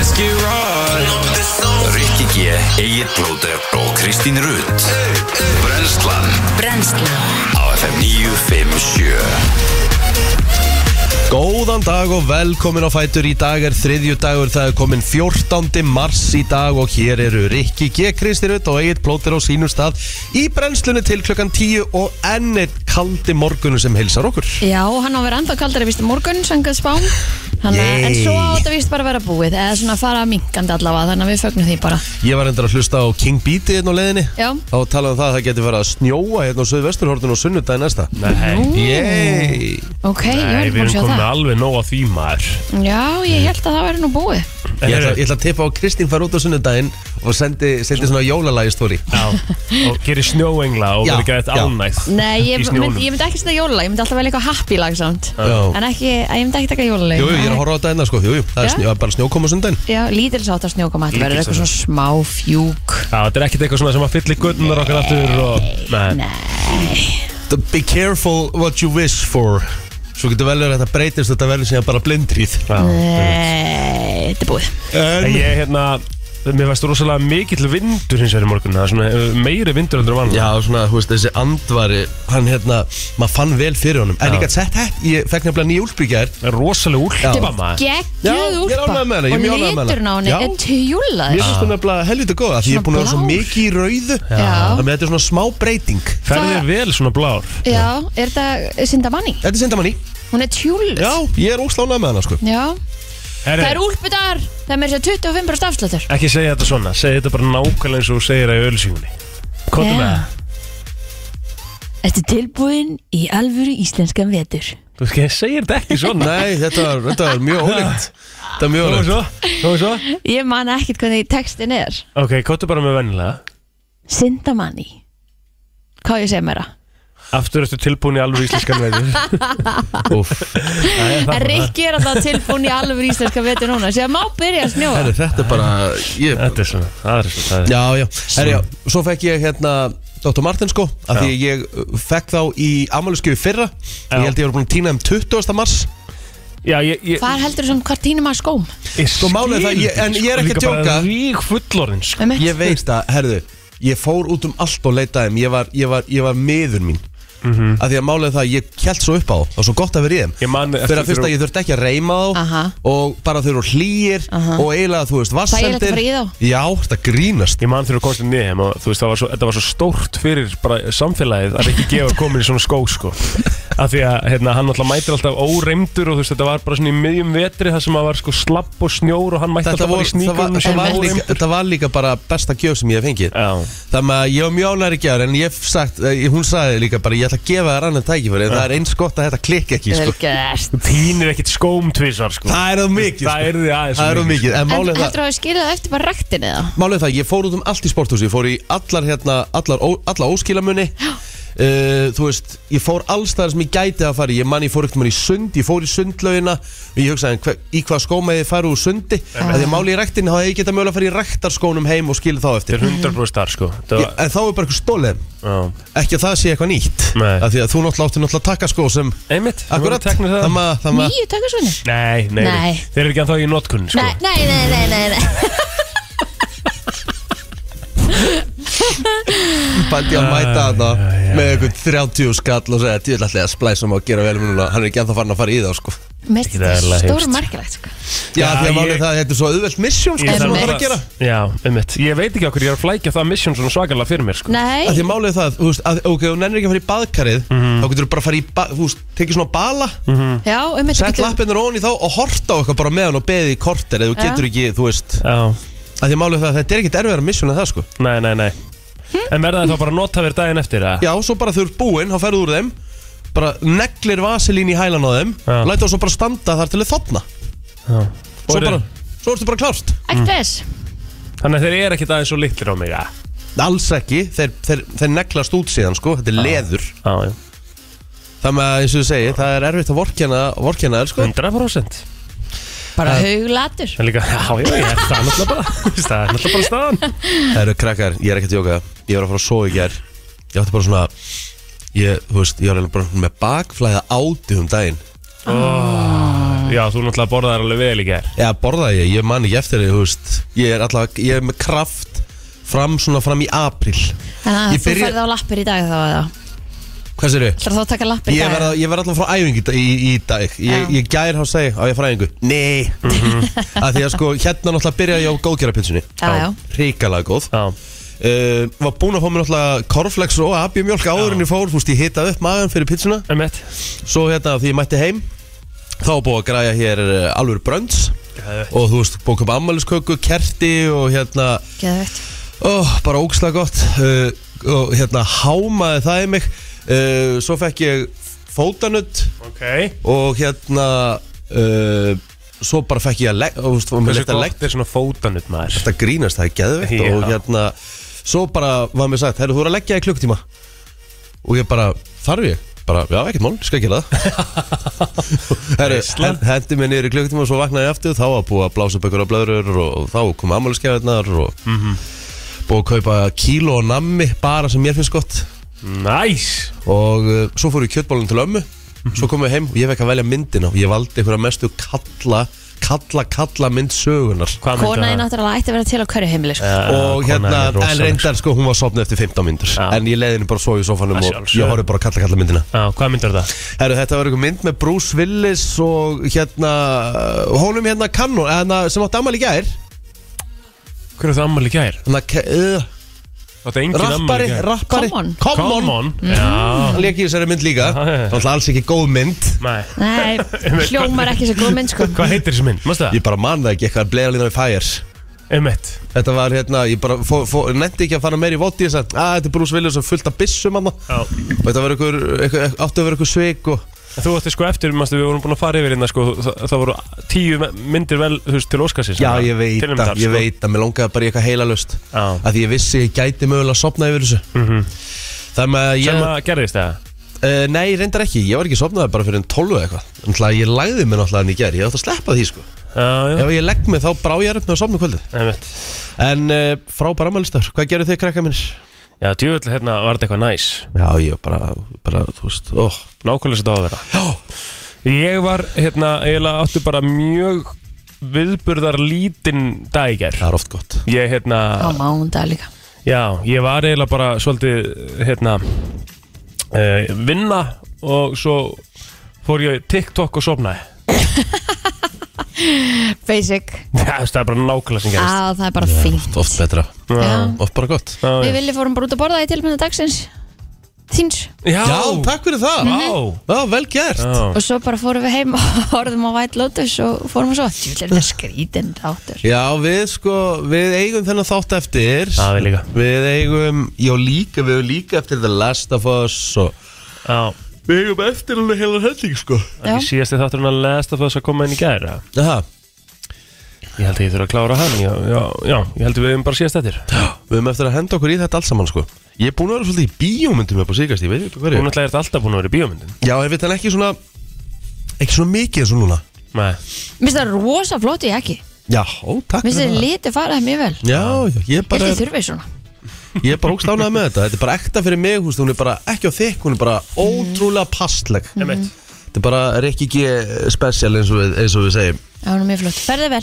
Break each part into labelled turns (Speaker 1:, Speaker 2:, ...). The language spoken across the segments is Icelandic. Speaker 1: ekki ráð
Speaker 2: Rikki G, Egil Blóter og Kristín Rutt Brenslan
Speaker 3: Brennslan
Speaker 2: á FM 957
Speaker 1: Góðan dag og velkomin á Fætur í dag er þriðju dagur það er komin 14. mars í dag og hér eru Rikki G. Kristi Rutt og Egil Blóter á sínum stað í brennslunni til klukkan 10 og ennir kaldi morgunu sem heilsar okkur
Speaker 4: Já, hann á að vera ennþá kaldari vist morgun, sangað spám Þannig, að- En
Speaker 1: Yay.
Speaker 4: svo á þetta vist bara að vera búið Eða svona fara minkandi allavega, þannig að við fögnum því bara
Speaker 1: Ég var endur að hlusta á King Beatty hérna á leiðinni
Speaker 4: Já.
Speaker 1: og talaði um það að það geti verið að snjóa hérna á Suðvesturhortun og sunnudagi næsta
Speaker 5: Nei,
Speaker 1: Yey
Speaker 4: Ok, ég var
Speaker 5: nei
Speaker 4: ekki
Speaker 5: við
Speaker 4: búin að
Speaker 5: erum
Speaker 4: sjá
Speaker 5: komin
Speaker 4: það
Speaker 5: alveg nóg að því maður
Speaker 4: Já, ég held að það væri nú búið
Speaker 1: Ég ætla, ég ætla að tippa á að Kristín fær út á sunnudaginn og sendi, sendi svona jólalagi stóri
Speaker 5: Já, og gerir snjóengla og
Speaker 1: Já,
Speaker 5: verður gæðið
Speaker 1: já.
Speaker 5: ánægð
Speaker 4: Nei, ég
Speaker 5: í
Speaker 4: myndi
Speaker 5: snjónum.
Speaker 4: mynd ekki setja jólulag, ég myndi alltaf velja eitthvað happy lag samt
Speaker 1: Jú,
Speaker 4: En ekki, að ég myndi ekki taka jólulag
Speaker 1: jú, ég er að horfa á þetta enna sko Jú, jú, það er
Speaker 4: Já.
Speaker 1: snjó, það er bara snjókoma sunnudaginn
Speaker 4: Já, lítilsáttar snjókoma, þetta verður eitthvað svona smá fjúk
Speaker 5: Já, þetta er ekkert eitthvað svona sem að fyllir guttunar okkar aftur og... Nei,
Speaker 1: Be careful what you wish for Svo getur vel verið að þetta breytist þetta verður síðan bara blindrýð
Speaker 5: já.
Speaker 4: Nei, Eh, þetta er búið
Speaker 5: En
Speaker 1: En
Speaker 5: ég, hérna, mér fæst rosalega mikill vindur hins vegar í morgun Það er svona eh, meiri vindur heldur en vann
Speaker 1: Já, svona, þú veist, þessi andvari Hann hérna, maður fann vel fyrir honum En
Speaker 5: Já.
Speaker 1: ég gætt sett hett, ég fekk nefnilega nýja úlbyggjær
Speaker 5: Rosalega úlpa maður
Speaker 1: Já,
Speaker 4: Geggjöð
Speaker 1: ég er
Speaker 4: úlpa
Speaker 1: ánægð með hana, ég er mjög
Speaker 4: Og
Speaker 1: ánægð með hana.
Speaker 4: liturinn á henni
Speaker 1: Já.
Speaker 4: er tjúlaður
Speaker 1: Mér finnst það nefnilega helviti góð af Því ég er búin að vera svo
Speaker 4: Svona blár.
Speaker 1: mikið í rauðu
Speaker 4: Já.
Speaker 1: Þannig að þetta er svona smá breyting
Speaker 5: Ferðið vel svona blár
Speaker 4: Já, er þetta Sindamanni?
Speaker 1: Þetta er sindamann í
Speaker 4: Hún er tjúluð
Speaker 1: Já, ég er óslánað með hana sko
Speaker 4: Já,
Speaker 5: Herri,
Speaker 4: það er úlpudagar Það er mér sér 25% afslutur
Speaker 5: Ekki segja þetta svona, segja þetta bara nákvæmlega eins og þú segir það í ölsíkunni Kóta með
Speaker 4: Já.
Speaker 5: það
Speaker 4: Þetta er tilbúin í alvöru íslenskan vetur
Speaker 5: Þú veist, ég segir þetta ekki svona
Speaker 1: Nei, þetta var, þetta var mjög ólíkt Þetta var mjög
Speaker 5: Nú er
Speaker 1: ólíkt
Speaker 5: svo, nú er svo
Speaker 4: Ég man ekkert hvernig textin er
Speaker 5: Ok, kóta bara með vennilega
Speaker 4: Sindamanni Hvað á ég að segja mér það?
Speaker 5: Aftur ertu tilbúin í alveg íslenskan veitur
Speaker 1: Úff.
Speaker 4: En Rikki er alltaf tilbúin í alvöru íslenskan vetur núna Sér má byrja að snjóa
Speaker 1: Herri, þetta er bara ég,
Speaker 5: Þetta er svona, það er svona það er.
Speaker 1: Já, já, herri, já Svo fekk ég hérna Dr. Martin sko Af því ég uh, fekk þá í amáluskjöfi fyrra
Speaker 5: Já.
Speaker 1: Ég held ég var búin að týna um 20. mars
Speaker 5: Já, ég, ég,
Speaker 4: Hvað heldur þú sem hvað tínum að skóm?
Speaker 5: ég
Speaker 1: Sko, málið er það, ég- en ég er ekki að
Speaker 5: Líka
Speaker 1: djóka.
Speaker 5: bara rík fullorinn sko.
Speaker 4: Einmitt.
Speaker 1: Ég veist að, herðu Ég fór út um allt og leitaði þeim Ég var, ég var, ég var meður mín Af því að málega það, ég kjælt svo upp á þá Það var svo gott að vera í þeim
Speaker 5: Ég man eftir
Speaker 1: Fyrir að fyrsta,
Speaker 5: þegar-
Speaker 1: ég þurfti ekki að reyma þá
Speaker 4: Aha.
Speaker 1: Og bara þau eru hlýir
Speaker 4: Aha.
Speaker 1: Og eiginlega, þú veist,
Speaker 4: Þægilegt að
Speaker 1: vassendir
Speaker 4: fara í þá.
Speaker 1: Já, þetta grínast
Speaker 5: Ég man þegar þú komst í nýðum og þú veist, það var svo, þetta var svo stórt fyrir bara samfélagið að ekki gefa komin í svona skó, sko. Af því að hérna, hann alltaf mætir alltaf óreimdur og þú veist, þetta var bara svona í miðjum vetri þar sem að var sko slapp og snjór og hann mætti
Speaker 1: þetta
Speaker 5: alltaf
Speaker 1: var,
Speaker 5: bara í
Speaker 1: það var,
Speaker 5: sníkunum
Speaker 1: það, var líka,
Speaker 5: óreimdur.
Speaker 1: þetta var líka bara besta gjöf sem ég hef fengið
Speaker 5: Já.
Speaker 1: Þannig að ég var mjög ánæri gjör En ég hef sagt, eh, hún sagði líka bara Ég ætla að gefa þér annan tækifæri En það er eins gott að þetta klikki ekki
Speaker 4: Vel
Speaker 1: sko.
Speaker 4: gert
Speaker 5: Þú Pínir ekkit skóm tvisar, sko.
Speaker 1: Það er það mikið
Speaker 5: Það
Speaker 1: sko.
Speaker 5: er því aðeins.
Speaker 1: Það er
Speaker 5: of
Speaker 1: það mikið En
Speaker 4: En
Speaker 1: málið
Speaker 4: heldur
Speaker 1: er það
Speaker 4: þú að skilja það eftir bara rektin eða?
Speaker 1: Málið er það, ég fór út um allt í sporthúsi Ég fór í allar, hérna, allar, ó, allar óskilamuni uh, Þú veist, ég fór alls þar sem ég gæti að fara í. Ég man, ég fór ekkert mér í sund Ég fór í sundlaugina Og ég hugsaði, hver, í hvað skóma ég fara úr sundi Þegar málið í rektin, þá hef ég geta mögulega að fara í rektarskónum heim og skilja þá
Speaker 5: Þetta
Speaker 1: eftir
Speaker 5: er 100% þar, sko. Það
Speaker 1: Já,
Speaker 5: var,
Speaker 1: en þá er bara eitthvað stólið
Speaker 5: já.
Speaker 1: ekki að það sé eitthvað nýtt
Speaker 5: Nei.
Speaker 1: af því að þú náttúrulega áttu náttúrulega að taka skó sem
Speaker 5: Einmitt. þú voru
Speaker 1: akkurat,
Speaker 5: teknir það.
Speaker 1: þannig að þannig að-
Speaker 4: Nýju takkasvinni?
Speaker 5: Nei, nei,
Speaker 4: Nei.
Speaker 5: nei. Þeir eru ekki ennþá í notkunn, sko.
Speaker 4: Nei, nei, nei, nei, nei, nei.
Speaker 1: bændi ég að mæta þetta með eitthvað 30 skall og segja ég ætla alltaf að splæsa mig og gera vel núna hann er ekki ennþá farin að fara í það sko
Speaker 4: Mér finnst
Speaker 5: Það er
Speaker 4: þetta
Speaker 5: alveg
Speaker 4: stór
Speaker 5: heimst.
Speaker 4: margilegt sko.
Speaker 1: já,
Speaker 5: Já,
Speaker 1: því að
Speaker 5: ég-
Speaker 1: málið er það að þetta er svo auðvelt misjón sko
Speaker 5: Ég
Speaker 1: sem
Speaker 5: þarf
Speaker 1: þú ætlar
Speaker 4: Einmitt.
Speaker 1: að gera
Speaker 5: Já, einmitt. Ég veit ekki okkur, ég er að flækja það mission svona svakalega fyrir mér, sko.
Speaker 4: Nei,
Speaker 1: að því að málið er það, þú veist, að, ok, þú nennir ekki að fara í baðkarið
Speaker 5: Mhm.
Speaker 1: þá getur þú bara að fara í, ba- þú veist, tekið svona bala
Speaker 4: já, um þetta
Speaker 1: sett lappinnar ofan í þá og horta á eitthvað bara með hann og beðið í korter eða þú
Speaker 4: Já.
Speaker 1: getur ekki, þú veist
Speaker 5: Já.
Speaker 1: að því að málið er það að þetta er ekkit erfiðar misjón en það sko
Speaker 5: Nei, nei, nei En verða það þá bara nota verið daginn eftir að
Speaker 1: Já, svo bara þau eru búinn, þá ferðu úr þeim bara neglir vaselín í hælan á þeim
Speaker 5: Já.
Speaker 1: læta þá svo bara standa þar til þau þotna svo,
Speaker 5: Og eru-
Speaker 1: bara, svo ertu bara klárt
Speaker 4: Express
Speaker 5: Þannig að þeir eru ekkit aðeins svo litlir á mig Já,
Speaker 1: Alls ekki, þeir, þeir, þeir neglast út síðan sko, þetta er leður
Speaker 5: já,
Speaker 1: Þannig að eins og þú segir, það er erfitt að vorkenna, vorkenna þér sko
Speaker 5: 100%
Speaker 4: Bara hauglatur
Speaker 5: En líka, já, já, ég er það náttúrulega bara þú veist, Það er náttúrulega bara staðan
Speaker 1: Það eru krakkar, ég er ekki að jóka Ég var að fara að sofa í ger Ég átti bara svona Ég, þú veist, ég var eiginlega bara með bakflæða áti um daginn
Speaker 5: Já, þú náttúrulega borðaðar alveg vel í gær
Speaker 1: Já, borðaði ég, ég man ekki eftir því, þú veist Ég er allavega, ég er með kraft fram svona fram í april
Speaker 4: Þannig
Speaker 1: Ég
Speaker 4: að Ah, þú
Speaker 1: byrja-
Speaker 4: ferði á lappir í dag þá eða
Speaker 1: Hvað sér
Speaker 4: Ætlar þú að taka lappir í
Speaker 1: Ég
Speaker 4: dag?
Speaker 1: verð, að- ég verð allavega frá æfingu í, dag- í, í dag Ég,
Speaker 4: Já.
Speaker 1: ég gær þá segi á ég frá æfingu Nei mm Því að sko, hérna náttúrulega byrja ég á góðgerapinsunni
Speaker 4: Já, já.
Speaker 1: Ríkalega góð
Speaker 5: Já,
Speaker 1: uh, Var búinn að fá mér náttúrulega korflex og abjumjólk áður en ég fór Þú veist, ég hitaði upp magan fyrir pizzuna
Speaker 5: emmett
Speaker 1: Svo hérna því ég mætti heim Þá var búið að græja hér eh, alvöru brönds
Speaker 5: Geðveikt.
Speaker 1: Og þú veist, búið að köpa ammælisköku, kerti og hérna
Speaker 4: Geðveikt.
Speaker 1: Ó, bara ógislega gott uh, og hérna hámaði það í mig uh, svo fekk ég fótanutt
Speaker 5: Ok
Speaker 1: og hérna uh, svo bara fekk ég að legg og þú veist, var mér
Speaker 5: Hversu
Speaker 1: leitt að legg
Speaker 5: gott er svona fótanut maður
Speaker 1: þetta grínast, það er geðveikt
Speaker 5: Já.
Speaker 1: og hérna svo bara var mér sagt, heyrðu þú er að leggja í klukktíma og ég bara, þarf ég? bara, já, ekkert mál, skal ekki það herru,
Speaker 5: Veisla.
Speaker 1: hendi mér niður í klukktíma og svo vaknaði ég aftur, þá var búið að blása upp einhverja blöður og, og þá kom ammálskjæðarnar og
Speaker 5: Mhm.
Speaker 1: búið að kaupa kíló og nammi, bara sem mér finnst gott
Speaker 5: Næs
Speaker 1: og uh, svo fór ég kjötbólun til ömmu svo kom ég heim og ég fekk að velja myndina og ég valdi einhverja mestu kalla kalla, kalla mynd sögunar
Speaker 5: Hvað myndi
Speaker 4: Kona
Speaker 5: það-
Speaker 4: þín náttúrulega ætti að vera til á hverju heimili sko.
Speaker 5: Já,
Speaker 1: og
Speaker 5: konan
Speaker 1: hérna,
Speaker 5: er rosaleg,
Speaker 1: en reyndar sko, hún var sopnið eftir 15 myndur
Speaker 5: Já.
Speaker 1: en ég leiði henni bara svo í sofanum
Speaker 5: Að
Speaker 1: og
Speaker 5: sjálfsögðu.
Speaker 1: ég horfði bara að kalla kalla myndina
Speaker 5: Já, hvað myndir það?
Speaker 1: Heru, þetta var einhver mynd með Bruce Willis og hérna, uh, honum hérna kannon, hérna, sem átti ammali í gær
Speaker 5: Hver er það ammali gær?
Speaker 1: hérna, ke- uh,
Speaker 5: Þetta er engin ammali
Speaker 1: rappari,
Speaker 5: gær
Speaker 1: rappari
Speaker 4: Come on.
Speaker 5: Come on Já
Speaker 1: hann lék í þessari mynd líka
Speaker 5: Já, já, já.
Speaker 1: alltaf alls ekki góð mynd
Speaker 5: Nei
Speaker 4: Nei, hljómar ekki sem góð minn sko.
Speaker 5: Hvað heitir þessi mynd? Mástu það?
Speaker 1: ég bara man það ekki, eitthvað bleið alveg fægir
Speaker 5: Emmett
Speaker 1: Þetta var hérna, ég bara fó, fó, nefndi ekki að fara meir í voti Ég sagði, að þetta er Bruce Willis og fullt af byssum hann Og
Speaker 5: Já
Speaker 1: þetta var einhver, einhver, áttu að vera einhver sveik og
Speaker 5: En Þú ætti sko eftir, mástu, við vorum búin að fara yfir hérna sko, það, það voru tíu me- myndir vel þú veist, til Óskarsins hérna,
Speaker 1: Já, ég veit að,
Speaker 5: sko.
Speaker 1: ég veit að Mér langaði bara í eitthvað heilalust
Speaker 5: Já. Mhm.
Speaker 1: Af því ég vissi, ég gæti mögulega að sopna yfir þessu mm -hmm. Þannig að
Speaker 5: Sem
Speaker 1: ég,
Speaker 5: að gerðist það
Speaker 1: uh, nei, reyndar ekki Ég var ekki sopnaði bara fyrir en 12 eða eitthvað Þannig að ég lagði mig náttúrulega en ég ger Ég átti að sleppa því, sko
Speaker 5: Já, já,
Speaker 1: Ef ég legg mig, þá brá ég upp með að sopna kvöldið
Speaker 5: einmitt
Speaker 1: En uh, frábæra mælistar, hvað gerir þið krakka minnir?
Speaker 5: Já, djúvill hérna var þetta eitthvað næs
Speaker 1: Já, ég bara, bara, þú veist, ó
Speaker 5: Nákvæmlega sem þetta á að vera
Speaker 1: Já,
Speaker 5: Ég var, hérna, eiginlega áttu bara mjög viðburðar lítinn dægir
Speaker 1: það er oft gott
Speaker 5: Ég, hérna,
Speaker 4: Á mánda líka
Speaker 5: já, ég var eiginlega bara svolítið, hérna uh, Vinna og svo fór ég á TikTok og sofnaði
Speaker 4: Basic
Speaker 5: Já, það er bara nákvæmlega sem gerðist
Speaker 4: Á, það er bara fínt
Speaker 1: Oft betra,
Speaker 4: Já.
Speaker 1: oft bara gott
Speaker 5: Já, já.
Speaker 4: Við viljum fórum bara út að borða í tilbyrna dagsins Þins
Speaker 5: Já,
Speaker 1: Já, takk fyrir það
Speaker 5: Vá.
Speaker 1: Já, vel gert
Speaker 5: Já.
Speaker 4: Og svo bara fórum við heim og horfum á White Lotus og fórum að svo Þú er þetta skrítin þáttur
Speaker 1: Já, við sko, við eigum þennan þátt eftir
Speaker 5: Já, við líka.
Speaker 1: Við eigum, já líka, við eigum líka eftir The Last of Us og
Speaker 5: Já,
Speaker 1: Við eigum eftir alveg heilan helling sko
Speaker 4: Já.
Speaker 5: ekki síðast þið þátturinn að lesta fyrir þess að koma inn í gæra
Speaker 1: Aha,
Speaker 5: Ég held að ég þurfa að klára hann Já, já, já ég held að við hefum bara síðast eftir
Speaker 1: við eigum eftir að henda okkur í þetta alls saman sko Ég er búin að vera svolítið í bíómyndum upp á síkast, ég veit ekki
Speaker 5: Þú
Speaker 1: hverju
Speaker 5: náttúrulega ert alltaf búin að vera í bíómyndin
Speaker 1: Já, ég veit hann ekki svona, ekki svona mikið eins og núna
Speaker 5: Nei,
Speaker 4: Mér finnst það rosa flott í ekki
Speaker 1: Já, ó, takk
Speaker 4: Mér finnst
Speaker 1: fyrir það
Speaker 4: það lítið faraði mjög vel
Speaker 1: Já, já, ég er
Speaker 4: Ég
Speaker 1: bara,
Speaker 4: held ég þurfið svona
Speaker 1: ég er bara ógstánað með þetta Þetta er bara ekta fyrir mig, húst, hún er bara ekki á þykk Hún er bara ótrúlega passleg
Speaker 4: Mm.
Speaker 5: emitt
Speaker 1: Þetta er bara Rikki G special eins og við, eins og við segjum
Speaker 4: Já, hún er mjög flott Ferðið vel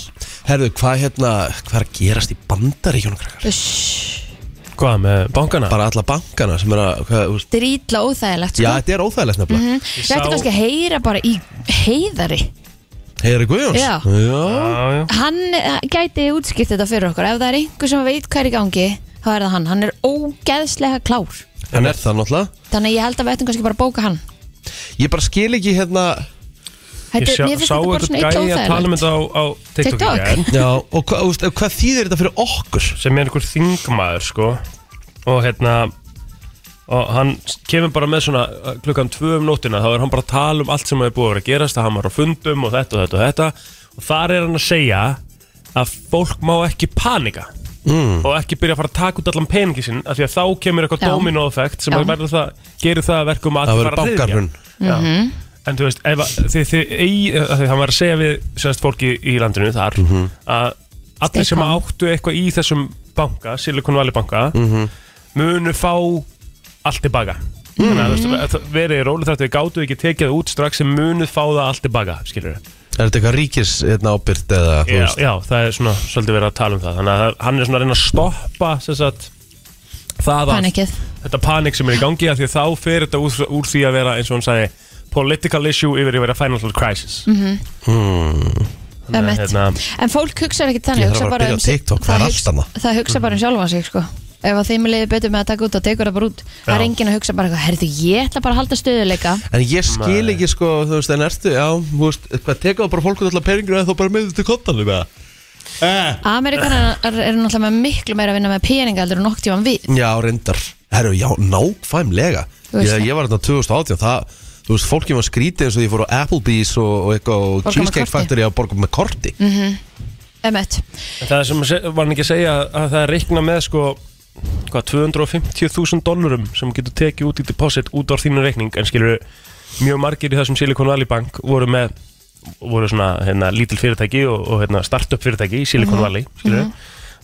Speaker 1: Herðu, hvað hérna, hvað er að gerast í bandaríkjónum krakkar?
Speaker 4: Uss,
Speaker 5: Hvað með bankana?
Speaker 1: Bara alla bankana sem er að, hvað, þú veist
Speaker 4: Drítla óþægilegt
Speaker 1: Já,
Speaker 4: sko.
Speaker 1: þetta er óþægilegt nefnilega mm
Speaker 4: Ég ætti
Speaker 5: sá-
Speaker 4: kannski að heyra bara í heiðari
Speaker 1: Heiðari Guðjóns
Speaker 4: Já.
Speaker 1: Já,
Speaker 5: Já, já
Speaker 4: Hann eh, gæti útskipt þetta fyrir okkur Ef það er einhver sem veit hvað er í gangi þá er það hann, hann er ógeðslega klár
Speaker 1: hann er það náttúrulega
Speaker 4: Þannig að ég held að við ættum kannski bara að bóka hann
Speaker 1: Ég bara skil ekki hérna
Speaker 5: Ég
Speaker 4: Þetta,
Speaker 5: sjá,
Speaker 4: Mér finnst
Speaker 5: sá
Speaker 4: þetta bara
Speaker 5: eitthvað
Speaker 4: svona illa
Speaker 5: gæja að tala um
Speaker 4: óþægilegt
Speaker 5: þetta á, á TikTok,
Speaker 4: TikTok.
Speaker 5: í gær,
Speaker 1: Já, og hvað, þú veist, hvað þýðir þetta fyrir okkur?
Speaker 5: Sem er einhver þingmaður, sko Og hérna Og hann kemur bara með svona uh, klukkan tvö um nóttina Þá er hann bara að tala um allt sem er búið að vera að gerast að hann var á fundum og þetta og þetta og þetta Og þar er hann að segja Að fólk má ekki panika
Speaker 1: Mm.
Speaker 5: og ekki byrja að fara að taka út allan peningi sinn af því að þá kemur
Speaker 4: Já.
Speaker 5: eitthvað dominoeffekt sem
Speaker 4: Já.
Speaker 5: að verður það, gerir það að verkum að
Speaker 1: Það
Speaker 5: allir
Speaker 1: verður
Speaker 5: fara að ryðja.
Speaker 1: bankarhrun.
Speaker 5: Já.
Speaker 1: Mhm.
Speaker 5: en þú veist, ef, að- þið, þið, þið, þið, hann var að segja við sérst fólki í landinu þar
Speaker 1: Mhm.
Speaker 5: að allir sem
Speaker 4: calm.
Speaker 5: áttu eitthvað í þessum banka, Silicon Valley banka
Speaker 1: Mhm.
Speaker 5: munu fá allt tilbaka Þannig að þú veist, verið í rólu þrættu, við gátu ekki tekið það út strax sem munuð fá það allt tilbaka, skilur við.
Speaker 1: Er þetta eitthvað ríkis hérna ábyrgt eða þú
Speaker 5: já,
Speaker 1: veist?
Speaker 5: já, það er svona svolítið verið að tala um það þannig að hann er svona að reyna að stoppa sem sagt, það að
Speaker 4: Panikið
Speaker 5: þetta panik sem er í gangi af því að þá fer þetta úr, úr því að vera eins og hann sagði political issue yfir í að vera financial crisis mm
Speaker 4: um
Speaker 5: hérna-
Speaker 4: En fólk hugsar ekki þannig
Speaker 1: Ég þarf
Speaker 4: hugsa
Speaker 1: að
Speaker 4: bara
Speaker 1: byrja
Speaker 4: um
Speaker 1: á
Speaker 4: sig-
Speaker 1: TikTok, það er allt
Speaker 4: hugsa-
Speaker 1: annað.
Speaker 4: Það hugsa bara um sjálfan sig sko Ef að þeim leiði betur með að taka út og tekur það bara út Það er
Speaker 5: Já.
Speaker 4: enginn að hugsa bara eitthvað Herðu, ég ætla bara að halda stöðuleika
Speaker 1: En ég skil ekki sko, þú veist, en ertu, já, þú veist, hvað teka þá bara fólk út allar peningur eða þá bara með þetta til kontanum eða? Eh.
Speaker 4: Amerikanar eru náttúrulega með miklu meira að vinna með peninga heldur en nokk tíma við
Speaker 1: Já, reyndar. Herru, já, nákvæmlega.
Speaker 4: Þú veist
Speaker 1: Ég, ég var þarna 2018, það, þú veist, fólki var skrítið eins og ég fór á Applebee's og, og eitthvað og
Speaker 4: Borga með
Speaker 1: Cheesecake
Speaker 4: korti. Mhm.
Speaker 1: Factory að borga með korti.
Speaker 4: Emmett
Speaker 5: það er sem að se- var hann ekki að segja að það er reikna með sko hvað, 250.000 dollurum sem getur tekið út í deposit út á þínu reikning en skilur mjög margir í þessum Silicon Valley Bank voru með voru svona hérna, lítil fyrirtæki og, og hérna, startup fyrirtæki í Silicon Valley skilur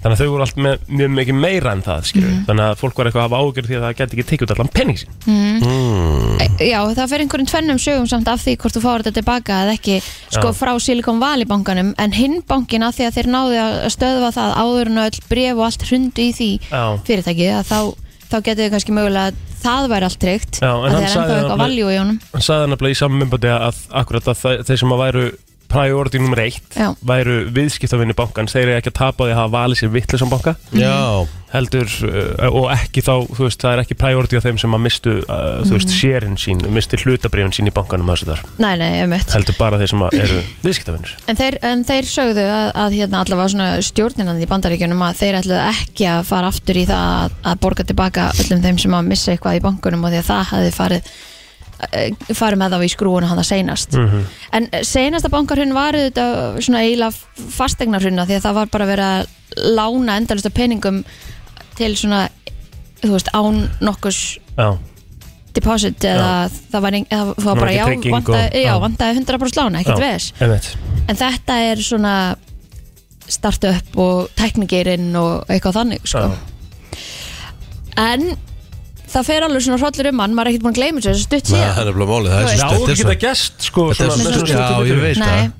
Speaker 5: þannig að þau voru allt með mjög mikið meira en það skilur þannig að fólk var eitthvað að hafa ágjörð því að það gæti ekki tekið út allan penning sín Mm.
Speaker 4: E, Já, það fer einhverjum tvennum sögum samt af því hvort þú fáir þetta tilbaka eða ekki sko
Speaker 5: Já.
Speaker 4: frá Silicon Valley bankanum en hinn bankin að því að þeir náðu að stöðva það áður en öll bref og allt hrundu í því
Speaker 5: Já.
Speaker 4: fyrirtæki að þá, þá getur þau kannski mögulega að það væri allt tryggt
Speaker 5: Já, en
Speaker 4: að
Speaker 5: hann
Speaker 4: þeir
Speaker 5: sagði
Speaker 4: ennþá eitthvað
Speaker 5: þarna-
Speaker 4: valjú í honum
Speaker 5: hann sagði hann nefnilega í saman myndbandi að akkurat að þa- þeir sem að væru priority nummer eitt
Speaker 4: Já.
Speaker 5: væru viðskiptavinni bankans þeir eru ekki að tapa á því að hafa valið sér vittlisam banka
Speaker 1: Já.
Speaker 5: heldur uh, og ekki þá, þú veist, það er ekki priority á þeim sem að mistu, uh, þú
Speaker 4: Mhm.
Speaker 5: veist, sérin sín mistu hlutabrifin sín í bankanum og þessu þar
Speaker 4: Nei, nei, um
Speaker 5: heldur bara þeir sem að eru viðskiptavinnur
Speaker 4: En þeir, en þeir sögðu að, að hérna allavega svona stjórninan í bandaríkjunum að þeir ætluðu ekki að fara aftur í það að, að borga tilbaka öllum þeim sem að missa eitthvað í bankunum og því að það hafði farið eh, farið með þá í skrúuna hann að seinast
Speaker 5: Mhm.
Speaker 4: en eh, seinasta bankarhun var þetta svona eiginlega fastegnarhunna því að það var bara verið að lána endalista peningum til svona þú veist án nokkurs
Speaker 5: Já,
Speaker 4: deposit eða það var, ein, eða það var
Speaker 5: Nú,
Speaker 4: bara
Speaker 5: ekki
Speaker 4: já,
Speaker 5: trygging og-
Speaker 4: vantaði, já,
Speaker 5: já.
Speaker 4: vantaði 100% lána, ekkert
Speaker 5: Já.
Speaker 4: veðis
Speaker 5: einmitt
Speaker 4: En þetta er svona startup og teknigeirinn og eitthvað þannig sko.
Speaker 5: Já.
Speaker 4: En það fer alveg svona hrollur um hann, maður er ekkert búin að gleyma þessu
Speaker 1: Nei,
Speaker 4: stutt
Speaker 1: Það
Speaker 4: síðan
Speaker 1: er nefnilega málið, það er
Speaker 5: Já,
Speaker 1: svo
Speaker 5: þú
Speaker 1: stert
Speaker 5: geta gest, sko
Speaker 1: Þetta er
Speaker 5: svona-
Speaker 1: svo
Speaker 5: svona
Speaker 1: stutt-
Speaker 5: stuttu
Speaker 1: já, ég
Speaker 5: viðtölu.
Speaker 1: veit.
Speaker 4: Nei,
Speaker 1: það.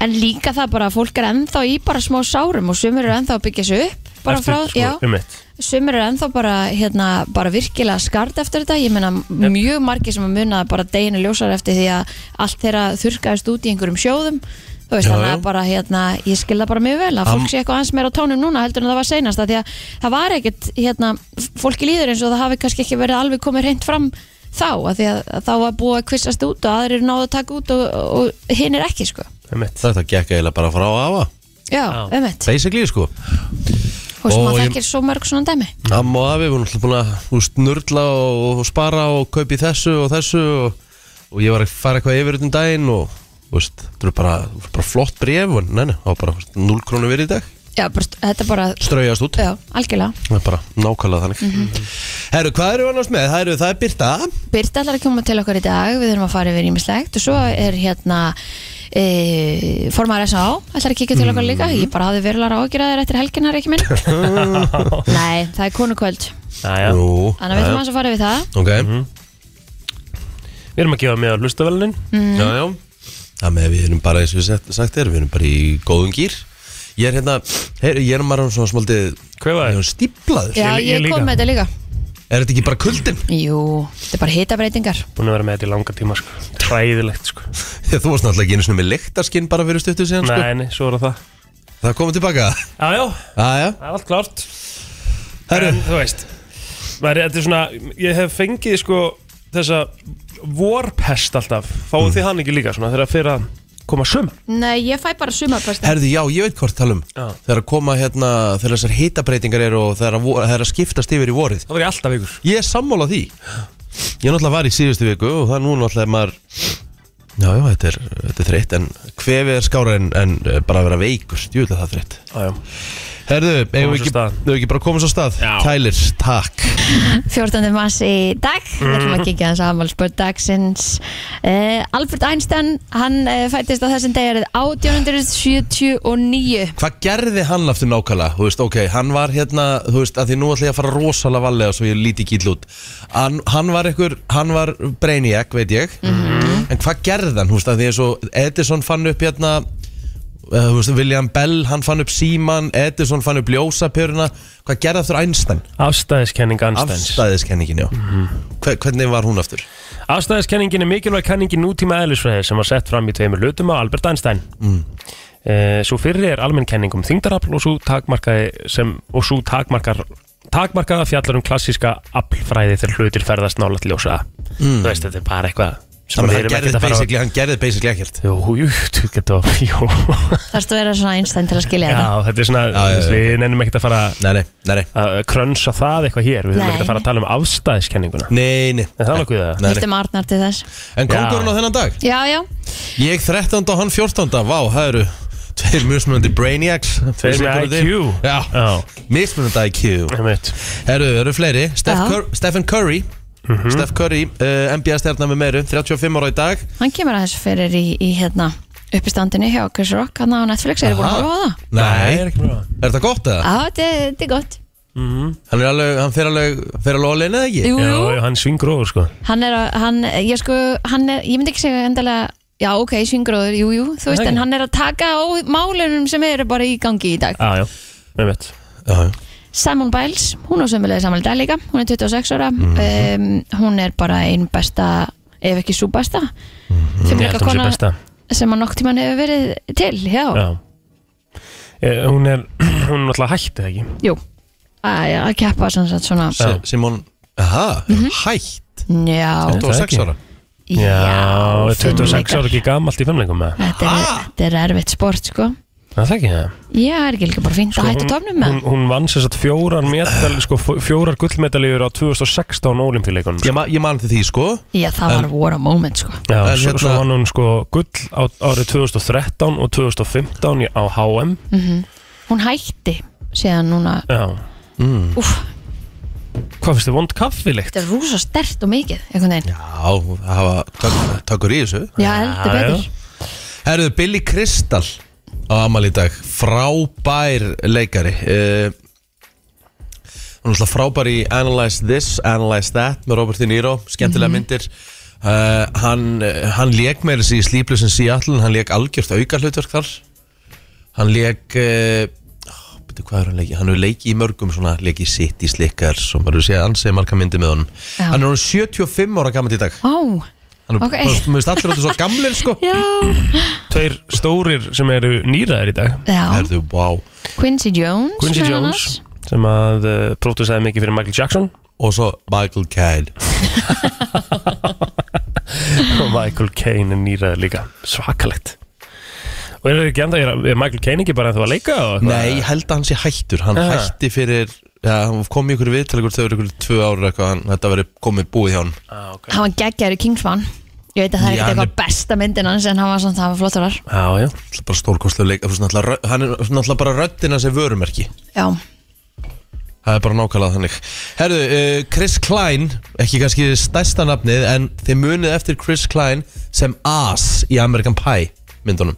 Speaker 4: en líka það bara að fólk er ennþá í bara smá sárum og sumir eru ennþá að byggja sig upp bara
Speaker 5: Eftir,
Speaker 4: frá,
Speaker 5: sko,
Speaker 4: já,
Speaker 5: einmitt.
Speaker 4: sumir eru ennþá bara, hérna, bara virkilega skart eftir þetta, ég meina mjög margir sem að muna bara deginu ljósar eftir því að allt þeirra þurrkaðist út í einhverjum sjóðum þú veist,
Speaker 1: Já,
Speaker 4: þannig
Speaker 1: já.
Speaker 4: að bara, hérna, ég skilða bara mjög vel að fólk
Speaker 1: Am-
Speaker 4: sé eitthvað aðeins meira á tónum núna heldur en það var seinast að því að það var ekkit, hérna, f- fólki líður eins og það hafi kannski ekki verið alveg komið reynd fram þá, að því að, að þá var búið að kvissast út og aðrir náðu að taka út og, og hinn er ekki, sko
Speaker 5: Einmitt.
Speaker 1: Þetta gekk eiginlega bara frá afa
Speaker 4: já,
Speaker 5: Já.
Speaker 4: ömmit,
Speaker 1: Basically sko
Speaker 4: og sem
Speaker 1: og
Speaker 4: að
Speaker 1: ég-
Speaker 4: þekkir svo mörg svona dæmi
Speaker 1: Amma og afi voru alltaf búin að þú veist, nörla og, og spara og kaupi þessu og þessu og, og ég var að fara eitthvað yfir út um daginn og þú veist, þetta er bara, bara flott bref og neina, það var bara þú veist, 0 krónu verið í dag
Speaker 4: já, bara, þetta bara,
Speaker 1: ströjast út,
Speaker 4: já, algjörlega
Speaker 1: það er bara nákvæmlega þannig Herru, hvað eru annars með? Það eru, það er Birta
Speaker 4: Birta ætlar að koma til okkar í dag, við erum að fara yfir ímislegt og svo er hérna e, formar S.A. ætlar að kíkja til okkar líka, ég bara hafði verulega ágjur að þér eftir helginar ekki minn Nei, það er konukvöld,
Speaker 5: Jæja.
Speaker 1: Jú,
Speaker 4: þannig að við þurfum aðeins að fara við það
Speaker 1: ok,
Speaker 5: Við erum að gefa með að hlustavelnin
Speaker 4: Mm.
Speaker 1: já, já Það með við erum bara, eins og við sagt- sagt er, við erum bara í góðum gýr Ég er hérna, heyr, ég er maður svona smaldið
Speaker 5: Kvefaður.
Speaker 1: Stíplaður
Speaker 4: Já,
Speaker 5: Ég- ég
Speaker 4: ég
Speaker 5: líka.
Speaker 4: kom með þetta líka
Speaker 1: Er þetta ekki bara kuldin?
Speaker 4: Jú, þetta er bara hitabreitingar
Speaker 5: Búin að vera með þetta í langa tíma, sko Træðilegt, sko
Speaker 1: Þú varst náttúrulega ekki einu sinni með lyktarskinn bara fyrir stuttu síðan sko.
Speaker 5: Nei, nei, svo er það
Speaker 1: Það komið tilbaka
Speaker 5: Já, já,
Speaker 1: Aja,
Speaker 5: það er allt klárt
Speaker 1: herru
Speaker 5: En þú veist maður, Þetta er svona, ég hef fengið sko þessa vorpest alltaf Fáðu þið hann ekki líka svona þegar fyrir að koma sum
Speaker 4: Nei, ég fæ bara sumarpesta
Speaker 1: Herðu, já, ég veit hvort talum
Speaker 5: Já.
Speaker 1: Þegar að koma hérna, þegar þessar hitabreitingar eru og þegar að, vor- þegar að skiptast yfir í vorið
Speaker 5: Það var ég alltaf ykkur
Speaker 1: Ég er sammála því Ég náttúrulega var í síðustu viku og það er nú náttúrulega maður Já, já, þetta er, þetta er þreytt En hvefið er skára en, en eh, bara að vera veikur Stjúlega það er þreytt
Speaker 5: ah,
Speaker 1: Herðu, eigum við
Speaker 5: Komum svo
Speaker 1: ekki,
Speaker 5: stað.
Speaker 1: eigum við ekki bara að koma svo stað
Speaker 5: Já.
Speaker 1: Kælir, takk
Speaker 4: 14. mars í dag við ætlum að kíkja hans afmálspöld dagsins uh, Alfred Einstein hann uh, fættist á þessum degi árið 1879
Speaker 1: Hvað gerði hann aftur nákvæmlega? Þú veist, ok, hann var hérna, þú veist, að því nú ætla ég að fara rosalega valega svo ég líti ekki illa út. Hann, hann var einhver, hann var brainiac, veit ég, En hvað gerði hann, þú veist, að því eins og Edison fann upp hérna uh, þú veist, William Bell, hann fann upp síman Edison fann upp ljósapjöruna Hvað gerði aftur Einstein?
Speaker 5: Afstæðiskenning Einsteins Mhm.
Speaker 1: Afstæðiskenningin, já Hver, Hvernig var hún aftur?
Speaker 5: Afstæðiskenningin er mikilvæg kenningi nútíma eðlisfræði sem var sett fram í tveimur lutum á Albert Einstein mm. Svo fyrri er almenn kenning um þyngdarafl og svo takmarkaði sem, og svo takmarkar takmarkaða fjallar um klassíska aflfræði þegar hlutir ferðast nála til ljósa Þú veist, þetta er bara eitthvað sem
Speaker 1: Mm. Þannig
Speaker 5: við
Speaker 1: að hann
Speaker 5: erum
Speaker 1: gerði
Speaker 5: ekkert að fara
Speaker 1: basically, hann gerði basically ekkert
Speaker 5: Jú, jú, þú getur að Jú,
Speaker 4: Þarfst að vera svona einstæn til að skilja
Speaker 5: já,
Speaker 4: þetta
Speaker 5: þetta er svona
Speaker 1: Já, já, já.
Speaker 5: Við nennum ekkert að fara
Speaker 1: Nei, nei, nei, nei,
Speaker 5: að krönsa það eitthvað hér Við
Speaker 4: Nei.
Speaker 5: þurfum ekkert að fara að tala um afstæðiskenninguna
Speaker 1: nei, nei.
Speaker 5: En það er nokkuð það
Speaker 1: Nei, nei.
Speaker 4: Viltum Arnar til þess
Speaker 1: En
Speaker 5: Já.
Speaker 1: kongurinn á þennan dag?
Speaker 4: Já, já,
Speaker 1: Ég 13. og hann 14. Vá, það eru Tveir mismunandi brainiacs
Speaker 5: Tveir með IQ.
Speaker 1: Já,
Speaker 5: Já.
Speaker 1: mismunandi IQ
Speaker 5: Einmitt.
Speaker 1: Herru, eru fleiri Steph
Speaker 4: Já.
Speaker 1: Cur Stephen Curry Steph Curry, uh, NBA-stjarnar með meiru 35 ára í dag
Speaker 4: hann kemur að þessu fyrir í, í hérna uppistandinu hjá Chris Rock hann á Netflix, er þið búin að horfa á það?
Speaker 1: Nei,
Speaker 5: ég er
Speaker 1: er
Speaker 5: ekki búin að-
Speaker 1: þetta gott eða?
Speaker 4: Já, þetta er- þetta er gott
Speaker 1: Hann, er alveg, hann fer alveg, fer alveg ólein eða ekki?
Speaker 4: Jú,
Speaker 5: Já,
Speaker 4: jú,
Speaker 5: já, hann svingróður sko
Speaker 4: hann er, að- hann, ég sko hann er, ég myndi ekki segja endalega Já, ok, svingróður, jú, jú, þú veist,
Speaker 5: Nei.
Speaker 4: en hann er að taka á málunum sem eru bara í gangi í dag.
Speaker 5: Ah, Já, já, einmitt
Speaker 1: Já, já.
Speaker 4: Simon Biles, hún á sömulega samanlega dag líka, hún er 26 ára um, hún er bara ein besta ef ekki svo besta
Speaker 5: Ég held hún um sé
Speaker 4: fimmleikakona
Speaker 5: besta
Speaker 4: sem að nokk tíman hefur verið til, já,
Speaker 5: Já Eh, Hún er, hún er alltaf hættið ekki
Speaker 4: jú að að keppa sem sagt svona
Speaker 1: Si Simon, aha,
Speaker 4: Mhm.
Speaker 1: hætt
Speaker 4: já,
Speaker 1: 26 ára
Speaker 5: Já, er 26
Speaker 4: fimmleikar.
Speaker 5: ára ekki gamalt í fimmleikum með
Speaker 4: þetta er, þetta er erfitt sport sko
Speaker 5: Það þekki það
Speaker 4: já, er ekki líka bara fínt að hætta tófnum með
Speaker 5: Sko, Hún, hún vann sér satt fjórar, medal, sko, f- fjórar gullmedaljur á 2016 ólimpíuleikunum
Speaker 1: Ég, ma ég man til því sko
Speaker 4: já, það var voru moment sko
Speaker 5: Já,
Speaker 1: En
Speaker 5: svo,
Speaker 1: hérna-
Speaker 5: svo vann hún sko gull á, árið 2013 og 2015 í- á HM
Speaker 4: hún hætti síðan núna,
Speaker 5: Já,
Speaker 4: úff,
Speaker 5: hvað finnst þið vond kaffilikt?
Speaker 4: þetta er rúsa stert og mikið, einhvern veginn
Speaker 1: Já, það hafa tök- tökur í þessu
Speaker 4: já, heldur betur
Speaker 1: Herðu, Billy Crystal á amal í dag, frábær leikari uh, Hún er alltaf frábær í Analyze This, Analyze That með Robert De Niro,
Speaker 4: Mhm.
Speaker 1: skemmtilega myndir uh, Hann, eh, hann lék með þessi í Sleepless in Seattle, en hann lék algjört auka hlutverk þar Hann lék, uh, betur hvað er hann leikið, hann hefur leikið í mörgum svona, leikið í City Slickers og maður sé ansið marga myndir með honum
Speaker 4: Já.
Speaker 1: Hann er hann 75 ára gammal í dag
Speaker 4: á,
Speaker 1: Hann er,
Speaker 4: Ok.
Speaker 1: okay. mér finnst allir þetta svo gamlir sko
Speaker 4: já
Speaker 5: Tveir stórir sem eru nýraðir í dag
Speaker 4: Já,
Speaker 1: Herðu, wow
Speaker 4: Quincy Jones
Speaker 5: Quincy
Speaker 4: meðal
Speaker 5: Jones
Speaker 4: annars.
Speaker 5: sem að uh, prófdusaði mikið fyrir Michael Jackson
Speaker 1: og svo Michael Caine
Speaker 5: og Michael Caine er nýraði líka svakalegt og er, ekki enda, er, er Michael Caine ekki bara ennþá að leika og eitthvað?
Speaker 1: Nei, ég held að hann sé hættur Hann
Speaker 5: Aha.
Speaker 1: hætti fyrir ja, Hann kom í ykkur viðtal ykkur þegar ykkur tvö ára eitthvað, hann, Þetta verið komið búið hjá hann
Speaker 5: ah, okay.
Speaker 4: Hann var geggjaður í Kingsman Ég veit að það er
Speaker 1: Já,
Speaker 4: ekkert
Speaker 1: hann er-
Speaker 4: eitthvað besta myndin hans En hann var svona, það var flottur þar
Speaker 5: Já, já,
Speaker 1: Svo bara stórkostlega leik þú veist, náttúrulega rö- Hann er svo náttúrulega bara röddina sem vörumerki
Speaker 4: Já,
Speaker 1: Það er bara nákvæmlega þannig Herðu, uh, Chris Klein Ekki kannski stærsta nafnið En þið munið eftir Chris Klein Sem As í American Pie myndunum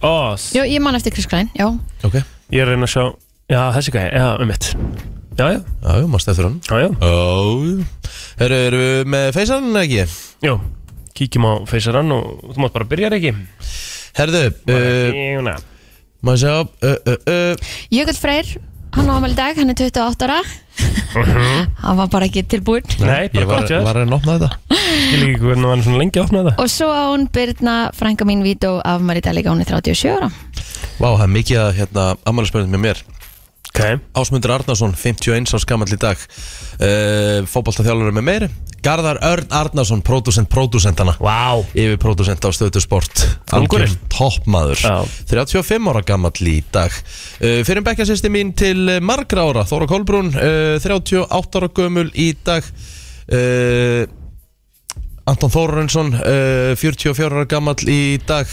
Speaker 5: Oz
Speaker 4: Jú, ég man eftir Chris Klein, já
Speaker 1: Ok, já,
Speaker 5: Ég er að reyna að sjá, já þessi gæði, já um mitt Já, já,
Speaker 1: já, mást eftir hann
Speaker 5: já, já,
Speaker 1: Ó, jú. herru, erum við með feysan ekki?
Speaker 5: já Kíkjum á feysarann og þú mátt bara byrja ekki
Speaker 1: Herðu, uh,
Speaker 5: Júna
Speaker 1: maður sjá uh, uh, uh,
Speaker 4: Jökull Freyr, hann á ámæli dag, hann er 28 ára Hann var bara ekki tilbúinn
Speaker 5: Nei, bara
Speaker 1: Ég var,
Speaker 5: gott, já
Speaker 1: var að reyna að opna þetta
Speaker 5: Skil ekki hvernig hann var svona lengi að opna þetta
Speaker 4: Og svo á hún Birna, frænka mín Vító Af Marita líka, hún er 37 ára
Speaker 1: Vá, það er mikið að hérna, ammælisbörnum með mér
Speaker 5: Ok,
Speaker 1: Ásmundur Arnarsson, 51 árs gamall í dag uh, Fótballtaþjálfur með meiri Garðar Örn Arnarsson, pródusent pródusentana
Speaker 5: wow
Speaker 1: Yfir pródusent á stöðu sport
Speaker 5: Ungurinn.
Speaker 1: toppmaður
Speaker 5: Já.
Speaker 1: 35 ára gamall í dag uh, Fyrir bekkjasýsti mín til eh, margra ára Þóra Kolbrún, uh, 38 ára gömul í dag uh, Anton Þórarensson, uh, 44 ára gamall í dag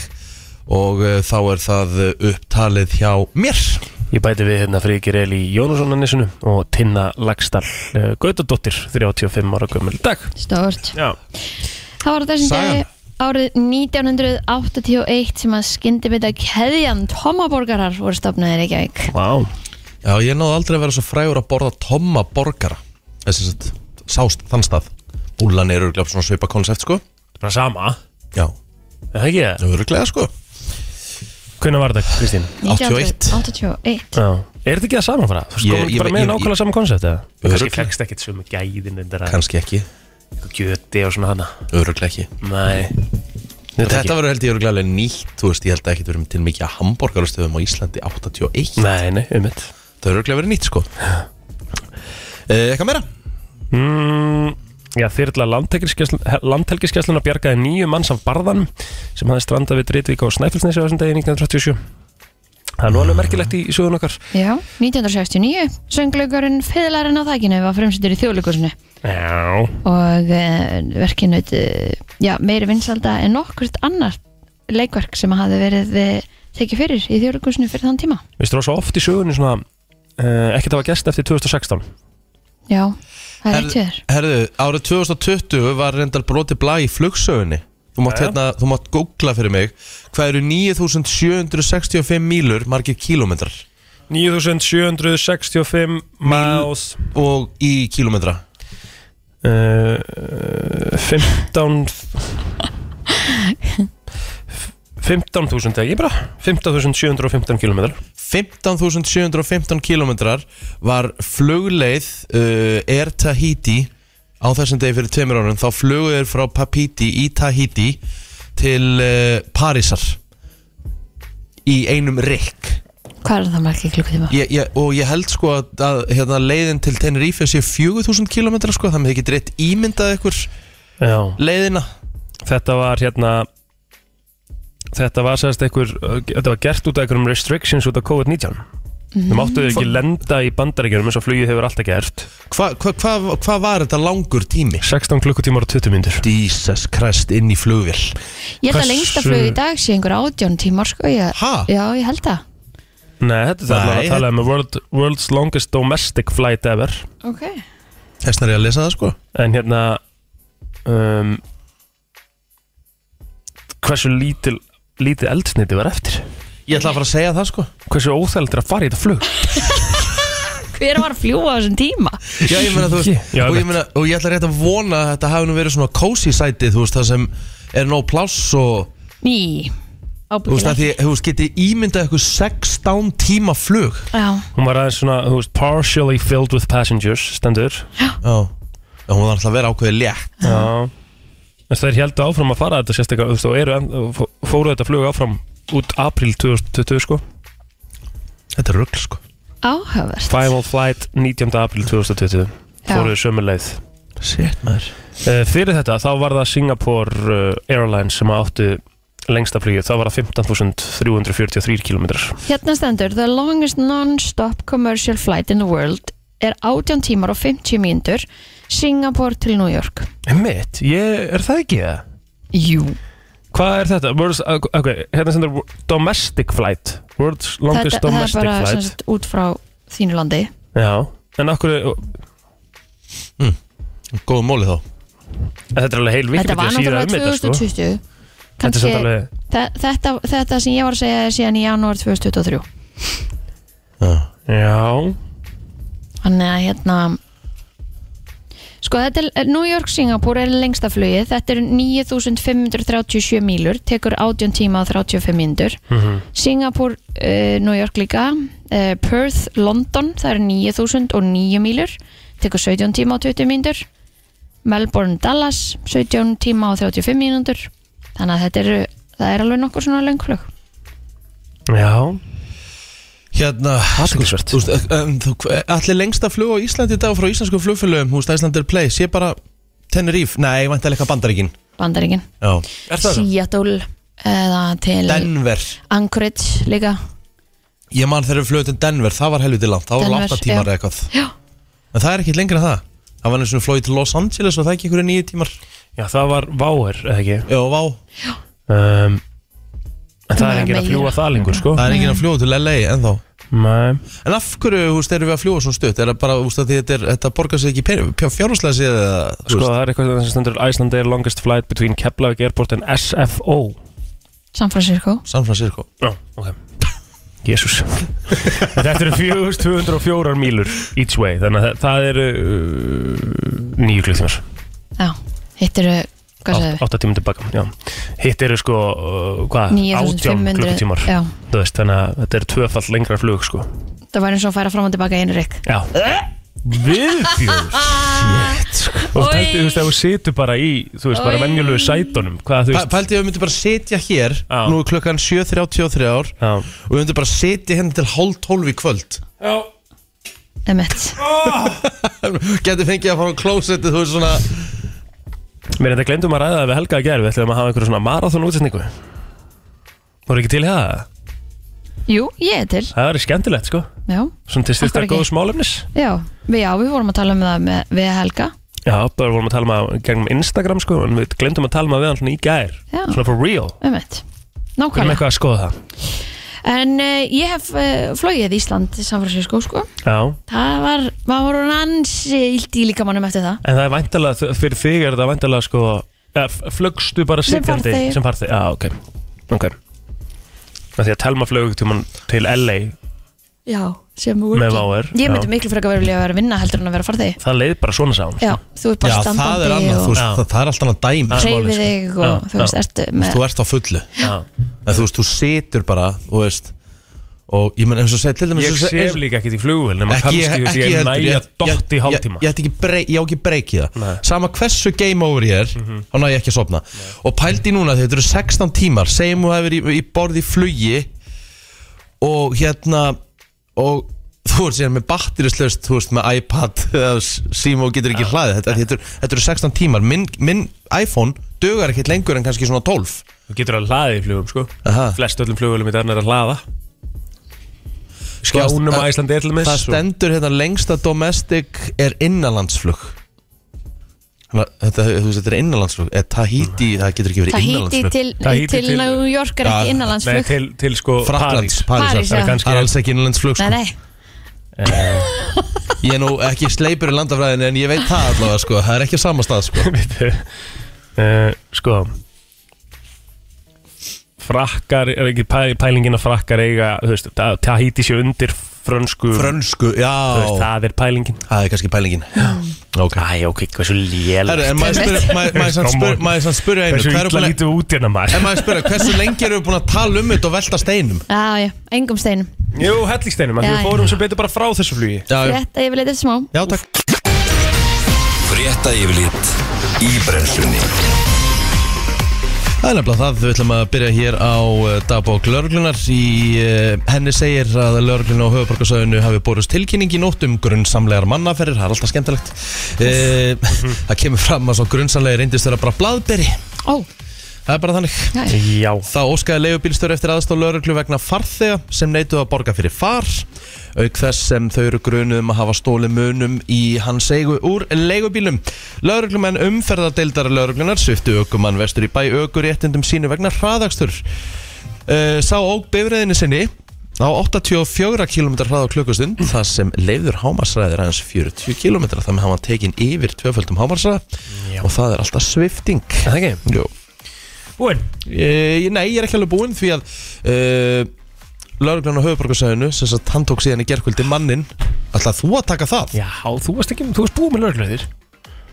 Speaker 1: og uh, þá er það eh, upptalið hjá mér
Speaker 5: Ég bæti við hérna Fríkir Eli Jónusson að nissinu og Tinna Lagstall uh, Gautadóttir, 35 ára gömul í dag
Speaker 4: Stort
Speaker 5: Já,
Speaker 4: Það var á þessum
Speaker 1: Sagan.
Speaker 4: degi árið 1981 sem að skyndibita keðjan Tomaborgarar voru stopnaðir í Reykjavík
Speaker 5: vá
Speaker 1: Já, ég náði aldrei að vera svo frægur að borða tomma borgara þess að sást þann stað Úlan er örglega svona svipa konsept sko
Speaker 5: er bara sama
Speaker 1: Já,
Speaker 5: Er Það ekki það?
Speaker 1: örglega sko
Speaker 5: Hvernig var þetta, Kristín?
Speaker 1: 81.
Speaker 4: 81
Speaker 5: Já. Er þetta ekki það saman frá? Þú
Speaker 1: Ég-
Speaker 5: veist, komum
Speaker 1: ég-
Speaker 5: bara með
Speaker 1: ég-
Speaker 5: nákvæmlega saman koncept eða? Kanski
Speaker 1: Örugglega.
Speaker 5: fegst ekkert sömu gæðin þetta er
Speaker 1: Kanski ekki,
Speaker 5: að gjöti og svona hana
Speaker 1: örglega ekki
Speaker 5: Nei
Speaker 1: Þetta,
Speaker 5: ekki.
Speaker 1: verður held ég örglega alveg nýtt Þú veist, ég held ekki að verðum til mikið að hambúrgarastöðum á Íslandi 81
Speaker 5: Nei, nei, um mitt
Speaker 1: Það er örglega verið nýtt sko Eh, Eitthvað meira?
Speaker 5: mm, Já, þyrla landhelgiskessluna bjargaði nýju manns af barðanum sem hafði strandað við Dritvík á Snæfellsnesi á þessum degi 1937 Það er nú alveg merkilegt í sögun okkar
Speaker 4: Já, 1969 söngleikurinn Fiðlarinn á þækinu var fremsýttur í þjóðleikusinu
Speaker 5: Já
Speaker 4: og eh, verkið naut eh, já, meiri vinsalda en nokkurt annar leikverk sem hafði verið eh, tekið fyrir í þjóðleikusinu fyrir þann tíma
Speaker 5: Vistu það svo oft í sögunni svona uh, ekkert að hafa gest eftir 2016
Speaker 4: Já, það er
Speaker 1: Herðu-
Speaker 4: eitt við þér
Speaker 1: Herðu, árið 2020 var reyndar broti blað í flugsögunni Þú mátt,
Speaker 5: Jæja.
Speaker 1: hérna, þú mátt googla fyrir mig Hvað eru 9765 mílur margir kílómetrar
Speaker 5: 9765 miles
Speaker 1: og í kílómetra
Speaker 5: uh, 15 15.000 eða ekki bara 15.715 km
Speaker 1: 15.715 kílómetrar var flugleið uh, Air Tahiti á þessum degi fyrir tveimur árum þá flugu þeir frá Papiti í Tahiti til uh, Parísar í einum rikk
Speaker 4: Hvað er það margir klukkutíma?
Speaker 1: ég, ég, og ég held sko að, að hérna, leiðin til Tenerife sé 4000 km sko, þannig að þið getur rétt ímyndað ykkur
Speaker 5: Já,
Speaker 1: leiðina
Speaker 5: þetta var hérna þetta var sérst einhver þetta var gert út af einhverjum restrictions út af COVID-19 mm. þú máttu ekki lenda í bandaríkjunum eins og flugið hefur alltaf gert
Speaker 1: Hvað hva, hva, hva var þetta langur tími?
Speaker 5: 16 klukkutímar og 20 myndir
Speaker 1: Jesus Christ inn í flugvél
Speaker 4: Ég held að
Speaker 5: hversu-
Speaker 4: lengsta flug í dag sé einhver átjón tímar sko ég,
Speaker 1: Ha?
Speaker 4: Já, ég held það
Speaker 5: Nei, þetta er það
Speaker 1: Nei,
Speaker 5: að tala um world, world's longest domestic flight ever
Speaker 4: Ok
Speaker 1: Þessna er ég að lesa það sko
Speaker 5: en hérna um, hversu lítil lítið eldsniti var eftir
Speaker 1: Ég ætla að fara að segja það sko
Speaker 5: hversu óþældur að fara í þetta flug
Speaker 4: Hver var að fljúa á þessum tíma?
Speaker 1: Já, ég meina, þú veist,
Speaker 5: Já,
Speaker 1: og, ég
Speaker 5: einmitt.
Speaker 1: meina, og ég ætla rétt að vona að þetta hafi nú verið svona cozy sæti þú veist, það sem er nóg pláss og
Speaker 4: Ný
Speaker 1: þú veist,
Speaker 4: Ábyggilega
Speaker 1: að því, þú veist, geti ímyndað ykkur 16 tíma flug
Speaker 4: Já,
Speaker 5: hún var aðeins svona, þú veist, partially filled with passengers stendur
Speaker 1: Já, Já, hún var alltaf að vera ákveðið létt
Speaker 5: Já En þeir heldur áfram að fara þetta sérstaklega þú veist, og eru enn- og fó- fóru þetta flug áfram út april 2020 sko
Speaker 1: Þetta er rugl sko
Speaker 4: áhugavert
Speaker 5: Final flight 19. april 2020 fóruðu sömu leið
Speaker 1: Sétt maður
Speaker 5: Eh, Fyrir þetta þá var það Singapore eh, Airlines sem áttu lengsta flugið, þá var það 15.343 km
Speaker 4: Hérna stendur The longest non-stop commercial flight in the world er 18 tímar og 50 mínútur Singapore til New York
Speaker 5: Mitt, ég, er það ekki það?
Speaker 4: Jú,
Speaker 5: Hvað er þetta? World's, ok, hérna sendur domestic flight World's longest
Speaker 4: þetta það er
Speaker 5: domestic
Speaker 4: bara sem
Speaker 5: flight
Speaker 4: sagt, út frá þínu landi
Speaker 5: Já, en okkur,
Speaker 1: Góð móli þá
Speaker 5: þetta er alveg heil
Speaker 4: Þetta var
Speaker 5: Wikipedia síða um
Speaker 4: náttúrulega
Speaker 5: þetta, sko.
Speaker 4: 2020
Speaker 5: Þetta er
Speaker 4: Kannski
Speaker 5: samt alveg
Speaker 4: þe- þetta, þetta sem ég var að segja er síðan í janúar 2023
Speaker 5: Já,
Speaker 4: Þannig að hérna Sko þetta er New York Singapore er lengsta flugið Þetta er 9537 mílur Tekur 18 tíma og 35 mínútur Singapore, uh, New York líka uh, Perth, London Það er 9009 mílur Tekur 17 tíma og 20 mínútur Melbourne, Dallas 17 tíma og 35 mínútur Þannig að þetta eru Það er alveg nokkur svona lengflug
Speaker 5: já
Speaker 1: Hérna, sko,
Speaker 5: Athyglisvert.
Speaker 1: þú veist, um, þú, allir lengsta flug á Íslandi í dag frá íslenskum flugfélögum, þú veist, Æslandir Place, ég bara Tenerife, nei, ég vænti að leika Bandaríkin
Speaker 4: Bandaríkin
Speaker 1: Já,
Speaker 4: Seattle eða til
Speaker 1: Denver,
Speaker 4: Anchorage líka
Speaker 1: ég man þegar við flugum til Denver, það var helviti langt, það var
Speaker 4: Denver,
Speaker 1: 8 tímar
Speaker 4: já.
Speaker 1: eða eitthvað
Speaker 4: Já.
Speaker 1: En það er ekkit lengra en það Það var eins og flóið til Los Angeles og það ekki einhverju nýju tímar
Speaker 5: Já, það var váer, eða ekki
Speaker 1: Já, vá,
Speaker 5: um, En
Speaker 4: Nei,
Speaker 5: það er enginn að
Speaker 4: meira.
Speaker 5: fljúa það lengur, sko
Speaker 1: það er enginn að fljóða til LA ennþá
Speaker 5: Nei
Speaker 1: En af hverju, þú veist, erum við að fljóða svona stutt? Er það bara, þú veist, að því þetta, er- þetta borgar sig ekki fjárhúslega séð eða, þú
Speaker 5: Sko,
Speaker 1: veist,
Speaker 5: það er eitthvað sem stendur Iceland Air longest flight between Keflavík Airport and SFO
Speaker 4: San Francisco
Speaker 1: San Francisco
Speaker 5: Já, ok Jésús Þetta eru 4204 mílur each way Þannig að það- það eru uh, nýju klukkumar
Speaker 4: Já, Hitt eru, hvað
Speaker 5: Átt-
Speaker 4: segðu?
Speaker 5: átta tímum tilbaka já. hitt eru sko uh, hvað, 18 klukkutímar
Speaker 4: Já,
Speaker 5: Þú veist, þannig að þetta er tvöfall lengra flug sko.
Speaker 4: það var eins og að færa fram og tilbaka í einu rygg
Speaker 5: já viðbjörn shit sko. og
Speaker 4: Oj.
Speaker 5: tælti, þú veist, ef þú situr bara í þú veist, bara
Speaker 4: Oj.
Speaker 5: venjulegu sætunum hvað, þú
Speaker 1: Pæ-
Speaker 5: veist,
Speaker 1: Pældi ég að við myndum bara sitja hér
Speaker 5: Já.
Speaker 1: Nú er klukkan 7.33 ár
Speaker 5: já,
Speaker 1: Og við myndum bara sitja hérna til hálf tólf í kvöld
Speaker 5: já.
Speaker 4: Emmett
Speaker 1: Geti fengið að fara á klósetti Þú veist svona
Speaker 5: Mér þetta glemdum að ræða það við Helga að gera Við ætlum að hafa einhverja svona marathon útsendingu Voru ekki til í það?
Speaker 4: Jú, ég er til,
Speaker 5: Það er skemmtilegt sko
Speaker 4: já
Speaker 5: Svona til
Speaker 4: Akkur
Speaker 5: styrta
Speaker 4: ekki?
Speaker 5: góðs málefnis
Speaker 4: Já, við, já, við vorum að tala um það með, við Helga
Speaker 5: Já, bara vorum að tala um að gegnum Instagram sko En við glemdum að tala um að við hann svona í gær
Speaker 4: Já.
Speaker 5: Svona for real
Speaker 4: Emmett,
Speaker 5: Við erum
Speaker 4: nákvæmlega
Speaker 5: eitthvað að skoða það
Speaker 4: En uh, ég hef uh, flogið Ísland til San Francisco, sko
Speaker 5: Já,
Speaker 4: Það var, maður voru ansi illt í líkamannum eftir það
Speaker 5: en það er væntalega, fyrir þig er það væntalega sko eh, f- Flugstu bara
Speaker 4: Sem
Speaker 5: sitjandi
Speaker 4: farþegi.
Speaker 5: Sem farþegi, já, ok Ok Af Því að telma flög tímann um til LA
Speaker 4: Já, sem úr
Speaker 5: Með Váer,
Speaker 4: Ég myndi
Speaker 5: já.
Speaker 4: miklu frekar vera vilja að vera að vinna heldur en að vera að fara þig
Speaker 5: Það leið bara svona sá
Speaker 4: Já, þú ert bara
Speaker 1: Já, það er
Speaker 4: standandi
Speaker 1: annað Þú
Speaker 4: og
Speaker 1: veist,
Speaker 5: Já.
Speaker 1: það, það er allt annað dæmi sko.
Speaker 4: hreyfið þig og
Speaker 5: Já,
Speaker 4: þú veist,
Speaker 5: já.
Speaker 4: ertu með
Speaker 1: Þú ert á fullu
Speaker 5: Já.
Speaker 1: En þú veist, þú situr bara Þú veist Og ég menn eins og segja til þeim
Speaker 5: Ég sef líka ekkert í flugvél nema kannski þú veist ég er
Speaker 1: heldur,
Speaker 5: næja dott í
Speaker 1: ég-
Speaker 5: hálftíma
Speaker 1: ég- Ég ætti ekki breyk, ég á ekki breyk í það
Speaker 5: Nei. Mhm.
Speaker 1: Sama hversu game over ég er Þá ná ég ekki að sofna Og pældi núna þegar þetta eru 16 tímar Segjum þú hefur í, í borði í flugi Og hérna Og þú ert síðan með batterislaust Þú veist með iPad eða s- Síma og getur ekki hlaðið þetta, þetta, eru- þetta eru 16 tímar Minn, minn iPhone dugar ekkert lengur en kannski svona 12
Speaker 5: Þú getur að hlaði í flugum sko
Speaker 1: Aha.
Speaker 5: Flest öllum flugvélum í daginn er að hlaða Skjánum
Speaker 1: Það-
Speaker 5: að Íslandi er til sko. með
Speaker 1: Það stendur hérna lengsta domestic er innanlandsflug Þannig að Þetta, þú veist, þetta er innanlandsflug Eða Tahiti, það getur ekki verið
Speaker 4: Það hýtti
Speaker 1: innanlandsflug
Speaker 4: til,
Speaker 5: Tahiti
Speaker 4: til
Speaker 5: til-
Speaker 4: New York er
Speaker 1: Já,
Speaker 4: ekki
Speaker 5: Nei,
Speaker 4: innanlandsflug
Speaker 5: til, til sko
Speaker 1: Fraklands, Parísar
Speaker 4: París, já.
Speaker 5: Það er
Speaker 1: Það er
Speaker 5: kannski
Speaker 1: alls ekki innanlandsflug
Speaker 4: Nei,
Speaker 1: sko.
Speaker 4: nei,
Speaker 1: Ég er nú ekki sleipur í landafræðinu En ég veit það allavega, sko Það er ekki á sama stað, sko
Speaker 5: Bíddu, eh, Sko Frakkar er ekki pæ- pælingin að frakkar eiga þú veist, það, það hýti sér undir frönsku
Speaker 1: Frönsku, já
Speaker 5: þú veist, Það er pælingin
Speaker 1: Það er kannski pælingin Ok
Speaker 5: Æ, ok, hversu lél
Speaker 1: Herru, en maður spyr- maður- maður samt spyr- maður samt spyrja einu
Speaker 5: Hversu
Speaker 1: hvað eru
Speaker 5: illa
Speaker 1: búin að-
Speaker 5: lítum við út hérna maður
Speaker 1: En maður spyrja, hversu lengi erum við búin að tala um þetta og velta steinum?
Speaker 4: já, já, engum steinum
Speaker 5: Jú, hellingsteinum, en
Speaker 4: Já,
Speaker 5: við
Speaker 4: já.
Speaker 5: fórum sem betur bara frá þessu flugi
Speaker 1: Já,
Speaker 4: Þetta ég vil eitthvað smá
Speaker 1: já takk
Speaker 2: Frétta yfirlit í brennslunni
Speaker 1: Það er nefnilega það, við ætlum að byrja hér á eh, dagbók lauruglunar í eh, henni segir að lauruglun á höfuborgarsöðinu hafi borist tilkynning í nótt um grunnsamlegar mannaferðir, það er alltaf skemmtilegt e, Það kemur fram að svo grunnsamlega reyndist vera bara blaðberi
Speaker 4: Ó,
Speaker 1: Það er bara þannig
Speaker 4: já, já.
Speaker 5: Já
Speaker 1: Þá óskaði leigubílstjóri eftir aðstof lauruglu vegna farþega sem neituðu að borga fyrir far auk þess sem þau eru grunuð um að hafa stóli munum í hans eigu úr leigubílum. Lauruglumenn umferðardeildar lauruglunar sviftu aukumann vestur í bæ aukuréttindum sínu vegna hraðakstur. Eh, Sá óg bifræðinu sinni á 84 km hrað á klukkustund þar sem leiður hámarsræðir aðeins 40 km þar með hafa tekin yfir tvöföldum hámarsræða og það er alltaf svifting.
Speaker 5: Það ekki
Speaker 1: Jó.
Speaker 5: Búinn
Speaker 1: Uh, nei, ég er ekki alveg búinn því að uh, lauruglan á höfuborgarsæðinu sem sagt hann tók síðan í gerkvöldi mannin Alltaf þú að taka það?
Speaker 5: Já, þú varst ekki, þú varst búinn með lögreglunni þér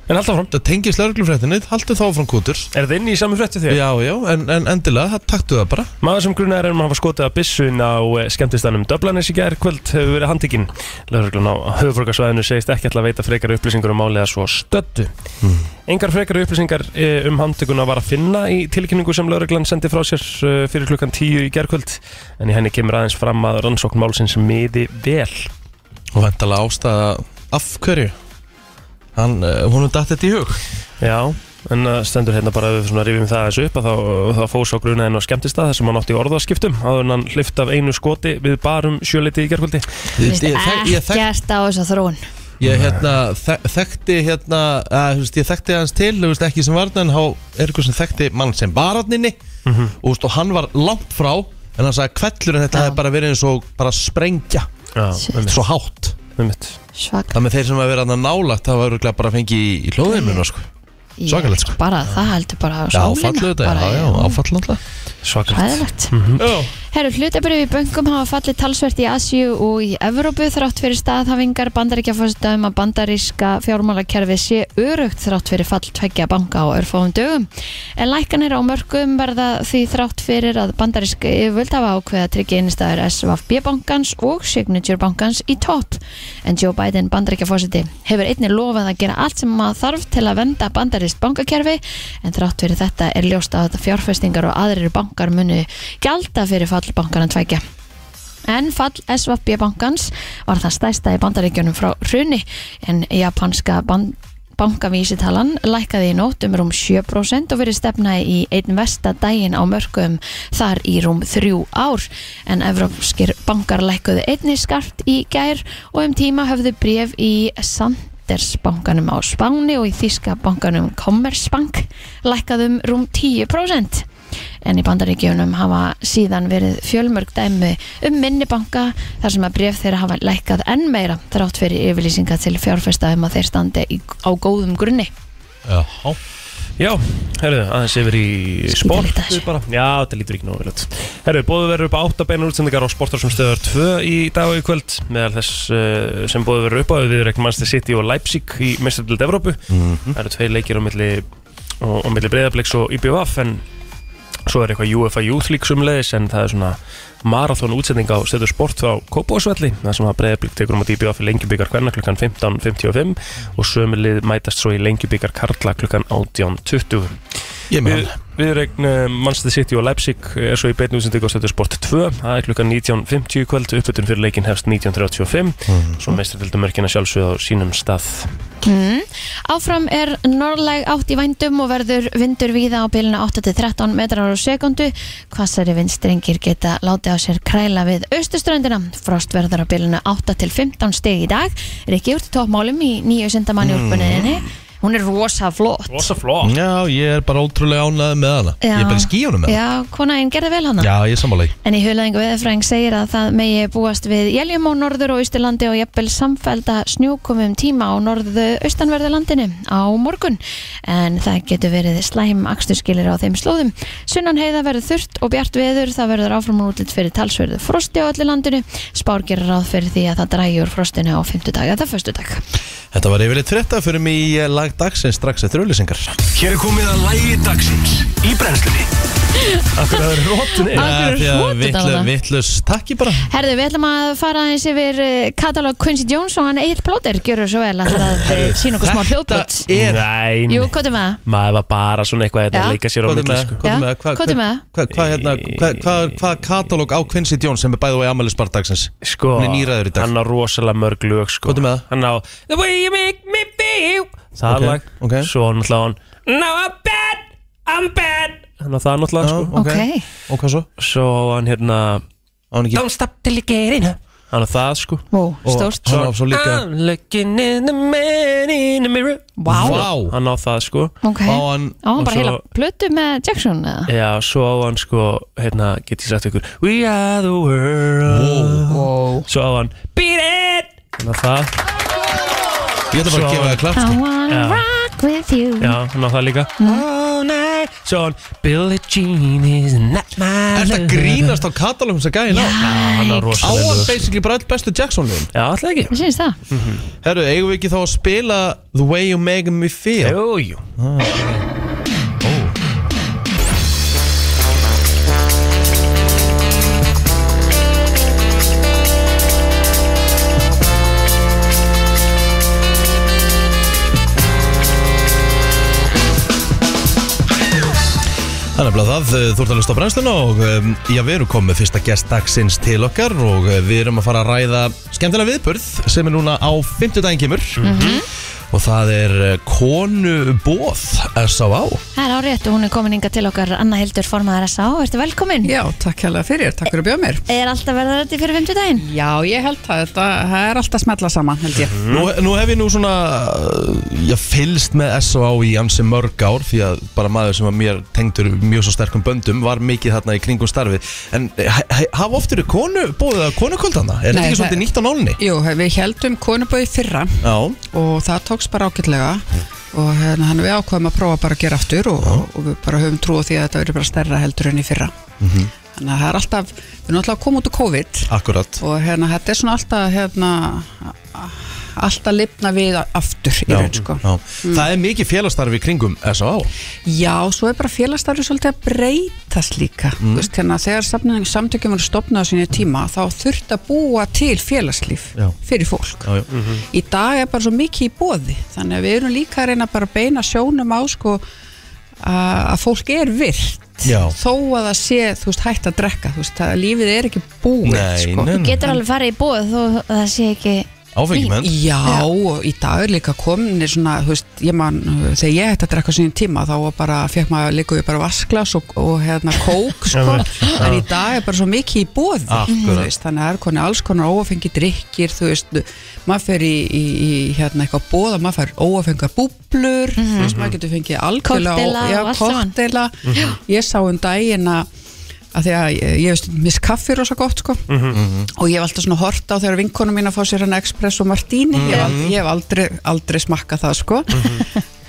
Speaker 5: En alltaf fram
Speaker 1: Það tengist lauruglufréttinni, haldu þá frá kútur
Speaker 5: Er þetta inni í saman frétti þér?
Speaker 1: Já, já, en, en endilega, það taktu það bara
Speaker 5: Maður sem grunar um að hafa skotið að byssun á eh, skemmtistanum Döblanis í gær kvöld hefur verið handikinn Lögreglun á höfuborgarsvæðinu segist ekki ætla að veita frekari upplýsingur um máliða svo stöddu Engar frekari upplýsingar eh, um handtökuna var að finna í tilkynningu sem lögreglan sendi frá sér eh, fyrir klukkan 10 í gærkvöld en í henni kemur aðeins fram að rannsókn málsins miði vel
Speaker 1: Og vendalega ástæða af hverju Hann, uh, hún er datt þetta í hug
Speaker 5: Já, en uh, stendur hérna bara ef við svona rifjum það þessu upp að þá, þá fóð svo grunaðin á skemmtistað þar sem hann átti í orðaskiptum áður en hann hlift af einu skoti við barum sjöleiti í gerkvöldi
Speaker 1: Ég,
Speaker 4: Veist,
Speaker 1: ég, þek- ég, þek-
Speaker 4: ekkert á þessa þróun
Speaker 1: ég hérna, þek, þekkti hérna, að, þú veist, ég þekkti hans til, þú veist, ekki sem varna en há er eitthvað sem þekkti mann sem varatninni og, þú veist, og hann var langt frá en hann sagði kvellur en þetta
Speaker 4: Já.
Speaker 1: hefði bara verið eins og bara sprengja
Speaker 5: Já,
Speaker 4: Shit.
Speaker 5: með mitt,
Speaker 1: svo hátt
Speaker 5: með mitt
Speaker 4: Svak,
Speaker 1: Það með þeir sem að vera hann nálagt það var örugglega bara að fengi í, í hlóðheimuna sko.
Speaker 4: ég-
Speaker 1: svakalegt, sko.
Speaker 4: Bara það heldur
Speaker 1: Já,
Speaker 4: bara
Speaker 1: Hmm.
Speaker 4: sálina,
Speaker 1: áfallu þetta,
Speaker 4: bara,
Speaker 1: já, já, áfallu alltaf
Speaker 5: Svakart
Speaker 4: Æðilegt.
Speaker 1: Já.
Speaker 4: Herru, hlutabrif í böngum hafa fallið talsvert í Asíu og í Evrópu þrátt fyrir staðhafingar bandaríkjafósita um að bandaríska fjármálakerfi sé örugt þrátt fyrir fall tveggja banka á örfáum dögum. En lækanir á mörgum verða því þrátt fyrir að bandarísk yfirvöld hafa ákveða tryggja innstæður SVFB bankans og Signature bankans í topp. En Joe Biden bandaríkjafósiti hefur einnig lofað að gera allt sem maður þarf til að venda bandarísk bankakerfi en þrátt fyrir þetta er ljóst að fjárfestingar og aðrir bankar munu gjalda fyrir fall bankana tvækja. En fall SVB bankans var það stæsta í bandaríkjunum frá hruni en japanska ban bankavísitalan lækkaði í nótt um rúm 7% og verið stefna í einn versta daginn á mörgum þar í rúm þrjú ár en evrópskir bankar lækkuðu einni skarpt í gær og um tíma höfðu bref í samt Sanders bankanum á Spáni og í Þíska bankanum Commerzbank lækkaðum rúm 10%. En í bandaríkjunum hafa síðan verið fjölmörg dæmi um minni banka þar sem að bref þeirra hafa lækkað enn meira þrátt fyrir yfirlýsinga til fjárfesta um að þeir standi í, á góðum grunni.
Speaker 1: Já.
Speaker 5: Já, herðu, aðeins yfir í sport
Speaker 4: lítið að þessu.
Speaker 5: bara. Já, þetta lítur ekki nógu vel út Herðu, bóðu verður upp á 8 beinar útsendingar á sportar sem stöðar 2 í dag og í kvöld meðal þess uh, sem bóðu verður upp á við reknum Manchester City og Leipzig í mestardild Evrópu Það eru tvei leikir á milli, á, á milli breyðabliks og IBVF en svo er eitthvað UEFA Youth League sumleðis en það er svona marathon útsending á stöðu sport á Kópásvelli það sem að breyðablík tekur um að DBF í lengjubíkar hverna klukkan 15.55 og sömulið mætast svo í lengjubíkar Karla klukkan 18.20
Speaker 1: Ég með
Speaker 5: Við, viðregn uh, Manchester City og Leipzig er svo í beinu útsendingu á stöðu sport 2 það er klukkan 19.50 í kvöld uppbytun fyrir leikin hefst 19.35
Speaker 1: Mhm.
Speaker 5: svo meistardildumörkina sjálfsögð á sínum stað
Speaker 4: Mm. Áfram er norðlæg átt í vændum og verður vindur víða á byluna 8-13 metrar á sekundu. Hvassari vindstrengir geta látið á sér kræla við austurströndina. Frost verður á byluna 8-15 stig í dag. Rikki úr toppmálum í nýju sindamanni mm. úrbuninni. Hún er rosa flott.
Speaker 5: Rosa flott
Speaker 1: Já, ég er bara ótrúlega ánæðið með hana
Speaker 4: Já.
Speaker 1: Ég er bara í skíunum með hana
Speaker 4: Já, kona einn gerði vel hana.
Speaker 1: Já, ég er sammálaði
Speaker 4: En í hulaðingu veðurfræðing segir að það megi búast við jæljum á norður og austurlandi og jafnvel samfælda snjúkumum tíma á norðu austanverðu landinu á morgun. En það getur verið slæm aksturskilir á þeim slóðum. Sunnan heiða verður þurrt og bjart veður, það verður áfram og útlitt fyrir talsverðu frosti á öllu landinu. Spár gerir ráð fyrir því að það drægi úr frostinu á fymtudag eða föstudag.
Speaker 1: Þetta var yfirleitt frétta, förum í eh, lag dagsins strax eftir auðlýsingar
Speaker 2: Hér er komið að lægi dagsins í brennslunni
Speaker 5: Akkur það er rótunni
Speaker 4: Af hverju er hrotur þarna?
Speaker 1: Vittlust takki bara
Speaker 4: Herðu, við ætlum að fara eins yfir eh, katalog Quincy Jones og hann Egil Plóter gjörur svo vel að það eh, sína okkur smá hljóðbútt.
Speaker 1: er
Speaker 5: Nein
Speaker 4: Jú, hvað er með það?
Speaker 5: maður var bara svona eitthvað hérna
Speaker 4: Já.
Speaker 5: að leika sér á
Speaker 1: Hvað er
Speaker 5: milli
Speaker 1: með,
Speaker 5: sko.
Speaker 1: hvað er
Speaker 4: Já,
Speaker 1: með, hvað,
Speaker 4: hvað er með?
Speaker 1: hvað, hvað, hérna, hvað, hvað, hvað katalóg á Quincy Jones sem er bæðið á Amalys bardagsins?
Speaker 5: sko,
Speaker 1: Hún er nýræður í dag.
Speaker 5: hann á rosalega mörg lög sko.
Speaker 1: Hvað er með það?
Speaker 5: hann á The way you make me feel það
Speaker 1: Ok,
Speaker 5: lag,
Speaker 1: ok.
Speaker 5: svo hann alltaf hann Now I'm bad, I'm bad hann á það
Speaker 1: Já,
Speaker 5: náttúrulega sko.
Speaker 1: ok. Og hvað svo?
Speaker 5: svo á hann hérna
Speaker 1: Á hann ekki
Speaker 5: Don't stop till you get in hann á það sko
Speaker 4: Wow,
Speaker 1: Og
Speaker 4: stórt.
Speaker 1: Hann á svo líka
Speaker 5: I'm looking in the man in the mirror
Speaker 4: Vá.
Speaker 1: Vá
Speaker 5: hann á það sko
Speaker 4: Ok,
Speaker 1: Á
Speaker 4: á
Speaker 1: hann
Speaker 4: hann
Speaker 5: og
Speaker 4: bara
Speaker 5: svo-
Speaker 4: heila plötu með Jackson eða?
Speaker 5: Já, svo á hann sko, hérna, get ég sagt ykkur We are the world
Speaker 4: Wow
Speaker 5: Svo á hann Beat it Þannig að það,
Speaker 1: Ég ætla bara
Speaker 5: Svo-
Speaker 1: að gefa það klart
Speaker 4: I
Speaker 1: sko.
Speaker 4: wanna
Speaker 5: Já.
Speaker 4: rock with you
Speaker 5: já, hann á það líka All night Svo á hann Billie Jean is not
Speaker 4: Ah.
Speaker 5: my
Speaker 1: Er þetta
Speaker 5: love.
Speaker 1: grínast á um katalógum sem gæði ná?
Speaker 5: Já, hann á
Speaker 1: Á
Speaker 5: rosalega
Speaker 1: hann
Speaker 5: lög.
Speaker 1: basically bara all bestu Jackson-lögum
Speaker 5: Já, alltaf ekki
Speaker 4: Mér syns
Speaker 5: Hm.
Speaker 4: það
Speaker 1: Herru, eigum við ekki þá að spila The Way You Make Me Feel?
Speaker 5: Jú, jú
Speaker 1: Þannig að það, eh, þú ert að lusta á brennsluna og um, já, við erum komið fyrsta gest dagsins til okkar og eh, við erum að fara að ræða skemmtilega viðburð sem er núna á 50 daginn kemur
Speaker 3: Mhm.
Speaker 1: og það er eh, konubóð S.A.V.
Speaker 3: Mhm.
Speaker 4: Það er árétt og hún er komin inga til okkar Anna Hildur formaðar S.A. Ertu velkomin?
Speaker 3: Já, takk hérlega fyrir, takk fyrir að bjóða mér
Speaker 4: Er alltaf verða þetta fyrir 50 daginn?
Speaker 3: Já, ég held að þetta það er alltaf smetla saman, held ég
Speaker 1: Nú, nú hef ég nú svona, eh, ég fylst með S.A.V. í ansi mörg ár því að bara maður sem að mér tengdur mjög svo sterkum böndum var mikið þarna í kringum starfið en eh, ha- ha- hafa oft eru konubóðið að konukvöldana? Er þetta
Speaker 3: Nei,
Speaker 1: ekki
Speaker 3: það-
Speaker 1: svolítið nýtt á nálinni?
Speaker 3: Jú, við heldum konubói fyrra
Speaker 1: Já,
Speaker 3: og það tókst bara ágætlega og hérna hann við ákvaðum að prófa bara að gera aftur og, og við bara höfum trú á því að þetta verður bara stærra heldur enn í fyrra
Speaker 6: Mhm.
Speaker 3: þannig að það er alltaf, við erum alltaf að koma út úr COVID
Speaker 1: Akkurat
Speaker 3: og hérna þetta er svona alltaf hérna, a- alltaf lifna við aftur í raun sko
Speaker 6: já. Það er mikið félagsstarfi í kringum S.A.
Speaker 3: Já, svo er bara félagsstarfi svolítið að breytast líka mm. Vist, hérna, þegar samtökin, samtökin voru stopnað á sinni tíma þá þurft að búa til félagslíf
Speaker 6: Já. Mm.
Speaker 3: fyrir fólk
Speaker 6: Já, já.
Speaker 3: í dag er bara svo mikið í bóði þannig að við erum líka að reyna bara að beina sjónum á sko, a- að fólk er virt
Speaker 6: Já.
Speaker 3: þó að það sé þú veist, hægt að drekka þú veist, að lífið er ekki búið
Speaker 6: Nei,
Speaker 3: sko.
Speaker 5: Hm.
Speaker 6: nei, nei.
Speaker 4: Getur alveg farið í bóð þó að það sé ekki
Speaker 6: Áfengi menn
Speaker 3: Já, og í dag er líka kominir svona, þú veist, ég man, uh, þegar ég hætti að drekka sín tíma þá var bara, fekk maður líka við bara vasklas og, og hérna kók, sko, en í dag er bara svo mikið í bóð, þú
Speaker 6: Akkurat.
Speaker 3: veist, þannig að það er koni alls konar óafengi drikkir, þú veist, maður fer í, í, í hérna eitthvað bóða, maður fer óafengar búblur, þú veist, maður getur fengið algjörlega,
Speaker 4: Kokteila
Speaker 3: já,
Speaker 4: og allt saman.
Speaker 3: kokteila, ég sá um daginn að að því að ég, ég veist, miss kaffi rosa gott sko og ég hef alltaf svona hort á þegar vinkonum mín að fá sér hann Express og Martini ég, hef aldrei, ég hef aldrei, aldrei smakkað það sko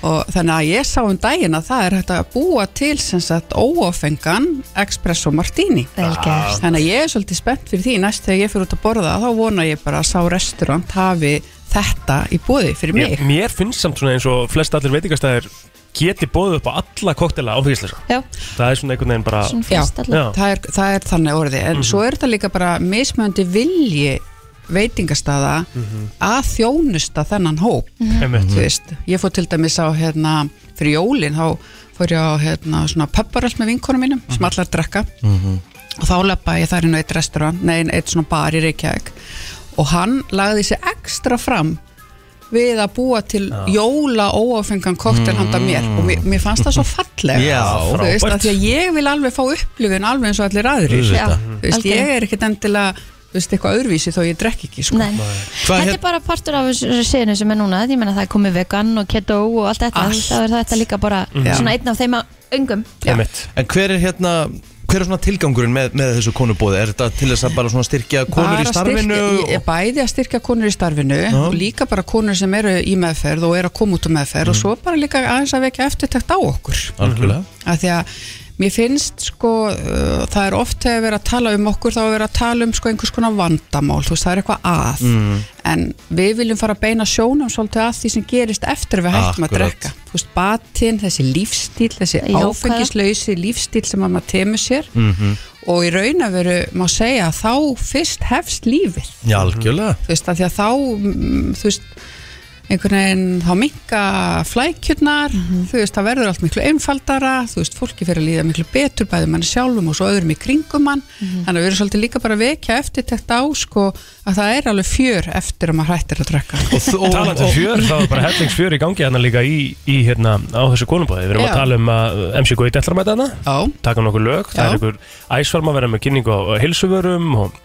Speaker 3: og þannig að ég sá um daginn að það er hægt að búa til sem sagt óofengan Express og Martini
Speaker 4: vel gert
Speaker 3: þannig að ég er svolítið spennt fyrir því næst þegar ég fyrir út að borða þá vona ég bara að sá restaurant hafi þetta í búði fyrir mig
Speaker 5: Mér, mér finnst samt svona eins og flest allir veitingastæðir geti bóðið upp á alla koktela áfengislega
Speaker 4: Já,
Speaker 5: Það er svona einhvern veginn bara
Speaker 4: svona
Speaker 3: Já.
Speaker 4: fyrst allir
Speaker 5: Já.
Speaker 3: það er, það er þannig orðið en svo er þetta líka bara mismöndi vilji veitingastaða að þjónusta þennan hóp
Speaker 5: einmitt
Speaker 3: þú veist, ég fór til dæmis á hérna, fyrir jólin þá fór ég á hérna, svona pöpparöld með vinkonum mínum sem allar drekka og þá lappa ég þar inn á eitt restaurant nei, eitt svona bar í Reykjavík og hann lagði sér ekstra fram við að búa til jóla óáfengan koktel handa mér og mér, mér fannst það svo fallega
Speaker 6: Já,
Speaker 3: þú veist,
Speaker 5: frábært.
Speaker 3: af því að ég vil alveg fá upplifun alveg eins og allir aðrir
Speaker 6: Auðvitað.
Speaker 4: Já,
Speaker 3: Þú veist, ég er ekkert endilega þú veist, eitthvað öðruvísi þó ég drekk ekki sko.
Speaker 4: Nei. Þetta er bara partur af þessu séðinu sem er núna ég menna það er komið vegan og keto og allt þetta
Speaker 3: Allt.
Speaker 4: þá er þetta líka bara
Speaker 5: Mm.
Speaker 4: svona einn af þeim að öngum
Speaker 5: Einmitt
Speaker 6: En hver er hérna Hver er svona tilgangurinn með, með þessu konubóði? Er þetta til þess að bara svona styrkja konur í
Speaker 3: Bara
Speaker 6: starfinu?
Speaker 3: styrkja, ég-
Speaker 6: og-
Speaker 3: bæði að styrkja konur í starfinu og líka bara konur sem eru í meðferð og eru að koma út úr meðferð
Speaker 6: Mm.
Speaker 3: og svo bara líka aðeins að vekja eftirtækt á okkur
Speaker 6: Algjörlega
Speaker 3: af því að mér finnst sko uh, það er oft þegar við erum að tala um okkur þá er við að tala um sko einhvers konar vandamál þú veist það er eitthvað að en við viljum fara að beina sjónum svolítið að því sem gerist eftir við hættum að
Speaker 6: Akkurat.
Speaker 3: drekka þú veist batinn, þessi lífstíl þessi
Speaker 4: Jákvæða.
Speaker 3: áfengislausi lífstíl sem að maður temur sér og í raun að veru má segja að þá fyrst hefst lífið
Speaker 6: Já, algjörlega
Speaker 3: þú veist, af því að þá mm, þú veist, einhvern veginn þá minka flækjurnar þú veist, það verður allt miklu einfaldara þú veist, fólki fyrir að líða miklu betur bæði mann sjálfum og svo öðrum í kringum mann þannig að við erum svolítið líka bara að vekja eftir þetta á, sko, að það er alveg fjör eftir að maður hættir að drekka
Speaker 5: Talandi um fjör, þá er bara hellingsfjör í gangi hérna líka í, í hérna á þessu konubóði Við erum að
Speaker 3: Já.
Speaker 5: tala um að uh, MC Gauti ætlar að mæta hérna
Speaker 3: Já,
Speaker 5: taka nokkur lög, það
Speaker 3: Já.
Speaker 5: er einhver æsfarm að vera með kynningu á hilsuvörum og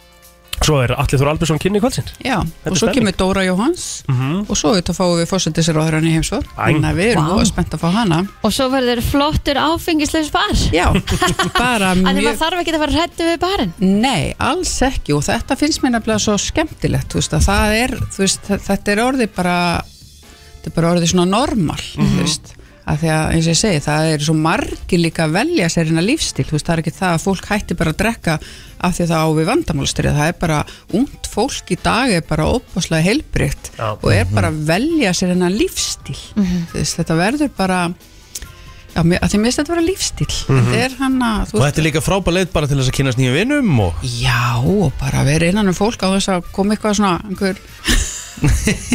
Speaker 5: svo er Alli Þór Albersson kynning kvöldsins
Speaker 3: já,
Speaker 5: er
Speaker 3: og svo
Speaker 5: stemning.
Speaker 3: kemur Dóra Jóhans og svo þetta fáum við fórsetisráðurinn í heimsvör
Speaker 5: Æ.
Speaker 3: þannig að við erum
Speaker 4: Vá.
Speaker 3: wow. spennt að fá hana
Speaker 4: og svo verður flottur áfengislegs bar
Speaker 3: Já, bara
Speaker 4: Þannig að
Speaker 3: mjög
Speaker 4: maður þarf ekki að fara hrættu við barinn
Speaker 3: Nei, alls ekki og þetta finnst mér nefnilega svo skemmtilegt þú veist, að það er, þú veist, þa- þetta er orðið bara þetta er bara orðið svona normal
Speaker 6: Mhm.
Speaker 3: þú veist, að því að eins og ég segi það er svo margir líka að velja sér hérna lífstíl, þú veist, það er ekki það að fólk hætti bara að drekka af því að það á við vandamálstrið það er bara, ungt fólk í dag er bara opaslega heilbrygt
Speaker 5: Já.
Speaker 3: og er
Speaker 6: Mhm.
Speaker 3: bara að velja sér hérna lífstíl þú veist, þetta verður bara já, mér- að því mér finnst þetta vera lífstíl þetta er hann að, þú
Speaker 6: Mhm. Og þetta er líka frábæð leið bara til þess að kynast nýjum vinnum og
Speaker 3: Já, og bara vera innan um fólk á þess að koma eitthvað svona einhver,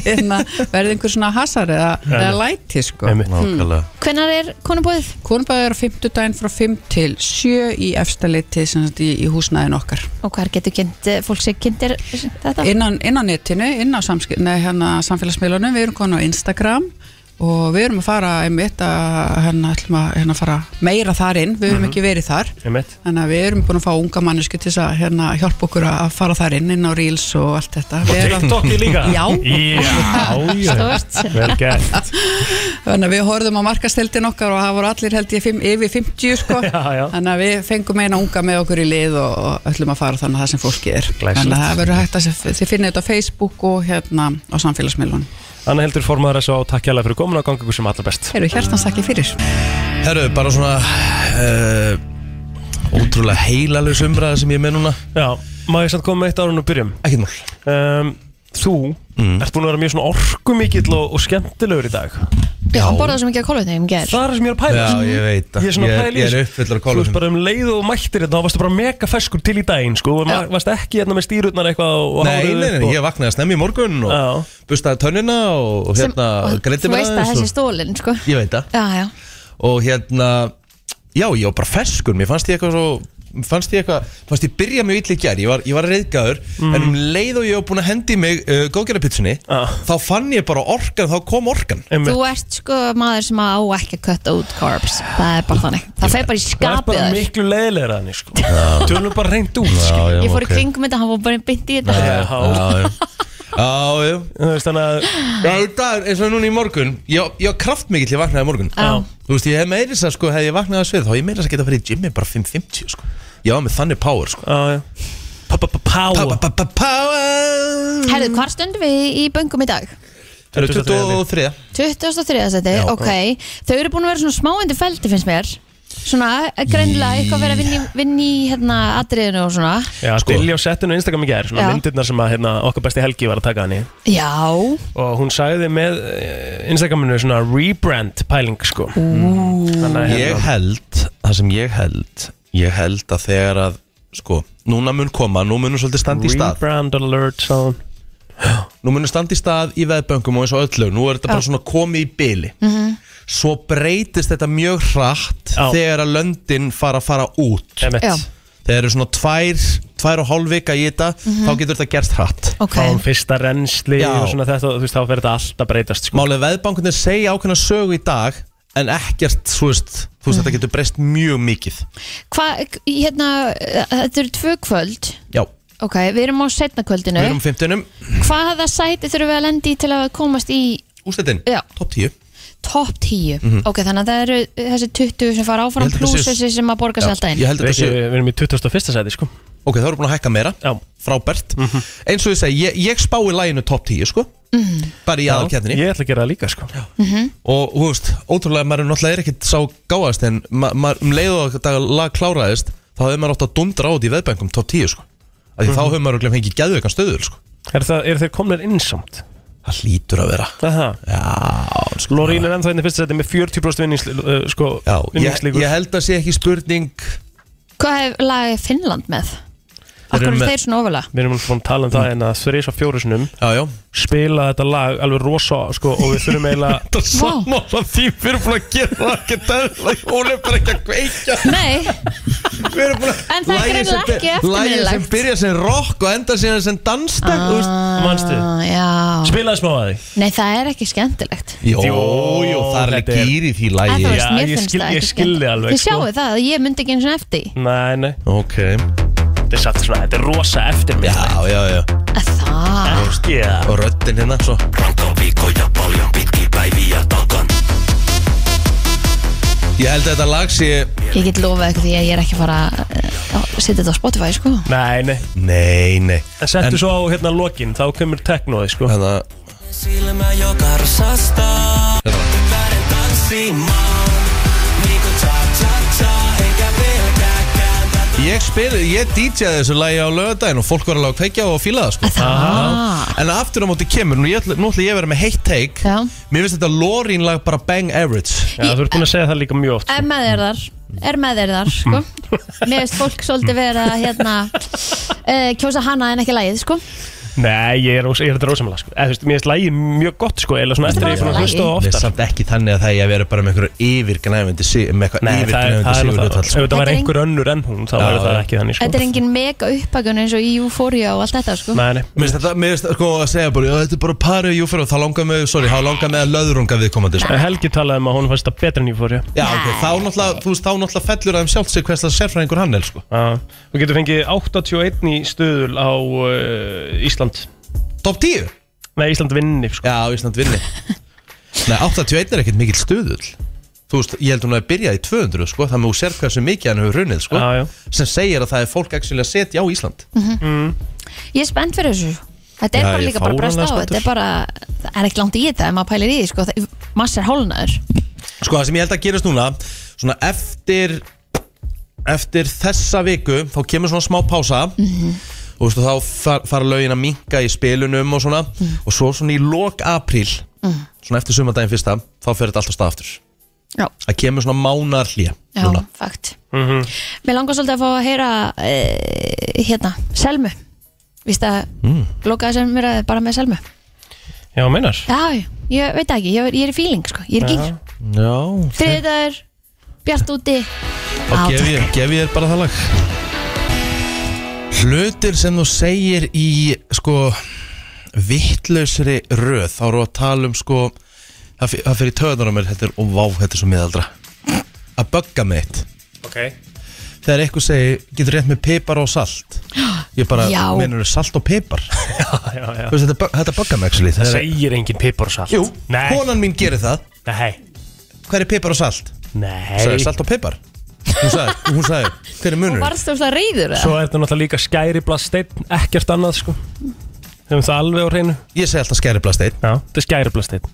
Speaker 3: hérna, verði einhver svona hasar eða, eða læti sko.
Speaker 5: Einmitt.
Speaker 6: Nákvæmlega
Speaker 4: Hvenær er konubóðið?
Speaker 3: Konubæði er á fimmtudaginn frá 5 til 7 í efstaleiti sem sagt í, í húsnæðin okkar.
Speaker 4: Og hvað getur kynnt, eh, fólk sem kynntir þetta?
Speaker 3: Innan, innan netinu, innan samskip, nei, hérna, samfélagsmiðlunum, við erum komin á Instagram og við erum að fara einmitt að hérna, ætlum að hérna, fara meira þar inn, við höfum ekki verið þar.
Speaker 5: Einmitt.
Speaker 3: Þannig að við erum búin að fá unga mannesku til þess að hérna, hjálpa okkur að fara þar inn inn á Reels og allt þetta. Við erum að-
Speaker 5: TikTokki líka
Speaker 3: Já.
Speaker 5: Já, já.
Speaker 4: Stort.
Speaker 5: Vel gert
Speaker 3: Þannig að við horfðum á markasteldin okkar og það voru allir held ég fimm, yfir 50 sko.
Speaker 5: Já, já.
Speaker 3: Þannig að við fengum eina unga með okkur í lið og, og ætlum að fara þannig að það sem fólki er.
Speaker 5: Glæsilegt.
Speaker 3: Þannig að það verður hægt að þið finnir þetta á Facebook og hérna á samfélagsmiðlunum.
Speaker 5: Anna Hildur formaður þessu á takk hjá fyrir komin að ganga ykkur sem allra best
Speaker 3: Eru hjartans þakki fyrir Hmm.
Speaker 1: Herru, bara svona
Speaker 6: eh,
Speaker 1: uh, Ótrúlega heilalus umræða sem ég er með núna
Speaker 5: Já, má ég samt koma með eitt árun og byrjum
Speaker 1: Ekkert mál
Speaker 5: um, Þú
Speaker 1: Mm.
Speaker 5: ert búin að vera mjög svona orkumikill og, og skemmtilegur í dag
Speaker 4: Já, hann borðaði svo mikið að kólvetni um ger
Speaker 5: Það er það sem ég er að pæla
Speaker 1: Já, ég veit það.
Speaker 5: Ég er svona
Speaker 1: Ég-
Speaker 5: að pæla í
Speaker 1: ég er
Speaker 5: þessu.
Speaker 1: uppfullur af
Speaker 5: Þú
Speaker 1: kolvetnum.
Speaker 5: veist bara um leið og mættir þetta Þá varstu bara mega ferskur til í daginn sko. Þú var- varst ekki hérna með stýrutnar eitthvað og, og
Speaker 1: Nei,
Speaker 5: hárið
Speaker 1: nei,
Speaker 5: upp
Speaker 1: nei,
Speaker 5: og-
Speaker 1: ég vaknaði snemmi í morgun og
Speaker 5: Já.
Speaker 1: bustaði tönnina og, og hérna greiti
Speaker 4: Þú
Speaker 1: mér
Speaker 4: veist að
Speaker 1: aðeins
Speaker 4: þessi
Speaker 1: og,
Speaker 4: stólinn, sko
Speaker 1: Ég veit það
Speaker 4: Já, já,
Speaker 1: Og hérna, já, ég var bara ferskur Mér fannst ég eitthvað svo mér fannst ég eitthvað, mér fannst ég byrja mjög illa í gær ég var, ég var reyðgæður, en um leið og ég var búin að hendi í mig uh, góðgerðarpitsunni
Speaker 5: Mm. Já.
Speaker 1: þá fann ég bara orkan, þá kom orkan
Speaker 5: Einmitt.
Speaker 4: þú ert sko maður sem á ekki að kötta út carbs Það er bara þannig, það fer bara í
Speaker 5: Það er
Speaker 4: skapið
Speaker 5: bara
Speaker 4: þar.
Speaker 5: miklu leiðilegra þannig sko. Tölum bara reynd út skilur.
Speaker 4: Ég fór í kringum þetta, hann var bara beint í þetta
Speaker 5: Já, já.
Speaker 1: Já, já, já, já.
Speaker 5: Þú veist, Þannig að
Speaker 1: Já, í dag, eins og núna í morgun Ég, ég var kraftmikill, ég vaknaði í morgun
Speaker 4: Já.
Speaker 1: Þú veist, ég hef meira þess að sko, hef ég vaknaði að svið Þá hef ég meira þess að geta að fara í gymmi bara 5.50 sko. Ég var með þannig power sko.
Speaker 5: já, já. Pa, pa, pa,
Speaker 1: Pa-
Speaker 5: Páa
Speaker 1: pa- pa- Power
Speaker 4: Herðu, hvar stöndum við í böngum í dag?
Speaker 1: Það eru 23
Speaker 4: 2003 seti, ok Þau eru búin að vera svona smá undir feldi finnst mér Svona, greinlega eitthvað verið að vinna í, vinna í hérna atriðinu og svona
Speaker 5: Já, sko. Dilja á settinu á Instagram í gær Svona
Speaker 4: Já.
Speaker 5: myndirnar sem að hérna, okkar besti Helgi var að taka hann í
Speaker 4: Já,
Speaker 5: Og hún sagði með eh, Instagraminu svona rebrand pæling sko Þannig að
Speaker 1: Ég
Speaker 5: hérna
Speaker 1: held, það sem ég held Ég held að þegar að sko, Núna mun koma, nú munum svolítið standa í stað
Speaker 5: Rebrand alert sá hún
Speaker 1: Nú munum standa í stað í veðböngum og eins og öllu Nú er þetta bara svona komið í byli Svo breytist þetta mjög hratt
Speaker 5: Já.
Speaker 1: Þegar að löndin fara að fara út
Speaker 5: Emmett
Speaker 4: Já.
Speaker 1: þegar eru svona tvær, tvær og hálf vika í þetta, þá getur þetta gerst hratt
Speaker 4: ok
Speaker 5: Fáum fyrsta reynsli
Speaker 1: Já.
Speaker 5: og svona þetta og Þú veist, þá fer þetta allt að breytast sko
Speaker 1: Málið veðbankunir segja ákveðna sögu í dag en ekkert, þú veist, þú veist þetta getur breyst mjög mikið
Speaker 4: Hvað, hérna, eh, þetta eru tvö kvöld
Speaker 1: Já,
Speaker 4: Ok, við erum á setna kvöldinu
Speaker 1: við erum fimmtunum
Speaker 4: Hvaða sæti þurfum við að lendi í til að komast í
Speaker 1: úrstættin,
Speaker 4: Já.
Speaker 1: topp 10
Speaker 4: topp 10 Ok, þannig að það eru þessi 20 sem fara áfram
Speaker 1: Mhm. Ég held að
Speaker 4: pluss
Speaker 1: þetta sé-
Speaker 4: þessi sem að borga sér alltaf inn
Speaker 1: Ég held að
Speaker 5: Við
Speaker 1: þetta
Speaker 5: ekki-
Speaker 1: sé,
Speaker 5: við erum í 21. sæti sko
Speaker 1: ok, þá erum við búin að hækka meira
Speaker 5: Já
Speaker 1: frábært, eins og ég segi ég, ég spái læginu topp 10, sko bara í aðalkjarninni
Speaker 5: Ég ætla að gera það líka sko
Speaker 1: og þú veist, ótrúlega maður er náttúrulega er ekkert sá gáðast en ma maður um leið og dag lag kláraðist þá hefur maður átt að dundra á þetta í veðbænkum top 10 sko, af því þá hefur maður örugglega fengið geðveikan stöður sko,
Speaker 5: Er, það, er þeir komnir innsamt?
Speaker 1: það hlýtur að vera
Speaker 5: Aha.
Speaker 1: já, sko
Speaker 5: Lorín er ennþá einnig fyrst sæti með 40% vinnings, uh, sko,
Speaker 1: já, ég,
Speaker 5: vinningslíkur.
Speaker 1: ég held að sé ekki spurning
Speaker 4: Hvað hef lagið Finnland með? Akkur
Speaker 1: eru
Speaker 4: er
Speaker 1: með-
Speaker 4: þeir svona ofalega?
Speaker 5: Við erum alltaf búin að tala um það en að þreis og fjórusunum
Speaker 1: já, já,
Speaker 5: spila þetta lag alveg rosa sko, og við þurfum eiginlega
Speaker 1: það sammála því við erum búin að gera það ekki dæðilega hún er bara ekki að kveikja
Speaker 4: Nei,
Speaker 1: við erum búin að
Speaker 4: En það er
Speaker 1: Lagið sem
Speaker 4: greinilega ekki
Speaker 1: byr- lagið sem
Speaker 4: eftirminnilegt.
Speaker 1: byrja sem rock og enda síðan sem danstak þú veist.
Speaker 5: mannstu
Speaker 4: ah, já
Speaker 5: spilaði smá að því
Speaker 4: Nei, það er ekki skemmtilegt
Speaker 1: Jó,
Speaker 5: Jó,
Speaker 1: jó, það er alveg
Speaker 5: þetta er-
Speaker 1: gýr í því
Speaker 4: En þú
Speaker 1: lagi
Speaker 4: veist,
Speaker 5: Já,
Speaker 4: mér
Speaker 5: ég
Speaker 4: finnst
Speaker 5: skil-
Speaker 4: það
Speaker 5: ég
Speaker 4: ekki
Speaker 5: skildi
Speaker 4: skemmtilegt.
Speaker 5: alveg,
Speaker 4: Þið
Speaker 5: sko.
Speaker 4: sjáu það, ég myndi ekki eins og eftir því.
Speaker 5: Nei, nei,
Speaker 1: Ok,
Speaker 5: þetta er satt svona, þetta er rosa eftir mig
Speaker 1: já, já, já
Speaker 4: Að Það
Speaker 5: yeah.
Speaker 1: Og röddinn hérna svo
Speaker 7: Pronto pico ja paljon pitkin päiviä takan.
Speaker 1: Ég held að þetta lag sé
Speaker 4: Ég get lofað eitthvað því að ég er ekki að fara eh, að setja þetta á Spotify, sko
Speaker 5: Nei, nei,
Speaker 1: Nei, nei hérna,
Speaker 5: en settu svo á hérna lokin, þá kemur teknóði sko
Speaker 1: Þannig að
Speaker 2: Silmä jo karsastaa. Lähden tanssimaan. Niinku cha cha cha. Eikä pelkääkään tätä.
Speaker 1: Ég spil, ég DJ-aði þessu lagi á lögadaginn og fólk var alveg að kveikja og fíla það sko
Speaker 4: Það
Speaker 1: En aftur á móti kemur, nú, ég, ætla- nú ætla ég að vera með heitt take
Speaker 4: Já.
Speaker 1: Mér finnst þetta Lorín lag bara bang average
Speaker 5: Já, þú ert búin að segja það líka mjög oft
Speaker 4: er með þeir þar er með þeir þar, sko Mér veist fólk svolítið vera hérna uh, kjósa hana en ekki lægið, sko
Speaker 5: Nei, ég er, rós- ég er þetta rosamlega sko Eða, þú veist, Mér finnst lagið mjög gott sko, eða svona eftir að ég fann að
Speaker 4: bara
Speaker 5: hlusta á
Speaker 1: Nei,
Speaker 5: oftar
Speaker 1: samt ekki þannig að það ég að vera bara með einhverju yfirgnæfandi sig- Með eitthvað
Speaker 5: Nei, það er,
Speaker 1: yfirgnæfandi sko. sigur
Speaker 5: það er nú það, ef þetta
Speaker 4: Þetta
Speaker 5: var
Speaker 4: er
Speaker 5: einhver önnur en hún, þá
Speaker 1: Já,
Speaker 5: verður það
Speaker 1: já.
Speaker 5: ekki þannig sko
Speaker 4: Þetta er engin mega uppakun eins og í Euphoria og allt þetta, sko
Speaker 5: Nei, nei,
Speaker 1: Mér finnst þetta, mér finnst sko að segja bara, "Já, þetta er bara parið júfyrir og þá langar mig, sorry, þá langar mig að löðrunga viðkomandi sko.
Speaker 5: En Helgi talaði um að hún fannst það betra en ég fór ég
Speaker 1: Já, ok, þá náttúrulega, þú veist, þá náttúrulega fellur aðeim sjálft sig hvers að sérfræðingur hann er, sko.
Speaker 5: Þú getur fengið 81 í stöðul á uh, Ísland
Speaker 1: Top 10?
Speaker 5: Nei, Ísland vinni sko.
Speaker 1: Já, Ísland vinni Nei, 81 er ekkert mikill stuðull Þú veist, ég held hún að byrja í 200 sko, þannig að þú sér hversu mikið hann hefur runnið sko,
Speaker 5: Já, já.
Speaker 1: sem segir að það er fólk actually að setja á Ísland
Speaker 4: Ég er spennt fyrir þessu Þetta
Speaker 1: Já,
Speaker 4: er bara
Speaker 1: ég
Speaker 4: líka bara
Speaker 1: fáránlega
Speaker 4: brest á,
Speaker 1: spenntur.
Speaker 4: þetta er bara, það er ekki langt í þetta ef maður pælir í því, sko, það- massa er hólnaður.
Speaker 1: Sko það sem ég held að gerast núna Svona eftir Eftir þessa viku Þá kemur svona smá pása Og veistu, þá far, fara lögin að minka í spilunum Og svona Og svo svona í lok apríl Svona eftir sumardaginn fyrsta Þá fer þetta alltaf stað aftur
Speaker 4: Já.
Speaker 1: Það kemur svona mánar hlýja
Speaker 4: Já, fakt Mér langar svolítið að fá að heyra e, hérna, Selmu Vist að mm. lokaði Selmu er bara með Selmu
Speaker 5: Já, meinar
Speaker 4: Já, já, ég veit það ekki, ég er, ég er í feeling sko. Ég er gýr,
Speaker 1: Já
Speaker 4: þriðdagur Bjart úti
Speaker 1: Þá
Speaker 4: Á,
Speaker 1: gef
Speaker 4: takk.
Speaker 1: ég, gef ég þér bara það lag Hlutir sem þú segir í sko vittlausri röð þá eru að tala um sko það fer- það fyrir töðunar á mér þetta er, og vá, þetta er svo miðaldra að bögga með eitt
Speaker 5: Ok
Speaker 1: þegar eitthvað segir, getur rétt með pipar og salt ég bara,
Speaker 4: Já.
Speaker 1: minnur salt og pipar
Speaker 5: já, já.
Speaker 1: Þú veist, þetta, bögg- þetta bögga með actually,
Speaker 5: Það
Speaker 1: það er,
Speaker 5: segir engin pipar og salt
Speaker 1: jú,
Speaker 5: Nei,
Speaker 1: konan mín gerir það
Speaker 5: nei,
Speaker 1: hver er pipar og salt?
Speaker 5: nei
Speaker 1: Sagði, salt og pipar hún sagði, hún sagði, hver er munur?
Speaker 4: Varst þú alltaf reyður eða?
Speaker 5: Svo er þetta náttúrulega líka skæri blasteinn Ekkert annað, sko Þegar það alveg á hreinu
Speaker 1: ég segi alltaf skæri blast
Speaker 5: Já, þetta er skæri blasteinn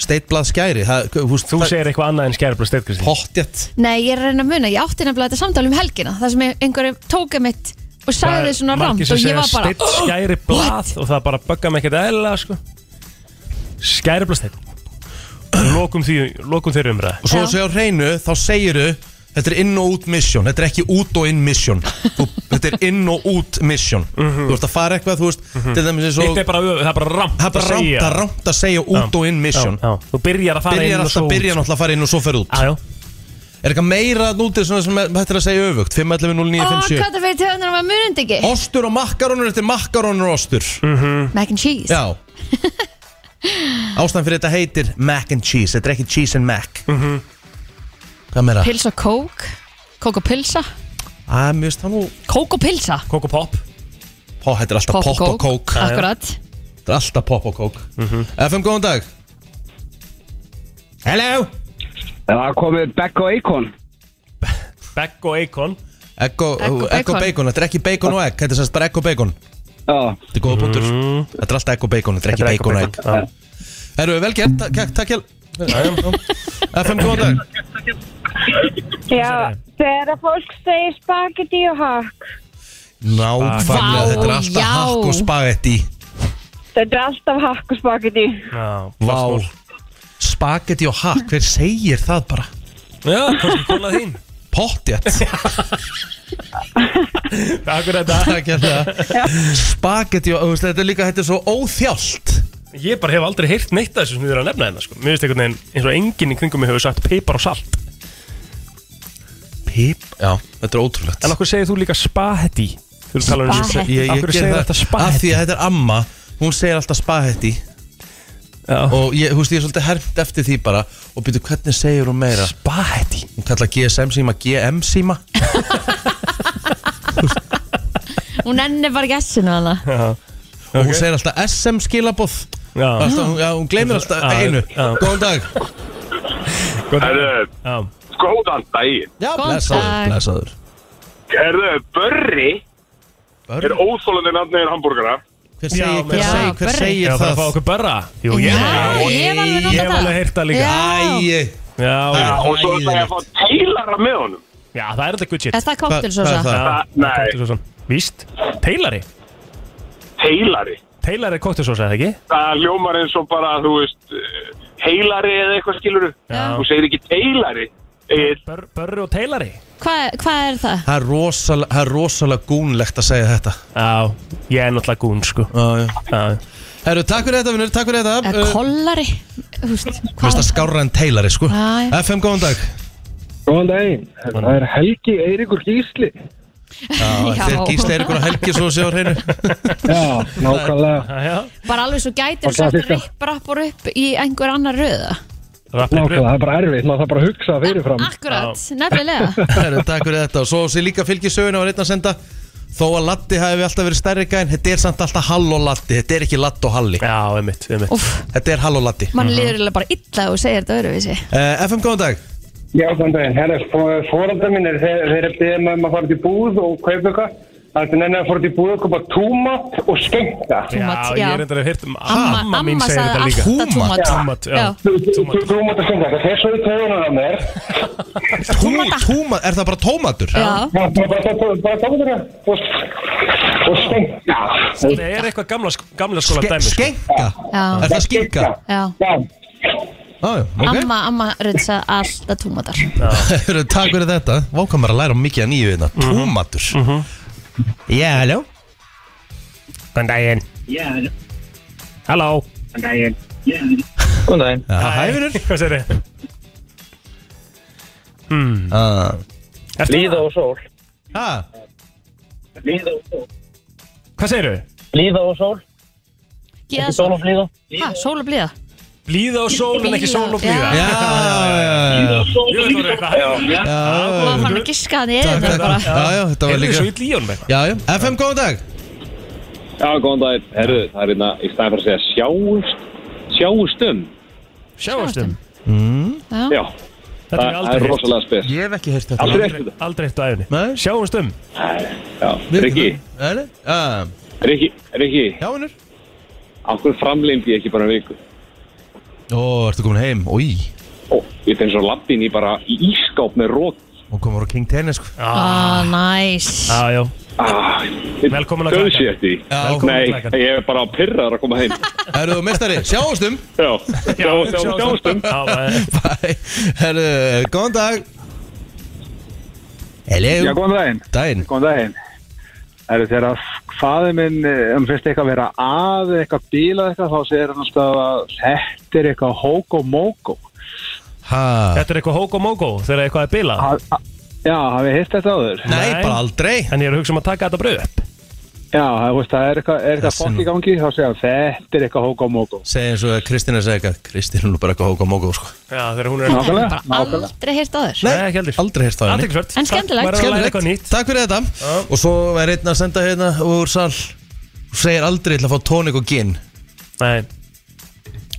Speaker 1: Steitblað skæri það, húst,
Speaker 5: Þú segir eitthvað annað en skæri blasteinn, Kristi
Speaker 1: Pottjett
Speaker 4: Nei, ég er að reyna að muna, ég átti nefnilega þetta samtal um helgina Það sem einhverjum tóka mitt og sagði svona ramt og ég var bara
Speaker 5: Steitt skæri blað og það bara bögga mig ekkert eðlilega sko. Skæri blað steitt Lokum, því, lokum þeirri umræði
Speaker 1: Og svo
Speaker 4: Já.
Speaker 1: þú segir á hreinu, þá segiru Þetta er inn og út mission Þetta er ekki út og inn mission þú, Þetta er inn og út mission Þú ert að fara eitthvað, þú veist Til dæmis eins og
Speaker 5: Mhm. Eitt er bara, það er bara ramt
Speaker 1: Það er bara rámt að, rámt að segja út og inn mission
Speaker 5: já, já. Þú byrjar að fara
Speaker 1: Byrjar
Speaker 5: inn og svo Ah.
Speaker 1: alltaf, byrjar náttúrulega að fara inn og svo fer út
Speaker 5: Já, já.
Speaker 1: Er eitthvað meira að nútið svona sem þetta er að segja öfugt
Speaker 4: Ó, Ah,
Speaker 1: 511
Speaker 4: hvað það fyrir töðunar var munund ekki?
Speaker 1: 0957 Ostur og makkarónur, þetta er makkarónur og ostur
Speaker 4: Mac and cheese
Speaker 1: Já Ástæðan fyrir þetta heitir mac and cheese Þetta er ekki cheese and mac Hvað meira?
Speaker 4: Pils og kók, kók og pilsa
Speaker 1: Æ, mér finnst það nú
Speaker 4: Kók og pilsa,
Speaker 5: Kók og popp
Speaker 1: Pó, Þetta er alltaf
Speaker 4: Popp og
Speaker 1: pop og kók
Speaker 4: akkurat
Speaker 1: Þetta er alltaf pop og kók FM, góðan dag Hello
Speaker 8: En það komið Beck og Eikon
Speaker 5: Begg og Eikon
Speaker 1: Egg
Speaker 4: Egg og
Speaker 1: og egg og
Speaker 4: bacon.
Speaker 1: bacon Þetta er ekki bacon og egg Þetta er sérst bara egg og bacon
Speaker 8: Já,
Speaker 1: Þetta er góða punktur Þetta er alltaf egg og bacon Mhm. Þetta er ekki bacon og egg Herru, vel gert Takk- Takk hjá FM, góðan dag
Speaker 9: Já, þegar að fólk segir spagetti og hakk,
Speaker 1: Nákvæmlega
Speaker 4: Vá,
Speaker 1: Þetta er alltaf
Speaker 4: já.
Speaker 1: hakk og spagetti
Speaker 9: þetta er alltaf hakk og spagetti.
Speaker 1: Vá Spagetti og hakk Hver segir það bara?
Speaker 5: Já, kannski kona þín
Speaker 1: Pottjett
Speaker 5: Takk fyrir þetta
Speaker 1: Takk hérna Spagetti og þú veist, Þetta er líka Þetta er svo óþjált
Speaker 5: Ég bara hef aldrei heyrt neitt af þessu sem þið er að nefna þetta sko. Mér finnst einhvern veginn eins og enginn í kringum mig hefur sagt pipar og salt
Speaker 1: Pip Já, þetta er ótrúlegt
Speaker 5: En okkur segir þú líka spahetti Þú erum talað um
Speaker 4: Spahetti.
Speaker 1: Ég, ég
Speaker 5: Af hverju
Speaker 1: geri
Speaker 5: segir
Speaker 1: það Af
Speaker 5: þetta
Speaker 1: því
Speaker 5: spahetti
Speaker 1: að þetta er amma Hún segir alltaf spagetti
Speaker 5: Já.
Speaker 1: Og ég, húst, ég er svolítið hermt eftir því bara Og byrju, hvernig segir hún meira?
Speaker 5: Spahetti
Speaker 1: Hún kallar GSM síma GM síma
Speaker 4: Hún ennir bara gessinu hana
Speaker 1: Og hún segir alltaf SM skilaboð
Speaker 5: Já,
Speaker 1: alltaf, hún, já, hún gleymir alltaf
Speaker 5: Já,
Speaker 1: einu
Speaker 5: já.
Speaker 1: Góðan dag
Speaker 5: góðan Já,
Speaker 10: Góðan daginn.
Speaker 1: Já,
Speaker 4: Góðan dag.
Speaker 1: blessaður
Speaker 10: Herðu, Börri
Speaker 1: Börn.
Speaker 10: er óþólandi nafniðin hambúrgara.
Speaker 1: Hver segir, hver
Speaker 4: Já,
Speaker 1: segir, hver
Speaker 4: Börri.
Speaker 5: ég
Speaker 1: segir
Speaker 5: var að fá
Speaker 1: það?
Speaker 5: okkur börra Jú, ég
Speaker 4: Já, ég var alveg
Speaker 5: Ég
Speaker 4: notað
Speaker 5: hef alveg heyrt það líka
Speaker 4: Já,
Speaker 1: Æi
Speaker 5: Já, já,
Speaker 10: Og svo ætla ég að fá teilara með honum.
Speaker 5: já, það er þetta good shit
Speaker 4: er það koktelsósa?
Speaker 1: Hvað- hvað er það?
Speaker 5: Já,
Speaker 10: Nei.
Speaker 5: kokteilsósan. Víst, teilari
Speaker 10: Teilari.
Speaker 5: Teilari er koktelsósa, eða ekki?
Speaker 10: Það ljómar eins og bara, þú veist, eh, heilari eða eitthvað skiluru.
Speaker 5: Já.
Speaker 10: Þú segir ekki teilari. Egil,
Speaker 5: Bör, Börru og teilari
Speaker 4: Hvað hvað er það?
Speaker 1: Það er rosalega, það er rosalega gúnlegt að segja þetta
Speaker 5: Já, ég er náttúrulega gún, sko
Speaker 1: Já, já
Speaker 5: Já,
Speaker 1: Herru, takk fyrir þetta, vinnur, takk fyrir þetta Eh,
Speaker 4: Eða kollari? Þú veist,
Speaker 1: Mér finnst
Speaker 4: hvað?
Speaker 1: það skárra en teilari, sko
Speaker 4: Já, já.
Speaker 1: FM, góðan dag
Speaker 8: góðan daginn. Það er Helgi Eiríkur Gísli.
Speaker 4: Já.
Speaker 1: Þeir gísla er ykkur á helgi svo séu á hreinu
Speaker 8: Já, nákvæmlega.
Speaker 5: já, já
Speaker 4: Bara alveg svo gætir og
Speaker 8: Og hvað
Speaker 4: sagt
Speaker 8: finnst það?
Speaker 4: rippbrappur upp í einhver annar röða
Speaker 5: Rappið
Speaker 8: Nákvæmlega,
Speaker 5: bröð
Speaker 8: það er bara erfitt. Maður þarf bara að hugsa fyrirfram.
Speaker 4: Akkurat, nefnilega
Speaker 1: Herru, takk fyrir þetta Og svo sé líka fylgisöguna var einn að senda Þó að Latti hafi alltaf verið stærri gæn Þetta er samt alltaf Hall og Latti Þetta er ekki Latt og Halli
Speaker 5: Já, einmitt, einmitt
Speaker 4: Úff,
Speaker 1: Þetta er Hall og Latti
Speaker 4: mann líður eiginlega bara illa og segir þetta öðruvísi
Speaker 1: uh, FM, góðan dag
Speaker 8: Já, góðan daginn. Herra, fórandar minn er þeir, þeir er beðið maður um að fara til búð og kaupa eitthvað. Það er nefnir að fóra til búið að koma túmat og skengta.
Speaker 4: Túmat,
Speaker 5: já, ég
Speaker 4: já.
Speaker 5: er reyndar að heyrt um
Speaker 4: Amma, amma,
Speaker 5: mín segir
Speaker 4: sagði
Speaker 5: þetta líka
Speaker 4: alltaf túmat
Speaker 5: Túmat, já.
Speaker 8: Túmat og skengta, það fer svo í töðunar á mér.
Speaker 1: Tú- Túma, er það bara tómatur?
Speaker 4: Já,
Speaker 8: Það er bara bara tómatur og- og skengta.
Speaker 5: Það er eitthvað gamla, sk- gamla skóla
Speaker 1: Ske-
Speaker 5: dæmi sko.
Speaker 1: Skenka?
Speaker 4: Já.
Speaker 1: Er það skenka?
Speaker 4: já
Speaker 8: Já,
Speaker 1: Ah, já, ok.
Speaker 4: Amma, amma rutsa alltaf túmatar
Speaker 1: Hörru, Takk fyrir þetta Vákan bara að læra mikið að nýju hérna Tómatur Já, halló
Speaker 5: Góðan daginn Halló
Speaker 11: Góðan daginn
Speaker 1: Já, Hæ, vinur
Speaker 5: Hvað segir þið?
Speaker 1: Ah.
Speaker 5: Ertu-
Speaker 11: Líða og sól
Speaker 1: Ha,
Speaker 11: Líða og sól
Speaker 5: Hvað segir þið?
Speaker 11: Líða og sól
Speaker 4: Gíða
Speaker 11: Sól og flíða
Speaker 4: sól og blíða
Speaker 5: Blíða og sól en ekki sól og blíða
Speaker 1: Já, já, já,
Speaker 5: Ég veit það eitthvað Já,
Speaker 4: Má
Speaker 1: já
Speaker 4: hann að giska hann í eða
Speaker 1: Takk,
Speaker 4: þetta bara
Speaker 1: takk. Já, já, þetta var
Speaker 5: Er þið
Speaker 1: líka
Speaker 5: svo í líjónum eitthvað?
Speaker 1: Já, já, FM, góðan dag
Speaker 10: Já, góðan daginn. Herru, það er hérna, í staðin fyrir að segja sjáust, sjáust um.
Speaker 5: Sjáastum
Speaker 1: Mm.
Speaker 4: Já,
Speaker 10: Já,
Speaker 5: um. Þetta er
Speaker 10: það, það er
Speaker 5: aldrei heyrt
Speaker 10: rosalega spes.
Speaker 1: Ég hef ekki heyrt þetta
Speaker 10: Aldrei eftir það.
Speaker 5: Aldrei heyrt á um. æfni
Speaker 1: Nei.
Speaker 5: Sjáastum
Speaker 10: Já, Rikki,
Speaker 1: Nei, já,
Speaker 10: Rikki, Rikki,
Speaker 1: já, vinnur
Speaker 10: okkur framleimdi ég ekki bara viku.
Speaker 1: Ó, ertu komin heim, ói
Speaker 10: Ó, ég finn svo lappin í bara í ískáp með rót.
Speaker 1: Og komur á King Tennis sko.
Speaker 4: ah, næs
Speaker 5: Já, já
Speaker 10: Ah,
Speaker 5: Velkomin að
Speaker 10: Dauðs
Speaker 5: krakka.
Speaker 10: ég eftir því.
Speaker 1: Já,
Speaker 5: Velkomin
Speaker 10: Nei,
Speaker 5: að krakkan.
Speaker 10: ég er bara pyrraður að koma heim.
Speaker 1: Herru, mestari, sjáumstum
Speaker 10: Já, sjá, sjá, sjáustum.
Speaker 5: Já, eh,
Speaker 1: Bye. Herru, góðan dag
Speaker 8: já
Speaker 1: Hello,
Speaker 8: góðan daginn.
Speaker 1: daginn
Speaker 8: Góðan daginn. Það eru þegar faði minn, eh, um fyrst eitthvað vera að, eitthvað bíla eitthvað, þá segir hann alltaf að þetta er eitthvað hókó-mókó.
Speaker 1: Ha,
Speaker 5: Þetta er eitthvað hóko móko þegar eitthvað er bila
Speaker 8: Ha- ha- Já, hafið þið hýrt þetta áður?
Speaker 1: nei,
Speaker 5: Nei.
Speaker 1: bara aldrei
Speaker 5: En ég er að hugsa um að taka þetta bröð upp
Speaker 8: Já, það veist, það er eitthvað, er eitthvað
Speaker 1: Þessi
Speaker 8: fokk
Speaker 1: nú.
Speaker 8: í gangi, þá segja hann, þetta er eitthvað hókó-mókó.
Speaker 1: Segja eins og að Kristina segja eitthvað Kristina er nú bara eitthvað hóka móka sko.
Speaker 5: Já, þegar hún er
Speaker 4: Það er
Speaker 8: Nákvæmlega,
Speaker 4: bara aldrei heyrt á þér
Speaker 5: Nei, ekki heldur
Speaker 1: Aldrei hérst á henni
Speaker 5: Aðeinsvert
Speaker 4: En skemmtilegt.
Speaker 5: Bara að læra eitthvað
Speaker 1: Skemmtilegt,
Speaker 5: nýtt
Speaker 1: takk fyrir þetta Og svo er einn að senda hérna úr sal Þú segir aldrei til að fá tónik og gin
Speaker 5: Nei,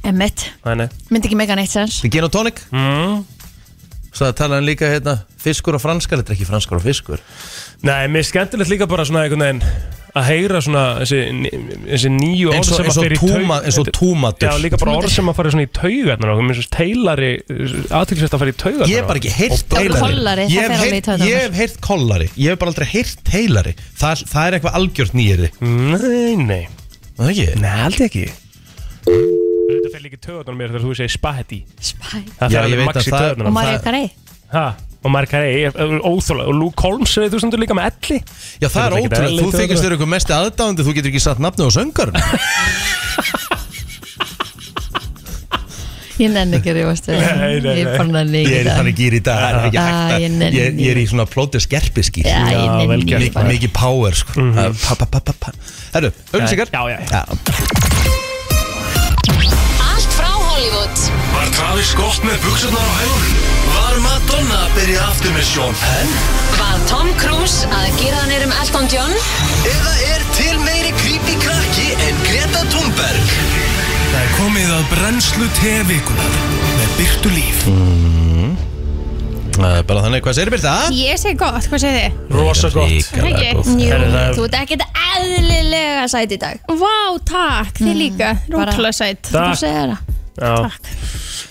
Speaker 4: Emmett,
Speaker 5: nei, nei
Speaker 4: myndi ekki mega neitt sens
Speaker 1: Þið gin og tónik
Speaker 5: mm.
Speaker 1: Svo það talaði hann líka hérna Fiskur og franskar, þetta er ekki franskar og fiskur
Speaker 5: Nei, mér er skemmtilegt líka bara svona einhvern veginn að heyra svona þessi, þessi nýju orð
Speaker 1: Eins og-
Speaker 5: sem
Speaker 1: eins
Speaker 5: að
Speaker 1: og
Speaker 5: fyrir
Speaker 1: túma- eins og túmatur.
Speaker 5: Já, líka bara orð sem að fara svona í taugarnar og mér finnst teilari aðtilsvægt að fara í taugarnar
Speaker 1: Ég hef bara ekki heyrt
Speaker 4: Og
Speaker 1: heilari
Speaker 4: kollari, það
Speaker 1: Ég hef
Speaker 4: fer alveg í
Speaker 1: heyrt-
Speaker 4: taugarnar.
Speaker 1: Ég hef heyrt kollari Ég hef bara aldrei heyrt heilari Það, það er eitthvað algjört nýjari
Speaker 5: Nei, nei
Speaker 1: Það er ekki?
Speaker 5: Nei, aldrei ekki Þetta fer líka í taugarnar á mér þegar þú segir spahetti
Speaker 4: Spæ
Speaker 5: Það
Speaker 1: Já,
Speaker 5: fer
Speaker 1: ég
Speaker 5: alveg
Speaker 1: veit
Speaker 5: max
Speaker 1: að
Speaker 5: í
Speaker 1: það-
Speaker 5: taugarnar á
Speaker 4: Og
Speaker 5: mér.
Speaker 4: Mario Carey
Speaker 5: Ha, og eh, margar ei, óþóla og Luke Holmes, segir þú stundur líka með elli
Speaker 1: Já það er
Speaker 5: Þetta er ekki
Speaker 1: ótrúlega,
Speaker 5: eðlilegt
Speaker 1: þú þykist þér eitthvað mest aðdáðandi Þú getur ekki satt nafni á söngarn
Speaker 4: Ég nenni ekki að rífast við það.
Speaker 5: Nei, nei, nei.
Speaker 4: Ég bara nenni
Speaker 1: Ég
Speaker 4: ekki
Speaker 1: er í
Speaker 4: það
Speaker 1: þannig gýr í dag, það er ekki
Speaker 4: Ah,
Speaker 1: hægt
Speaker 4: ég
Speaker 1: að
Speaker 4: nenni
Speaker 1: Ég ég er í svona plóti skerpiskýr
Speaker 4: Já, ég
Speaker 5: Já, vel
Speaker 4: nenni
Speaker 5: gert.
Speaker 4: ekki
Speaker 1: Mik,
Speaker 4: bara
Speaker 1: mikið power sko mm -hmm. pa, pa, pa, pa, pa. Herru, auðvitsingar
Speaker 5: Mhm. Já, já, já.
Speaker 12: Allt frá Hollywood
Speaker 2: Var Travis gott með buksunar á hælunum? Var Madonna að byrja aftur með Sean Penn?
Speaker 12: Var Tom Cruise að gera hann erum Elton John?
Speaker 2: Eða er til meiri creepy krakki en Greta Thunberg? Það er komið að brennslu tevikunar með byrtu líf.
Speaker 1: Mhm. Það er Bara þannig, hvað segir Birta?
Speaker 13: Ég segi gott, hvað segir þið?
Speaker 5: rosa gott
Speaker 1: Ríkalega
Speaker 13: Ekki.
Speaker 1: góð
Speaker 4: Jú,
Speaker 5: Herri, það-
Speaker 4: Þú ert ekkert eðlilega sæt í dag
Speaker 13: Vá, takk, þið líka, rúkla sætt
Speaker 4: Þú
Speaker 5: Takk,
Speaker 4: segir það
Speaker 5: já.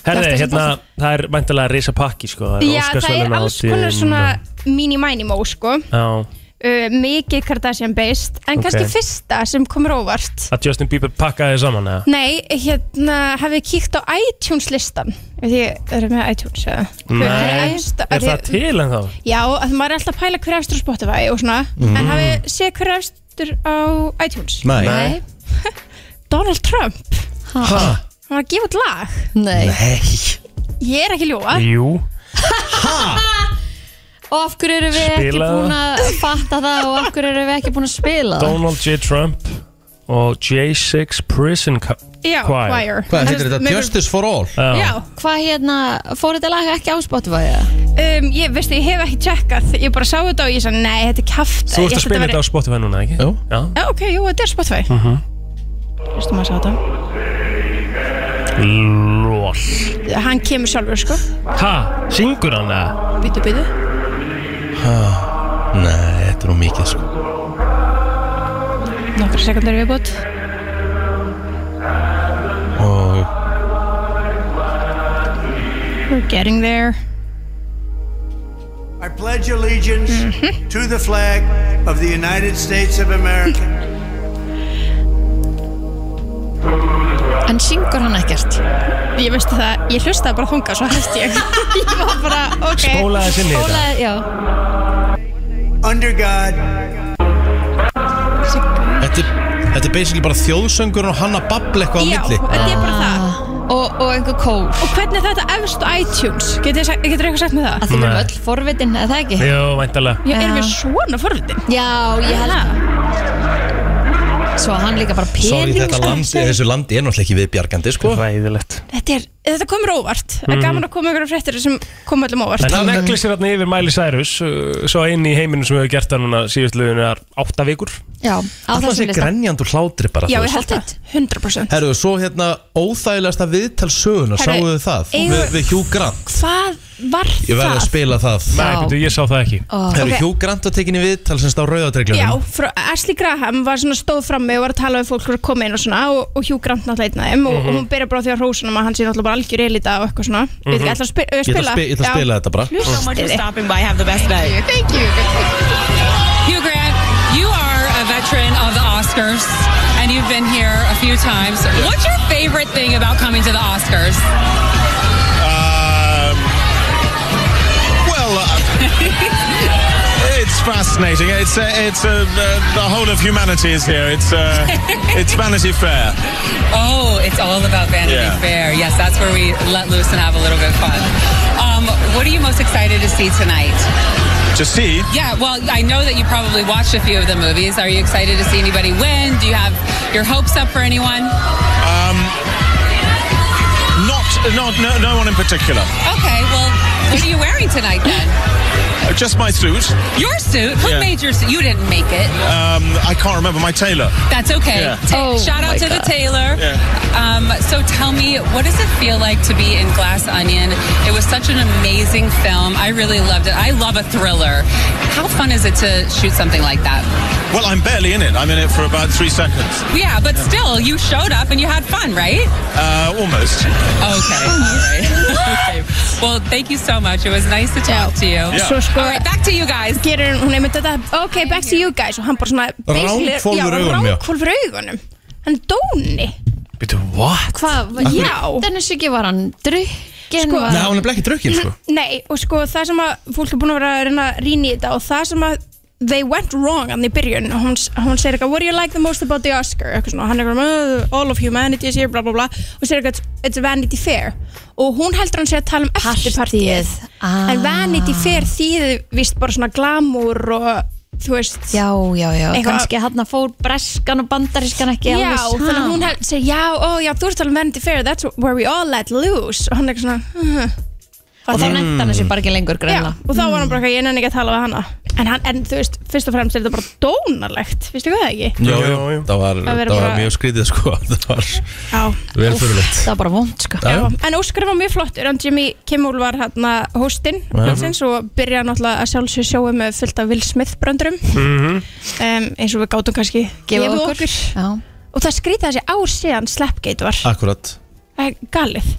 Speaker 5: Herri,
Speaker 13: Þetta er
Speaker 5: hérna, það er mæntilega risa pakki, sko það
Speaker 13: Já, það er
Speaker 5: Óskarsverðlauna
Speaker 13: alls
Speaker 5: hátíðin
Speaker 13: konar svona
Speaker 5: og-
Speaker 13: mini-mini-mó, sko
Speaker 5: Já,
Speaker 13: uh, Mikið Kardashian-based En
Speaker 5: Ok.
Speaker 13: kannski fyrsta sem komur óvart
Speaker 5: að Justin Bieber pakkaði saman, eða?
Speaker 13: Nei, hérna, hafið þið kíkt á iTunes-listan Ef Þið eru með iTunes, eða? Hver
Speaker 5: Nei,
Speaker 13: efst-
Speaker 5: Er
Speaker 13: að
Speaker 5: það
Speaker 13: þið-
Speaker 5: til en þá?
Speaker 13: Já, að maður er alltaf að pæla hver efstur á Spotify og svona
Speaker 5: Mm.
Speaker 13: En hafið þið séð hver efstur á iTunes?
Speaker 1: Nei,
Speaker 4: Nei,
Speaker 13: Donald Trump
Speaker 1: ha?
Speaker 13: Hann var að gefa út lag
Speaker 4: nei
Speaker 1: Nei,
Speaker 13: Ég er ekki ljóa
Speaker 5: Jú,
Speaker 4: Og af hverju erum við ekki
Speaker 5: Spila það.
Speaker 4: búin að fatta það og af hverju erum við ekki búin að spila það
Speaker 5: Donald J. Trump og J6 Prison Co-
Speaker 13: Já,
Speaker 5: Choir.
Speaker 13: Choir
Speaker 1: hvað heitir þetta?
Speaker 13: Mér-
Speaker 1: Justice for all
Speaker 13: Já,
Speaker 4: Hvað hérna, fór þetta lag ekki á Spotify? eða?
Speaker 13: um, ég veistu, ég hef ekki tjekkað Ég bara sá þetta og ég sagði, nei, þetta er kæft
Speaker 5: Þú ert að spila þetta á Spotify núna, ekki?
Speaker 1: Jú.
Speaker 5: Já,
Speaker 13: Já, ok, jú, þetta er Spotify
Speaker 5: Uh-huh.
Speaker 13: Veistu maður sá þetta
Speaker 5: lol
Speaker 13: Hann kemur sjálfur, sko
Speaker 5: Ha, syngur hann það?
Speaker 13: Býtu, býtu
Speaker 1: Nei, þetta er nú mikið sko
Speaker 13: nokkra sekundur viðbútt
Speaker 1: Og
Speaker 13: We're getting there
Speaker 10: I pledge allegiance
Speaker 1: Mhm.
Speaker 10: to the flag of the United States of America.
Speaker 4: En syngur hann ekkert?
Speaker 13: Ég veistu það, ég hlustaði bara þunga svo hætti ég Ég var bara, ok
Speaker 5: Spólaði þessi niður.
Speaker 13: Spólaði, já
Speaker 10: Under God
Speaker 1: þetta, er- þetta er basically bara þjóðsöngur og hann að babla eitthvað á
Speaker 13: Já,
Speaker 1: milli
Speaker 13: þetta er
Speaker 4: Ah.
Speaker 13: bara það
Speaker 4: Og, og einhver kór
Speaker 13: Og hvernig er þetta efst á iTunes? Getur þið eitthvað sagt með það?
Speaker 4: Ah.
Speaker 5: Að þið erum Nei. öll
Speaker 4: forvitin, eða ekki?
Speaker 5: Jó, væntalega
Speaker 13: Já, erum við svona forvitin?
Speaker 4: Já, ég held Svo hann líka bara pening
Speaker 1: Sorry, þetta
Speaker 4: sko.
Speaker 1: land, þessu landi er náttúrulega ekki viðbjargandi sko.
Speaker 5: Ræðilegt
Speaker 13: Þetta, er, þetta komur óvart Það er
Speaker 1: Mm.
Speaker 5: Mhm.
Speaker 13: gaman að koma ykkur af fréttir sem koma öllum óvart
Speaker 5: En hann negli sér hérna yfir Miley Cyrus uh, Svo einn í heiminum sem hefur gert það núna síðust lögunar átta vikur
Speaker 4: Já, á
Speaker 1: Alltaf
Speaker 4: þessum
Speaker 1: sé
Speaker 4: lista
Speaker 1: grenjand og hlátri bara
Speaker 13: Já,
Speaker 1: þú
Speaker 13: ég
Speaker 1: veist.
Speaker 13: held það, 100%
Speaker 1: Herru, svo hérna óþægilegasta viðtal söguna,
Speaker 13: Herru,
Speaker 1: sáu þið það?
Speaker 13: eigum-
Speaker 1: Við, við Hugh Grant
Speaker 13: Hvað var það?
Speaker 1: Ég verði að spila það
Speaker 13: Nei, Já. bíddu,
Speaker 5: ég sá það ekki
Speaker 13: Ó.
Speaker 1: Herru,
Speaker 13: Ok.
Speaker 1: Hugh Grant var tekinni viðtal sem stá
Speaker 13: Já,
Speaker 1: rauðadreglunum
Speaker 13: frá, Ashley Graham var svona stóð frammi og var að tala við fólk og koma inn og svona og, og Hugh Grant náttúrulega einn af þeim og,
Speaker 1: Mhm.
Speaker 13: og hún byrja bara á því að hrósunum að hann sé náttúrulega bara algjör elita og eitthvað svona mm -hmm. Ég ætla að spi-
Speaker 1: Mhm.
Speaker 13: eh,
Speaker 1: Ég ætla að
Speaker 13: spila
Speaker 1: spi- ég ætla að
Speaker 13: Já.
Speaker 1: spila þetta bara
Speaker 3: Thank you so much for
Speaker 13: Hlustaði.
Speaker 3: stopping by. Have the best day. Thank you. Hugh Grant, you are a veteran of the Oscars, and you've been here a few times. What's your favorite thing about coming to the Oscars?
Speaker 2: Um, well, uh, it's fascinating. It's uh, it's uh, the, the whole of humanity is here. It's uh, it's Vanity Fair.
Speaker 3: Oh, it's all about Vanity
Speaker 2: Yeah.
Speaker 3: Fair. Yes, that's where we let loose and have a little bit of fun. Um, what are you most excited to see tonight?
Speaker 2: To see.
Speaker 3: Yeah, well, I know that you probably watched a few of the movies. Are you excited to see anybody win? Do you have your hopes up for anyone?
Speaker 2: Um, not not no, no one in particular.
Speaker 3: Okay, well, what are you wearing tonight then?
Speaker 2: Uh, Just my suit.
Speaker 3: Your suit? Who
Speaker 2: Yeah.
Speaker 3: made your suit? You didn't make it.
Speaker 2: Um, I can't remember my tailor.
Speaker 3: That's okay.
Speaker 2: Yeah.
Speaker 3: Ta-
Speaker 2: Oh
Speaker 3: shout
Speaker 2: my
Speaker 3: out to the
Speaker 2: God.
Speaker 3: tailor.
Speaker 2: Yeah.
Speaker 3: Um, so tell me, what does it feel like to be in Glass Onion? It was such an amazing film. I really loved it. I love a thriller. How fun is it to shoot something like that?
Speaker 2: Well, I'm barely in it. I'm in it for about three seconds.
Speaker 3: Yeah, but still, you showed up and you had fun, right?
Speaker 2: Uh, almost.
Speaker 3: Okay. All right. okay. Well, thank you so much. It was nice to talk to you.
Speaker 13: Svo sko
Speaker 3: All right, back to you guys
Speaker 13: Gerir hún einmitt þetta Ok, back to you guys Og hann bara svona basically-
Speaker 1: Ranghvolfur
Speaker 13: já,
Speaker 1: augunum, já.
Speaker 13: Ranghvolfur augunum Hann er dóni
Speaker 1: Býtu, what?
Speaker 4: Hvað,
Speaker 1: Af hverju-
Speaker 4: já Dennis ekki var hann drukkin
Speaker 13: Sko-
Speaker 4: var...
Speaker 1: Nei, hann er bara ekki drukkin, sko
Speaker 13: Nei, og sko það sem að fólk er búin að vera að reyna að rýna í þetta og það sem að they went wrong hann í byrjun og hún, hún segir eitthvað what do you like the most about the Oscar eitthvað svona, hann er eitthvað "Uh, all of humanity is here bla bla bla og segir eitthvað it's Vanity Fair og hún heldur hann sé að tala um eftirpartíð
Speaker 4: Ah.
Speaker 13: en Vanity Fair þýði vist bara svona glamour og þú veist
Speaker 4: Já, já, já,
Speaker 13: Eitthvað-
Speaker 4: kannski hann fór breskan og bandarískan ekki
Speaker 13: já,
Speaker 4: alveg saman.
Speaker 13: þannig að hún held, segir já, ó já, þú ert að tala um Vanity Fair that's where we all let loose og hann er eitthvað svona "Hm, "Huh."
Speaker 4: Og
Speaker 1: Mm.
Speaker 4: þá nefndi hann þessi bara ekki lengur
Speaker 13: Já,
Speaker 4: greinlega
Speaker 13: og þá var hann bara eitthvað, ég nenni ekki að tala við hana en, hann, en þú veist, fyrst og fremst er þetta bara dónalegt Vistu hvað það ekki?
Speaker 1: Jó, jó, það var,
Speaker 13: Að vera
Speaker 1: það var
Speaker 13: bara-
Speaker 1: mjög skrítið, sko Það var
Speaker 13: Já
Speaker 1: velfurulegt
Speaker 4: Það var bara vond, sko
Speaker 1: Já,
Speaker 13: En Óskar var mjög flottur, en Jimmy Kimmel var hérna hóstinn
Speaker 1: Já.
Speaker 13: hansins og byrjaði náttúrulega að sjálfsög sjóa með fullt af Will Smith bröndurum
Speaker 5: Mhm.
Speaker 13: um, eins og við gátum kannski
Speaker 4: Gefa
Speaker 13: gefið
Speaker 4: okkur.
Speaker 1: Mhm.
Speaker 13: Og það skrýta þessi ár síðan Slapgate var
Speaker 1: Akkurat
Speaker 13: Það er galið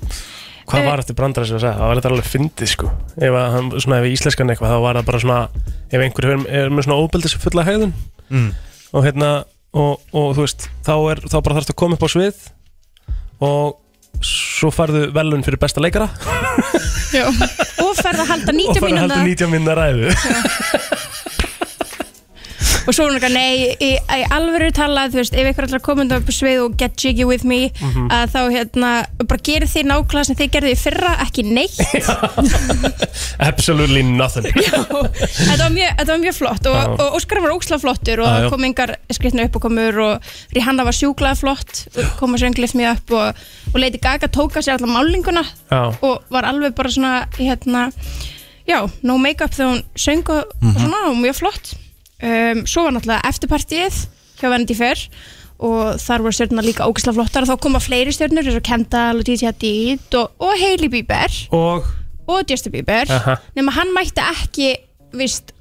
Speaker 13: Eh.
Speaker 5: Hvað var þetta brandara sem að segja? Það var þetta alveg fyndið sko Ef að hann, svona ef íslenskan eitthvað þá var það bara svona Ef einhver er, er með svona óbeldis fulla hegðun
Speaker 1: Mm.
Speaker 5: Og hérna og, og þú veist, þá, er, þá bara þarfst að koma upp á svið Og svo færðu velun fyrir besta leikara
Speaker 13: Já. Og ferð að halda
Speaker 5: Og
Speaker 13: 90
Speaker 5: færðu að
Speaker 13: mínúna
Speaker 5: halda 90 minna ræðu
Speaker 13: og svo er hún eitthvað, nei, í, í alvöru talað, þú veist, ef ykkur ætlar að koma undan upp á svið og get jiggy with me
Speaker 5: Mhm.
Speaker 13: að þá, hérna, bara gerir þið nákvæmlega sem þið gerðu í fyrra, ekki neitt
Speaker 5: Absolutely nothing
Speaker 13: þetta, var mjög, þetta var mjög flott og,
Speaker 5: Já.
Speaker 13: og Óskar var óksla flottur og
Speaker 5: Já, já.
Speaker 13: það kom engar skrifna upp og komur og Rihanna var sjúklað flott og kom að sönglið mér upp og, og Lady Gaga tóka sér allar málinguna
Speaker 5: Já.
Speaker 13: og var alveg bara svona, hérna já, no make-up þegar hún söng og,
Speaker 5: Mhm.
Speaker 13: og svona, og mjög flott um, svo var náttúrulega eftirpartíið hjá Vanity Fair og þar voru stjörnuna líka ógislega flottar og þá koma fleiri stjörnur eins og Kendall og DJ Hadid og, og Hailey Bieber
Speaker 5: Og
Speaker 13: og Justin Bieber
Speaker 5: Aha.
Speaker 13: nema hann mætti ekki vist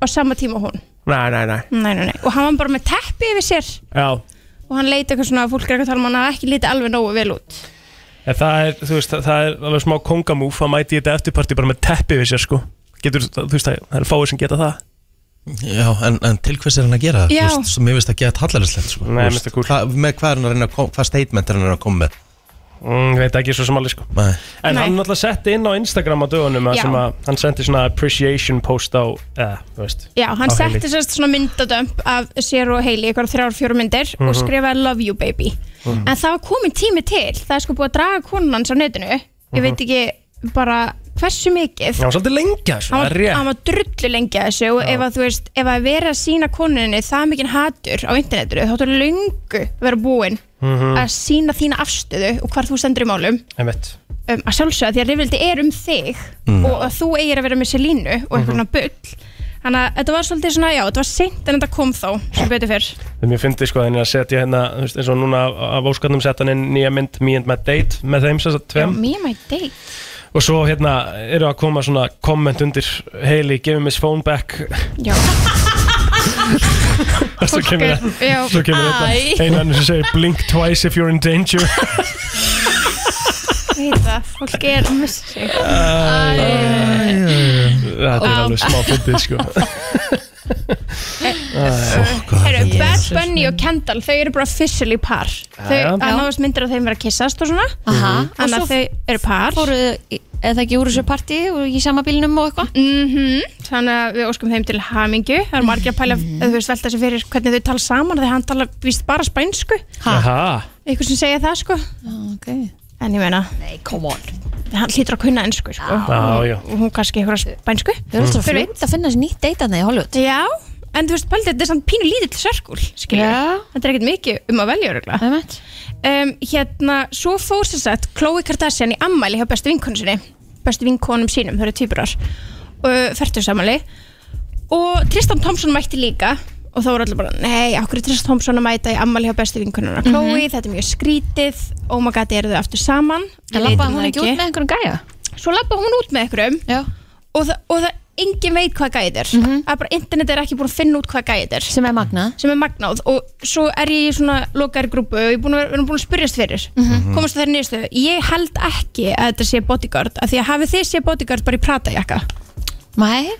Speaker 13: á sama tíma og hún
Speaker 5: Nei, nei, nei
Speaker 13: Nei, nei, nei. Og hann var bara með teppi yfir sér
Speaker 5: Já,
Speaker 13: og hann leiti eitthvað svona, fólk er eitthvað að tala um að hann hafi ekki litið alveg nógu vel út.
Speaker 5: en það er, þú veist, það- það er alveg smá kongamúf að mæti þetta eftirparti bara með teppi við sér sko Getur, þú veist, það það eru fáið sem geta það
Speaker 6: Já, en, en til hvers er hann að gera það?
Speaker 5: Já.
Speaker 6: Þú veist, svo mér finnst það gett hallarinslegt sko.
Speaker 5: Nei,
Speaker 6: Þú
Speaker 5: mér
Speaker 6: veist, hvað- Með hvað er hann að reyna að koma, hvað statement er hann að reyna að koma með?
Speaker 5: Mm, veit ekki svo sem alveg sko
Speaker 6: Nei.
Speaker 5: En
Speaker 13: Nei.
Speaker 5: hann náttúrulega setti inn á Instagram á dögunum að
Speaker 13: Já.
Speaker 5: sem að hann sendi svona appreciation post á, eða, þú veist
Speaker 13: Já, hann
Speaker 5: á
Speaker 13: setti
Speaker 5: Hailey.
Speaker 13: sérst svona myndadömp af sér og Hailey, eitthvað þrjár, fjóru myndir og
Speaker 5: Mhm.
Speaker 13: skrifaði love you baby.
Speaker 5: Mhm.
Speaker 13: En það var komin tími til, það er sko búið að draga konun hans á netinu, ég
Speaker 5: Mhm.
Speaker 13: veit ekki bara hversu mikið.
Speaker 5: Hann var svolítið lengi að þessu,
Speaker 13: Hann
Speaker 5: það er
Speaker 13: var,
Speaker 5: rétt.
Speaker 13: hann var drullu lengi að þessu og
Speaker 5: Já.
Speaker 13: ef að þú veist, ef að vera að sína konunni það mikið hatur á internetinu, þá þú löngu að vera búin
Speaker 5: Mhm.
Speaker 13: að sína þína afstöðu og hvar þú stendur í málum.
Speaker 5: Einmitt.
Speaker 13: um, að sjálfsögða því að rifrildi er um þig
Speaker 5: Mm.
Speaker 13: og að þú eigir að vera með sér línu og eitthvað
Speaker 5: Mhm.
Speaker 13: svona bull þannig að þetta var svolítið svona, já, þetta var seint en þetta kom þá, sem betur fyrr
Speaker 5: Þegar mér fyndi sko að hann er að setja hérna þú veist, eins og núna af óskarnum setja hann inn nýja mynd Me and my date með þeim sem sagt
Speaker 13: Já,
Speaker 5: tveim
Speaker 13: me and my date
Speaker 5: og svo hérna eru að koma svona komment undir Hailey, give him his phone back
Speaker 13: Já
Speaker 5: og svo kemur
Speaker 13: Já.
Speaker 5: það svo kemur
Speaker 13: Æ.
Speaker 5: þetta einu annars sem segir blink twice if you're in danger
Speaker 13: veit það, fólk er að missa sig
Speaker 5: þetta er
Speaker 13: Vá.
Speaker 5: alveg smá fyndið sko
Speaker 13: Heru, Bad Bunny og Kendall, þau eru bara officially par þau,
Speaker 4: Já.
Speaker 13: að náðast myndir að þeim vera að kyssast og svona
Speaker 4: Aha.
Speaker 13: þannig
Speaker 4: Og
Speaker 13: að
Speaker 4: svo
Speaker 13: þau eru par
Speaker 4: fóruðu, eða ekki úr þessu partí og í sama bílnum og eitthvað
Speaker 13: þannig að við óskum þeim til hamingju það eru margir að pæla, eða þú veist, velta sér fyrir hvernig þau tala saman, þegar hann tala víst bara spænsku
Speaker 5: Aha.
Speaker 13: eitthvað sem segja það sko okay. en ég meina Nei, come on hann hlýtur að kunna ennsku sko.
Speaker 5: Já, já.
Speaker 13: og hún kannski eitthvað spænsku
Speaker 4: Þau eru alltaf fljótt að finna sér nýtt deytana í Hollywood
Speaker 13: já, en þú veist, pældi, þetta er samt pínu lítill sörkul skilja, þetta er ekkert mikið um að velja örugglega. um, hérna, svo fór sér sett Khloe Kardashian í ammæli hjá bestu vinkonu sinni bestu vinkonum sínum, þau eru týpurar og fertursamali og Tristan Thompson mætti líka og þá voru allir bara, nei, okkur er Tristan Thompson að mæta í ammali hjá bestu vinkonuna Khloe, þetta er mjög skrítið oh my god, eru þau aftur saman
Speaker 4: En
Speaker 13: Við
Speaker 4: labbaði
Speaker 13: vitum
Speaker 4: hún
Speaker 13: það
Speaker 4: ekki út með einhverjum gæja?
Speaker 13: Svo labbaði hún út með einhverjum og, það, og það engin veit hvað gæði er mm bara internet er ekki búin að finna út hvað gæði er
Speaker 4: sem er magnað
Speaker 13: sem er magnað og svo er ég í svona lokaðir grúpu og ég er búin að, vera- við erum búin að spyrjast fyrir
Speaker 4: Mhm.
Speaker 13: komast það þær nýðstöðu ég held ekki að þetta sé bodyguard af því að hafið þið sé bodyguard bara í prata jakka
Speaker 4: Nei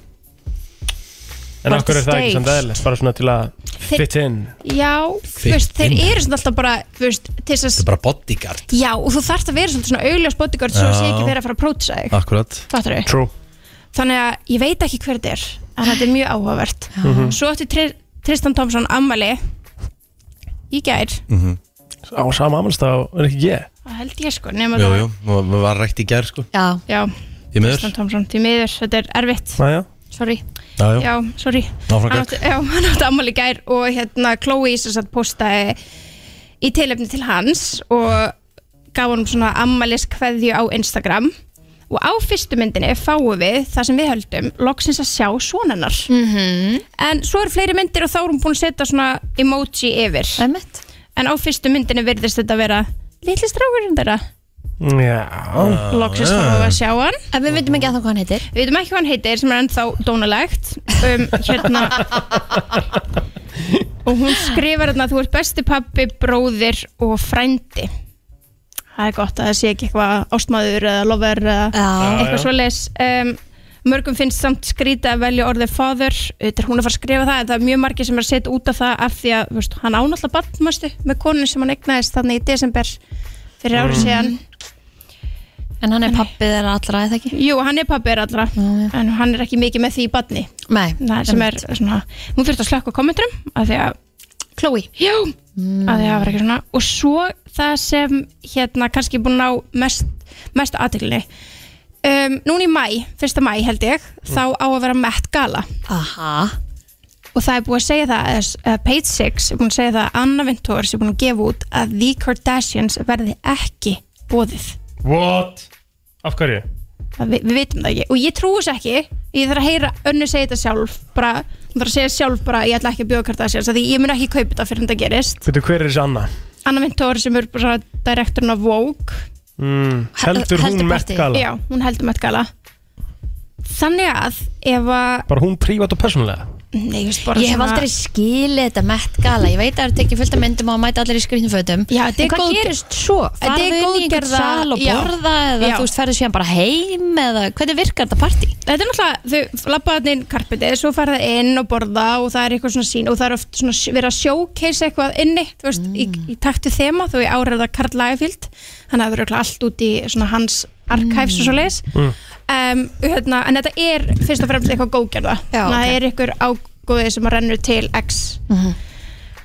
Speaker 5: en okkur er það ekki
Speaker 13: stage.
Speaker 5: samt eðlilegt bara svona til að
Speaker 13: Þeir-
Speaker 5: fit in
Speaker 13: Já, þú veist, þeir
Speaker 5: Fittin.
Speaker 13: eru svona alltaf bara þú veist, til þess að
Speaker 6: Bara bodyguard
Speaker 13: Já, og þú þarft að vera svolítið svona augljós bodyguard svo
Speaker 6: Já.
Speaker 13: sé ekki verið að fara að prótsa þig
Speaker 6: Akkurat
Speaker 13: Fattarðu?
Speaker 5: True
Speaker 13: Þannig að ég veit ekki hver þetta er en þetta er mjög áhugavert
Speaker 5: Mhm.
Speaker 13: Svo átti Tri- Tristan Thompson ammali í gær
Speaker 5: á sama amalstað er ekki ég
Speaker 13: það held ég sko nema
Speaker 6: Jú,
Speaker 13: það-
Speaker 6: jú, við var rætt í gær sko
Speaker 4: Já,
Speaker 13: já
Speaker 6: Í miður.
Speaker 13: Tristan Thompson, því miður, þetta er erfitt
Speaker 5: Já, já
Speaker 13: Sorry
Speaker 6: Já, já.
Speaker 13: Já, sorry
Speaker 6: Áfram
Speaker 13: Hann
Speaker 6: gegn.
Speaker 13: átti- Já, hann átti ammali í gær og hérna Chloe sem sagt postaði í tilefni til hans og gaf honum svona ammalis kveðju á Instagram og á fyrstu myndinni fáum við það sem við höldum loksins að sjá svonennar -hmm. en svo eru fleiri myndir og þá er hún búin að setja svona emoji yfir
Speaker 4: Emmett.
Speaker 13: en á fyrstu myndinni virðist þetta vera litli strákurinn þeirra
Speaker 5: Já
Speaker 13: loksins fáum við að sjá hann
Speaker 4: En við veitum ekki að það hvað hann heitir
Speaker 13: Við veitum ekki hvað hann heitir sem er ennþá dónalegt um, hérna og hún skrifar hérna þú ert besti pappi, bróðir og frændi það er gott að það sé ekki eitthvað ástmaður eða lover eða
Speaker 4: Já.
Speaker 13: eitthvað
Speaker 4: Já, já.
Speaker 13: svoleiðis um, mörgum finnst samt skrýta að velja orðið fadur þetta er hún að fara að skrifa það en það er mjög margir sem er að setja út af það af því að þú veist, hann ánáttlega barnmastu með konu sem hann egnaðist þannig í desember fyrir árið
Speaker 4: Mm.
Speaker 13: síðan
Speaker 4: En hann er pappið þeirra allra, eða ekki?
Speaker 13: Jú, hann er pappir allra en hann er ekki mikið með því í badni
Speaker 4: Nei,
Speaker 13: Nei, sem er svona, hún þurfti að slökka kommenturum af því að
Speaker 4: Chloe
Speaker 13: Já, af því að það var ekki svona og svo það sem hérna kannski búin að ná mest, mest aðteglinni um, núna í mæ, fyrsta mæ held ég þá á að vera Met Gala
Speaker 4: Aha
Speaker 13: og það er búið að segja það að, að Page Six er búin að segja það að Anna Vintour er búin að gefa út að The Kardashians verði ekki bóðið
Speaker 5: What? Af hverju?
Speaker 13: Það vi, við vitum það ekki og ég trúi þess ekki ég þarf að heyra önnu segja þetta sjálf bara, hún þarf að segja sjálf bara ég ætla ekki að bjóða Kardashians af því ég mun ekki kaupa þetta fyrir þetta gerist
Speaker 5: Veitu, hver er þessi Anna?
Speaker 13: Anna Vintour sem er bara direktorinn af Vogue
Speaker 5: Mm, heldur hún mekkala?
Speaker 13: Já, hún heldur Met Gala þannig að ef að
Speaker 5: Bara hún prívat og persónulega?
Speaker 13: Nei, ég veist bara
Speaker 4: ég hef aldrei skilið þetta Met Gala, ég veit að það eru tekið fullt af myndum og að mæta allir í skrýtnfötum
Speaker 13: Já, þetta er
Speaker 4: en hvað
Speaker 13: góð-
Speaker 4: gerist svo?
Speaker 13: Þetta er
Speaker 4: Farðu inn
Speaker 13: góð
Speaker 4: í einhver
Speaker 13: gerða-
Speaker 4: sal og
Speaker 13: já.
Speaker 4: borða eða
Speaker 13: Já.
Speaker 4: þú veist, ferðu síðan bara heim eða hvernig virkar þetta partí?
Speaker 13: Þetta er náttúrulega, þau lappa þarna inn karpetið, svo fara það inn og borða og það er eitthvað svona sín og það er oft svona verið að showcase eitthvað inni, þú veist, í, í taktu þema, þó ég áræða Karl Lagerfield, þannig að það eru allt út í svona hans archives og svo leis. um, hérna, en þetta er fyrst og fremst eitthvað góðgerða þannig að það er eitthvað ágóðið sem að rennur til X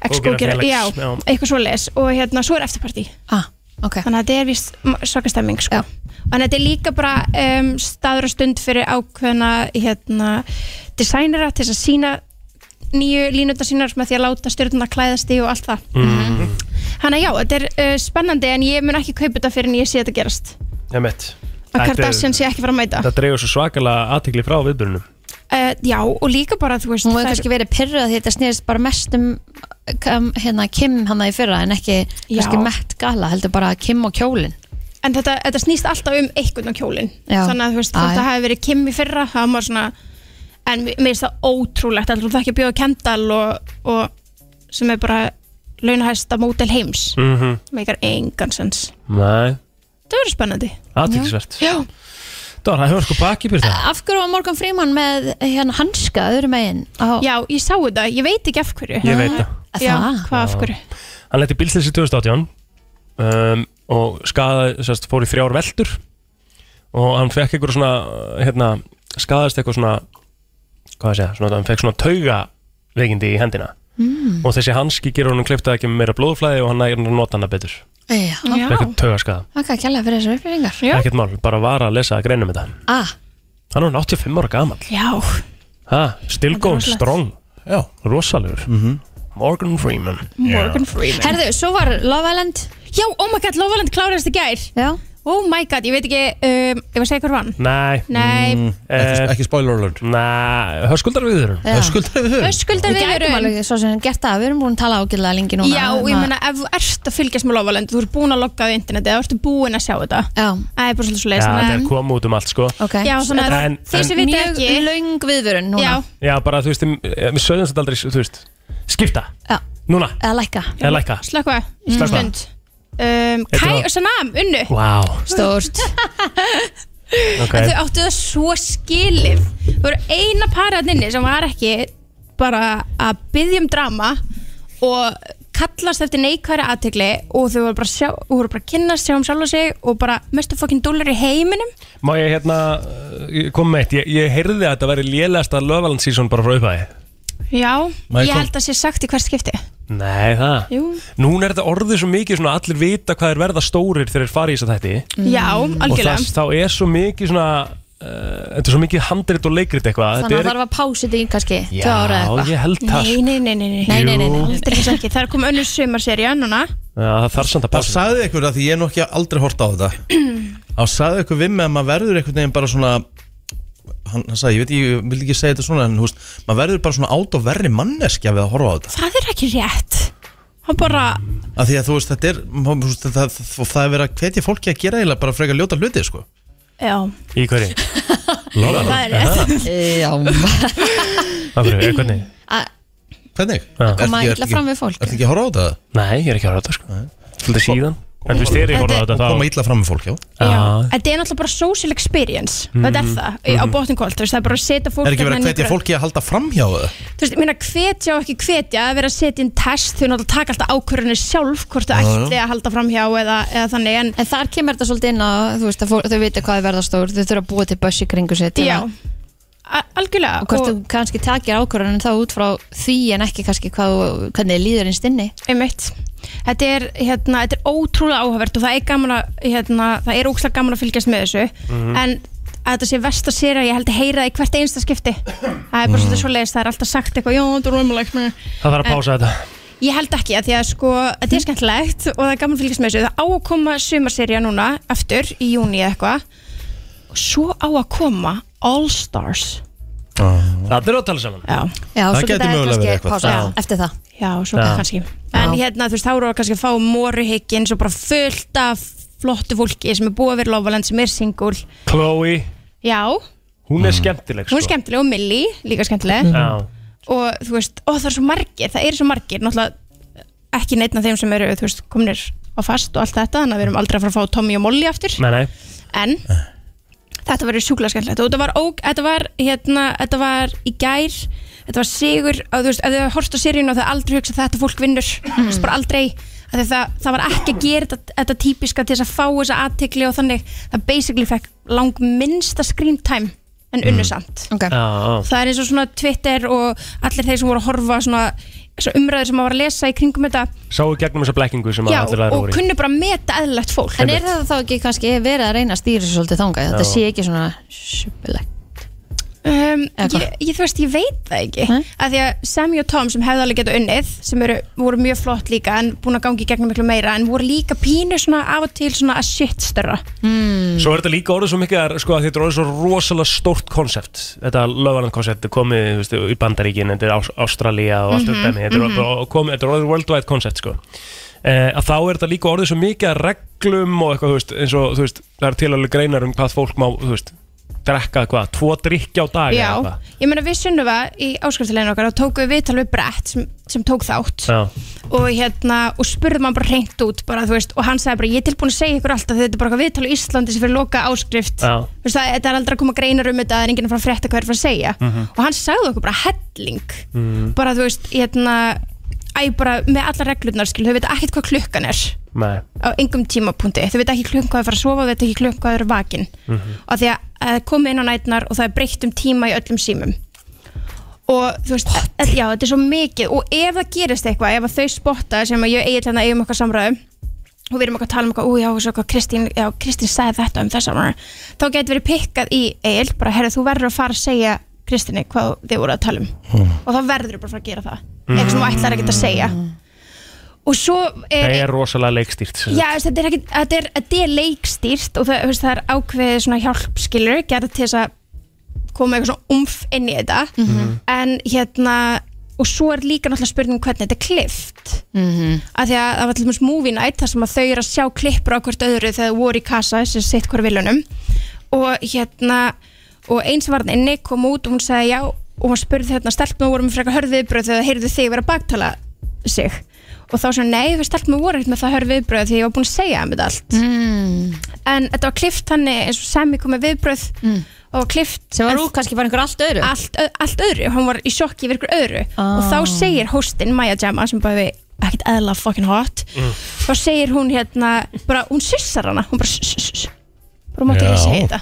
Speaker 13: X góðgerða,
Speaker 4: Góðgerðarfélags,
Speaker 13: já,
Speaker 4: já.
Speaker 13: eitthvað svo les og hérna, svo er eftirparti
Speaker 4: ah, okay.
Speaker 13: þannig að þetta er vist svakastemming sko. þannig að þetta er líka bara um, staður og stund fyrir ákveðna hérna, designera til þess að sína nýju línutna sínar með því að láta stjórnuna klæðast í og allt það
Speaker 5: mm.
Speaker 13: Þannig að já, þetta er uh, spennandi en ég mun ekki kaupa þetta fyrir en ég sé þetta gerast
Speaker 5: Ég mitt
Speaker 13: að Kardashian sé ekki fara að mæta
Speaker 5: Það dreigur svo svakalega aðtekli frá viðbjörnum
Speaker 13: Uh, já, og líka bara, þú veist
Speaker 4: Hún var
Speaker 13: það er-
Speaker 4: kannski verið pyrruð að þetta snýðist bara mest um um, hérna Kim hana í fyrra en ekki
Speaker 13: Já.
Speaker 4: kannski Met Gala, heldur bara Kim og kjólin
Speaker 13: En þetta, þetta snýst alltaf um einhvern á kjólinn
Speaker 4: Já.
Speaker 13: Þannig að þú veist,
Speaker 4: Æ.
Speaker 13: þetta hafi verið Kim í fyrra Það var maður svona En mér mér finnst það ótrúlegt Það er ekki að bjóða Kendall og, og sem er bara launahæsta mótel heims
Speaker 4: Mm.
Speaker 5: Mhm.
Speaker 13: Meikar engan sens
Speaker 5: Nei,
Speaker 13: Það verður spennandi
Speaker 5: aðteklisvert
Speaker 13: Já.
Speaker 5: Dóra, það hefur sko baki byrð það
Speaker 4: Af hverju var Morgan Freeman með hérna hanska öðrum megin? Á...
Speaker 13: Já, ég sá þetta, ég veit ekki af hverju
Speaker 5: Ég veit það
Speaker 13: Já, hvað af hverju?
Speaker 5: Hann leti bílstilsi 2018 um, og skadaði, sérst, fór í þrjár veldur og hann fekk eitthvað svona uh, hérna, skadaðist eitthvað svona hvað að segja, svona, hann fekk svona tauga veikindi í hendina
Speaker 4: Mm.
Speaker 5: og þessi hanski gerur hann klippta ekki meira blóðflæði og hann nægir hann að nota hana betur
Speaker 4: Já,
Speaker 5: Fékk eitthvað taugaskaða,
Speaker 4: það er kjærlega fyrir þessar upplýsingar
Speaker 5: ekkert mál, bara var að lesa að greinum þetta
Speaker 4: ah,
Speaker 5: hann er orðinn 85 ára gaman
Speaker 13: Já
Speaker 5: ha,
Speaker 4: Þetta
Speaker 5: still
Speaker 4: er
Speaker 5: going
Speaker 4: rosalegt.
Speaker 5: strong Já. Mhm. rosalegur Morgan Freeman
Speaker 13: Morgan Freeman
Speaker 4: Herðu, svo var Love Island
Speaker 13: Já, oh my god, Love Island klárast í gær
Speaker 4: Já
Speaker 13: Oh my god, ég veit ekki um, Ég var að segja hver vann
Speaker 5: Nei, Eh,
Speaker 13: Nei. Mm,
Speaker 5: ekki,
Speaker 6: Eh.
Speaker 5: ekki spoiler alert Nei, höskuldar viðurinn
Speaker 4: Já. Höskuldar
Speaker 5: viðurinn
Speaker 13: Höskuldar
Speaker 4: Við
Speaker 13: viðvörun.
Speaker 4: gætum alveg svo sem gert það, við erum búin að tala ágæðlega lengi núna hérna.
Speaker 13: Já, og
Speaker 5: hérna.
Speaker 13: ég meina, ef þú ert að fylgjast með Lofaland þú ert búin að logga á internetið, þú ert búin að sjá þetta
Speaker 4: Já
Speaker 13: Það er bara svolítið svo
Speaker 5: Já,
Speaker 13: leiðis
Speaker 5: þetta er komið út um allt sko
Speaker 4: okay.
Speaker 13: Já, svona
Speaker 5: en, en,
Speaker 13: þeir sem vita
Speaker 4: Mjög
Speaker 13: ekki
Speaker 4: löng viðvörun núna
Speaker 13: Já,
Speaker 5: Já, bara þú veist, eh, við sögum þetta aldrei, þú veist Skipta,
Speaker 4: Já.
Speaker 5: núna,
Speaker 4: eða lækka
Speaker 5: eða lækka
Speaker 13: slökva
Speaker 5: Slökkva.
Speaker 13: Stund um,
Speaker 5: Þetta
Speaker 13: Kai
Speaker 5: var-
Speaker 13: og Sanam, unnu
Speaker 5: Vá,
Speaker 4: Stórt
Speaker 5: ok
Speaker 13: En þau áttu það svo skilið Þau voru eina parið hann inni sem var ekki bara að byggja um drama og kallast eftir neikværi aðtegli og þau voru bara, að sjá, voru bara að kynnast sjá um sjálf og sig og bara mestu fokkin dólar í heiminum
Speaker 5: Má ég hérna, uh, kom með eitt Ég, ég heyrði að þetta væri lélegasta löfvaland sísón bara frá upphæði
Speaker 13: Já,
Speaker 5: Má ég
Speaker 13: ég
Speaker 5: kom-
Speaker 13: held að sé sagt í hvert skipti
Speaker 5: Nei, það
Speaker 13: Jú
Speaker 5: Núna er þetta orðið svo mikið svona að allir vita hvað er verða stórir þegar þeir fara í þess að þetta
Speaker 13: Já, algjörlega.
Speaker 5: Og það, þá er svo mikið svona uh, Þetta er svo mikið handrit og leikrit eitthvað
Speaker 4: Þannig
Speaker 5: Þetta
Speaker 4: að
Speaker 5: er-
Speaker 4: þarf að pása þetta í kannski
Speaker 5: Já,
Speaker 4: tvö ára eða eitthvað
Speaker 5: ég held það, sko.
Speaker 13: Nei, nei, nei, nei, nei,
Speaker 4: Nei, nei, nei, nei.
Speaker 13: Aldrei svo ekki. Það er komið önnur sömarserja núna
Speaker 5: Já, það þarf samt að
Speaker 6: passa Það sagði ykkur að því ég er nú ekki aldrei hort á þetta Það sagði ykkur við með að maður verður einhvern veginn bara svona Hann, hann sagði, ég veit, ég vildi ekki segja þetta svona En húst, maður verður bara svona át og verri manneskja við að horfa á þetta
Speaker 13: Það er ekki rétt Hann bara
Speaker 6: Af því að þú veist, þetta er má- þú veist, Það, það, það er verið að hvetja fólki að gera eiginlega bara frekar ljóta hluti, sko
Speaker 13: Já,
Speaker 5: Í hverju?
Speaker 6: Lofaland.
Speaker 13: það er rétt
Speaker 4: Já
Speaker 5: Það fyrir, hvernig?
Speaker 6: Hvernig?
Speaker 5: Já.
Speaker 6: Ertu
Speaker 4: Koma
Speaker 6: ekki-
Speaker 4: illa
Speaker 6: ertu
Speaker 4: fram
Speaker 6: ekki-
Speaker 4: við fólk.
Speaker 6: Ertu ekki að horfa á þetta?
Speaker 5: Nei, ég er ekki að horfa á þetta, sko Svolítið síðan En fyrst er ég að horfa á þetta
Speaker 6: Og
Speaker 5: þá
Speaker 6: koma illa fram með fólk, já
Speaker 5: Já.
Speaker 13: Þetta er náttúrulega bara social experience
Speaker 6: Mhm.
Speaker 13: Þetta er það, á
Speaker 6: Mhm.
Speaker 13: botningkvöld Það er bara að setja fólk
Speaker 6: Er ekki verið að
Speaker 13: þarna inn í
Speaker 6: hvetja
Speaker 13: gröf.
Speaker 6: fólki að halda fram hjá það?
Speaker 13: Þú veist, ég meina hvetja og ekki hvetja að vera að setja inn test þau náttúrulega taka alltaf ákvörðinu sjálf hvort þau
Speaker 6: Já, já.
Speaker 13: ætli að halda fram hjá eða, eða þannig en,
Speaker 4: En þar kemur þetta svolítið inn á, þú veist, að fólk, þau vita hvað er verða stór, þau þurfa að búa til buss í kringu sér til
Speaker 13: Já,
Speaker 4: að-
Speaker 13: algjörlega
Speaker 4: og hvort þú kannski takir ákvörðunum þá út frá því en ekki kannski hvað, þú- hvernig líður innst inni.
Speaker 13: Einmitt. Þetta er, hérna, þetta er ótrúlega áhugavert og það er gaman að, hérna, það er ókslega gaman að fylgjast með þessu
Speaker 4: Mhm.
Speaker 13: en að þetta sé versta sér að ég held að heyra það í hvert einsta skipti það er bara
Speaker 5: Mhm.
Speaker 13: svolítið svo leiðist, það er alltaf sagt eitthvað, já, þetta er römmulegt
Speaker 5: Það þarf að pása þetta
Speaker 13: Ég held ekki að því að sko, þetta er skemmtilegt og það er gaman að fylgjast með þessu það á að koma sumarserja núna, aftur í júni eða eitthvað og svo á að koma All Stars
Speaker 5: Það er að tala saman
Speaker 13: Já,
Speaker 4: Já,
Speaker 5: Það
Speaker 4: svo
Speaker 5: gæti
Speaker 4: geta
Speaker 5: mögulega
Speaker 4: kannski
Speaker 5: verið eitthvað.
Speaker 4: pása
Speaker 5: Já.
Speaker 4: eftir það.
Speaker 13: Já, svo
Speaker 5: Já.
Speaker 13: kannski En hérna, þú veist, þá eru að kannski að fá moruhyggjinn svo bara fullt af flottu fólki sem er búið að vera lofaland sem er singul
Speaker 5: Chloe,
Speaker 13: Já,
Speaker 5: hún er skemmtileg
Speaker 13: hún er
Speaker 5: sko.
Speaker 13: skemmtileg og Millie líka skemmtileg
Speaker 5: Já.
Speaker 13: og þú veist, ó það er svo margir, það eru svo margir náttúrulega ekki neitna þeim sem eru þú veist, kominir á fast og allt þetta þannig að við erum aldrei að fara að fá Tommy og Molly aftur
Speaker 5: Nei, nei
Speaker 13: en þetta var sjúkla skemmtilegt og þetta var, óg, þetta var, hérna, þetta var í gær þetta var sigur og, þú veist, ef þið horfst á seríun og þið aldrei hugsa þetta fólk vinnur þú veist, bara aldrei það, það, það var ekki að gera þetta, þetta típiska til þess að fá þessa aðtekli og þannig það basically fekk lang minnsta screen time en unnu
Speaker 5: Mm.
Speaker 13: samt
Speaker 4: okay.
Speaker 13: það er eins og svona Twitter og allir þeir sem voru að horfa svona, svona umræður sem maður var að lesa í kringum þetta
Speaker 5: Sáu gegnum þessa blekkingu sem að
Speaker 13: já,
Speaker 5: allir aðra
Speaker 13: og
Speaker 5: voru í
Speaker 13: kunnu bara að meta eðlilegt fólk
Speaker 4: En er þetta þá ekki kannski verið að reyna að stýra þessu svolítið þangað? Þetta
Speaker 5: Já.
Speaker 4: sé ekki svona sjúbilegt
Speaker 13: Um, ég, ég, þú veist, ég veit það ekki af því að Sammy og Tom sem hefði alveg getað unnið sem eru, voru mjög flott líka en búin að gangi gegnum miklu meira en voru líka pínu svona af og til svona að shit störra
Speaker 4: mm.
Speaker 5: Svo er þetta líka orðið svo mikið að sko, að þetta er orðið svo rosalega stórt konsept Þetta lögvarland konsept er komið þú veist, í Bandaríkin, þetta er Ás- Ástralía og allt
Speaker 10: Mhm,
Speaker 5: mm -hmm, þetta,
Speaker 10: mhm.
Speaker 5: er bara komið, þetta er orðið worldwide konsept sko. eh, að þá er þetta líka orðið svo mikið að reglum og eitthvað þú veist, eins og þú veist, það er til alveg greinar um hvað fólk má þú veist, drekka hvað, tvo drikki á dag eða
Speaker 13: Já,
Speaker 5: eitthvað.
Speaker 13: ég meina við sunnufa í áskriftileginu okkar og tókum við viðtal við brett sem, sem tók þátt og hérna, og spurðum hann bara reynt út bara, þú veist, og hann sagði bara, ég er tilbúin að segja ykkur alltaf þetta er bara eitthvað viðtal í Íslandi sem fyrir loka áskrift
Speaker 5: Já.
Speaker 13: Þú veist, það, þetta er aldrei að koma greinar um þetta það er enginn að fara að frétta hvað er að fara að segja
Speaker 5: Mhm.
Speaker 13: og hann sagði okkur bara helling
Speaker 5: Mm.
Speaker 13: bara þú veist, hérna æ, bara með alla reglurnar skil, þau veit ekkert hvað klukkan er
Speaker 5: Nei.
Speaker 13: á engum tímapunkti, þau veit ekki klukkan hvað þau fara að sofa þau veit ekki klukkan hvað þau eru vakin
Speaker 5: Mhm.
Speaker 13: og því að það komið inn á nætnar og það er breytt um tíma í öllum símum og þú veist, e- já, þetta er svo mikið og ef það gerist eitthvað, ef að þau spotta sem að ég eigin hérna eigum okkar samræðum og við erum okkar að tala um eitthvað, újá, svo hvað Kristín, já, Kristín sagði þetta um þess að þá getur verið pikkað í eigil, bara, herru, þú verður að fara að segja Kristíni hvað þið voru að tala um og þá verður þú bara að fara að gera það eitthvað sem þú ætlar ekkert að segja og svo er,
Speaker 5: Það er rosalega leikstýrt sem sagt.
Speaker 13: Eh, Já, veist, þetta er, ekki, þetta, er, þetta er leikstýrt og það, veist, það er ákveðið svona hjálpskilur gerða til þess að koma eitthvað svona umf inn í þetta
Speaker 4: Mhm.
Speaker 13: en hérna og svo er líka náttúrulega spurning hvernig þetta er klift af því að það var til dæmis movie night þar sem að þau eru að sjá klippur á hvort öðru þegar þau voru í kassa sem sitt hvar vilunum og hérna og eins var hann inni kom út og hún sagði já og hún spurði hérna stelpnum voru með frekar hörð viðbröð þegar það heyrðu þig vera að baktala sig og þá svona nei, við stelpnum voru ekkert með það hörð viðbröð því ég var búin að segja um þetta allt
Speaker 4: mm.
Speaker 13: en þetta var klift hann eins og Sammy kom með viðbröð og klift sem
Speaker 4: var úr kannski bara einhver allt öðru
Speaker 13: allt, ö- allt öðru, hann var í sjokki yfir ykkur öðru og þá segir hóstinn Maja Gemma sem bara við ekkert eðla fucking hot
Speaker 5: Mm.
Speaker 13: þá segir hún hérna bara, hún sussar hana, hún bara suss, suss, suss. bara hún mátti
Speaker 5: Já.
Speaker 13: ekki segja þetta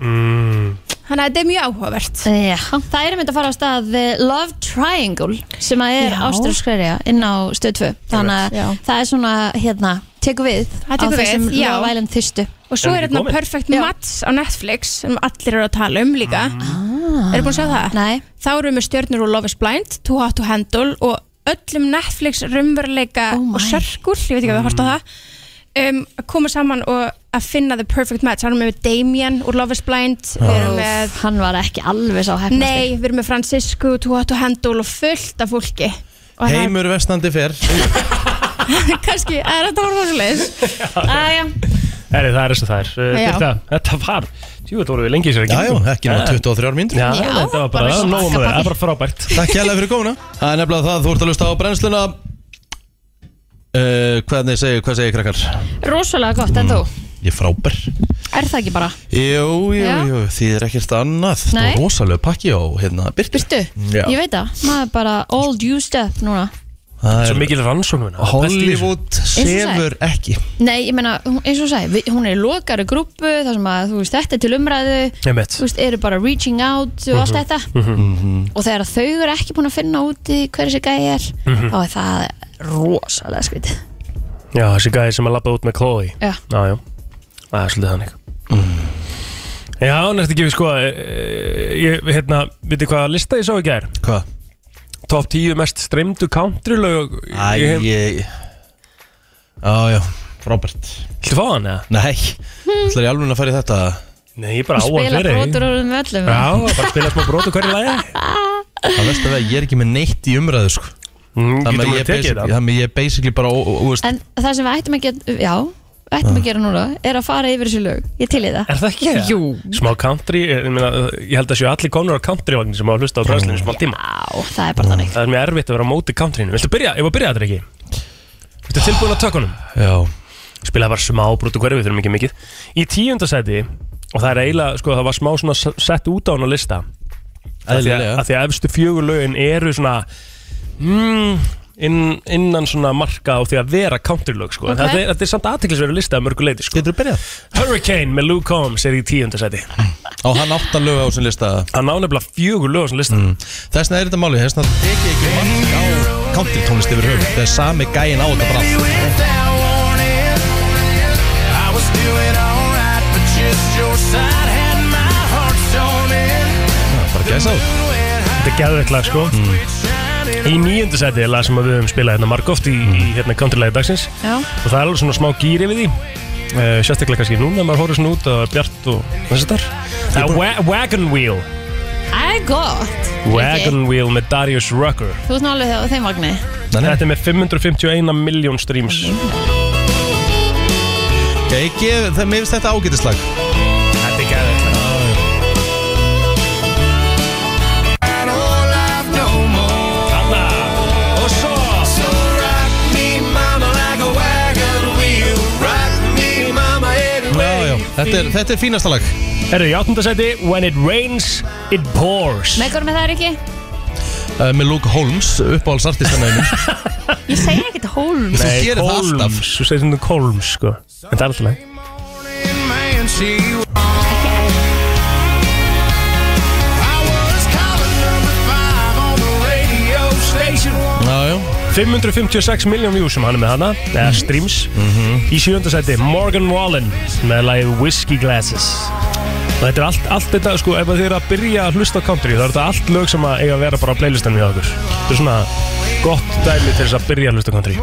Speaker 5: mm.
Speaker 13: þannig að þetta er mjög áhugavert
Speaker 4: Já, það er mynd að fara á stað The Love Triangle sem að er
Speaker 13: Já.
Speaker 4: áströmskverja inn á stöð 2 þannig
Speaker 13: Já.
Speaker 4: að það er svona hérna, tekur við
Speaker 13: Það tekur
Speaker 4: á
Speaker 13: við,
Speaker 4: þessum
Speaker 13: já.
Speaker 4: Love Island þyrstu
Speaker 13: og svo er hérna Perfect Match á Netflix sem allir eru að tala um líka ah. eru búin að sjá það?
Speaker 4: Nei.
Speaker 13: þá eru við með stjörnur og Love is Blind, Too Hot to Handle og öllum Netflix rumveruleika og sörkul, ég veit ekki að við horfst á það um, að koma saman og að finna the perfect match, hann er með Damien úr Love is Blind, við
Speaker 4: Oh.
Speaker 13: erum með
Speaker 4: hann var ekki alveg sá hefnastur
Speaker 13: Nei, við erum með Francisco, Too Hot to Handle og fullt af fólki og það
Speaker 6: Heimur vestandi fyrr
Speaker 13: er kannski, er þetta horfa svo leiðis Æja,
Speaker 5: Heri, það er þess að það er Eh,
Speaker 13: Já.
Speaker 5: Birta, Þetta var, jú þetta voru við lengi í sér ekki Eh,
Speaker 6: Já, já, ekki nema 23 mínútur.
Speaker 5: Já,
Speaker 6: Já,
Speaker 5: þetta var bara,
Speaker 6: bara
Speaker 5: bara nóg
Speaker 6: slaka
Speaker 5: með það,
Speaker 6: bara
Speaker 5: það var frábært
Speaker 6: Takk hérlega fyrir komuna Það er nefnilega það, þú ert að lusta á brennsluna uh, Hvernig segir, hvað segir krakkar?
Speaker 4: Rosalega gott, en þú?
Speaker 6: Ég er frábær
Speaker 4: Er það ekki bara?
Speaker 6: Jú, jú,
Speaker 4: Já.
Speaker 6: jú, því er ekkert annað Þetta
Speaker 4: Nei.
Speaker 6: var rosalega pakki á hérna Byrtu
Speaker 4: Byrtu?
Speaker 6: Já.
Speaker 4: Ég veit það, maður er bara all used up núna
Speaker 5: Svo mikil rannsóknuna
Speaker 6: Hollywood
Speaker 4: Eins og þú
Speaker 6: sefur ekki
Speaker 4: Nei, ég meina, hún- eins og þú sagði, við- hún er í lokari grúpu þar sem að, þú veist, þetta er til umræðu
Speaker 5: Einmitt.
Speaker 4: Þú veist, eru bara reaching out og
Speaker 5: Mhm.
Speaker 4: allt þetta og þegar þau eru ekki búin að finna út í hver þessi gæi er
Speaker 5: Mhm.
Speaker 4: þá er það rosalega skrítið
Speaker 5: Já, þessi gæði sem að labba út með Chloe
Speaker 4: Já.
Speaker 5: Já, já, það er svolítið þannig Mm. Já, næstu ekki við sko eh, Ég, hérna, veitir hvað lista ég sá í gær?
Speaker 6: Hvað?
Speaker 5: Top 10 mest streymdu country lög
Speaker 6: Æ, ég, Já, já, frábært
Speaker 5: Þú fá hann eða?
Speaker 6: Nei,
Speaker 4: Hmm.
Speaker 6: það er í alveg að fara í þetta
Speaker 5: Nei, ég bara á hann
Speaker 4: spila
Speaker 5: fyrir
Speaker 4: brotur úr þeim öllum
Speaker 5: Já, bara spila smá brotur hverju lagi
Speaker 6: Það veist að ég er ekki með neitt í umræðu sko. Þannig
Speaker 5: mm, getum
Speaker 6: að
Speaker 5: við
Speaker 6: ég,
Speaker 5: tekið
Speaker 6: basic,
Speaker 5: það?
Speaker 6: þannig að ég er basically bara ó- ó- þú veist,
Speaker 4: en það sem við ættum að geta, já ættum að gera núna er að fara yfir þessu lög, ég til í það
Speaker 5: Er það ekki það?
Speaker 4: Jú,
Speaker 5: Smá country, eh, ég, meina, ég held að séu allir konur á countryvagnin sem hafa hlusta á brennslunni í smá tíma
Speaker 4: Já, það er bara þannig
Speaker 5: Það er mjög erfitt að vera á móti countrynu Viltu byrja, ef að byrja þetta ekki?
Speaker 1: Ah.
Speaker 5: Viltu tilbúin að tökunum?
Speaker 1: Já
Speaker 5: Spilaði bara smá brútu hverfi, við þurfum ekki mikið Í tíundasæti, og það er eiginlega, sko, það var smá svona s- sett út á hann á lista að því að,
Speaker 1: Eðlilega.
Speaker 5: að því að efstu fjögur lögin eru svona mm, inn, innan svona marka á því að vera counterlög sko.
Speaker 1: Ok.
Speaker 5: okay. þetta, er, þetta er samt aðteklisveru lista að mörgu leiti sko.
Speaker 1: Getur þú byrjað?
Speaker 5: Hurricane með Luke Combs er í tíundasæti
Speaker 1: Og hann átt að lög á þessum lista
Speaker 5: Hann á nefnilega fjögur lög á þessum lista mm.
Speaker 1: Þessna er þetta máli, þessna tekið ekki mark á country tónlist yfir höfum Það er sami gæin á þetta bara allt.
Speaker 5: Bara gæsa á Þetta er gæðveitt lag sko Í níundu sæti er lag sem að við höfum spilað hérna margóft í, í hérna countrylagi dagsins
Speaker 4: Já.
Speaker 5: Og það er alveg svona smá gýri við því uh, Sérstaklega kannski núna, maður horfður svona út á Bjart og þessi þar Það er wa Wagon Wheel
Speaker 4: Það er gott
Speaker 5: Wagon Wheel með Darius Rucker
Speaker 4: Þú veist nálega þegar á þeim vagnir
Speaker 5: Þetta er með 551 miljón streams
Speaker 1: Ég gef, það, mér finnst þetta ágætislag
Speaker 5: Þetta er gæðið Hanna Og svo
Speaker 2: So rock me mama like a wagon wheel Rock me mama every way
Speaker 1: Já, já, þetta er, þetta er fínasta lag
Speaker 5: Herru, í áttundasæti When it rains, it pours
Speaker 4: Með hvernig með það er ekki?
Speaker 1: uh, Með Luke Holmes, uppáhaldsartistanæðinu
Speaker 4: Ég segi ekkert Holmes
Speaker 5: Nei,
Speaker 1: gerir það sko.
Speaker 5: Kolms, þú segir svona Kolms sko En það er alltaf leið
Speaker 2: Man, she I was caller number five on the radio station
Speaker 1: Já, já
Speaker 5: 556 miljón views sem hann er með hana eða
Speaker 1: Mhm.
Speaker 5: streams í sjöndasæti Morgan Wallen með lagið Whiskey Glasses og þetta er allt, allt þetta sko ef þið eru að byrja að hlusta á country þá er þetta allt lög sem að eiga að vera bara á playlistanum hjá okkur þetta er svona gott dæmi til þess að byrja að hlusta á country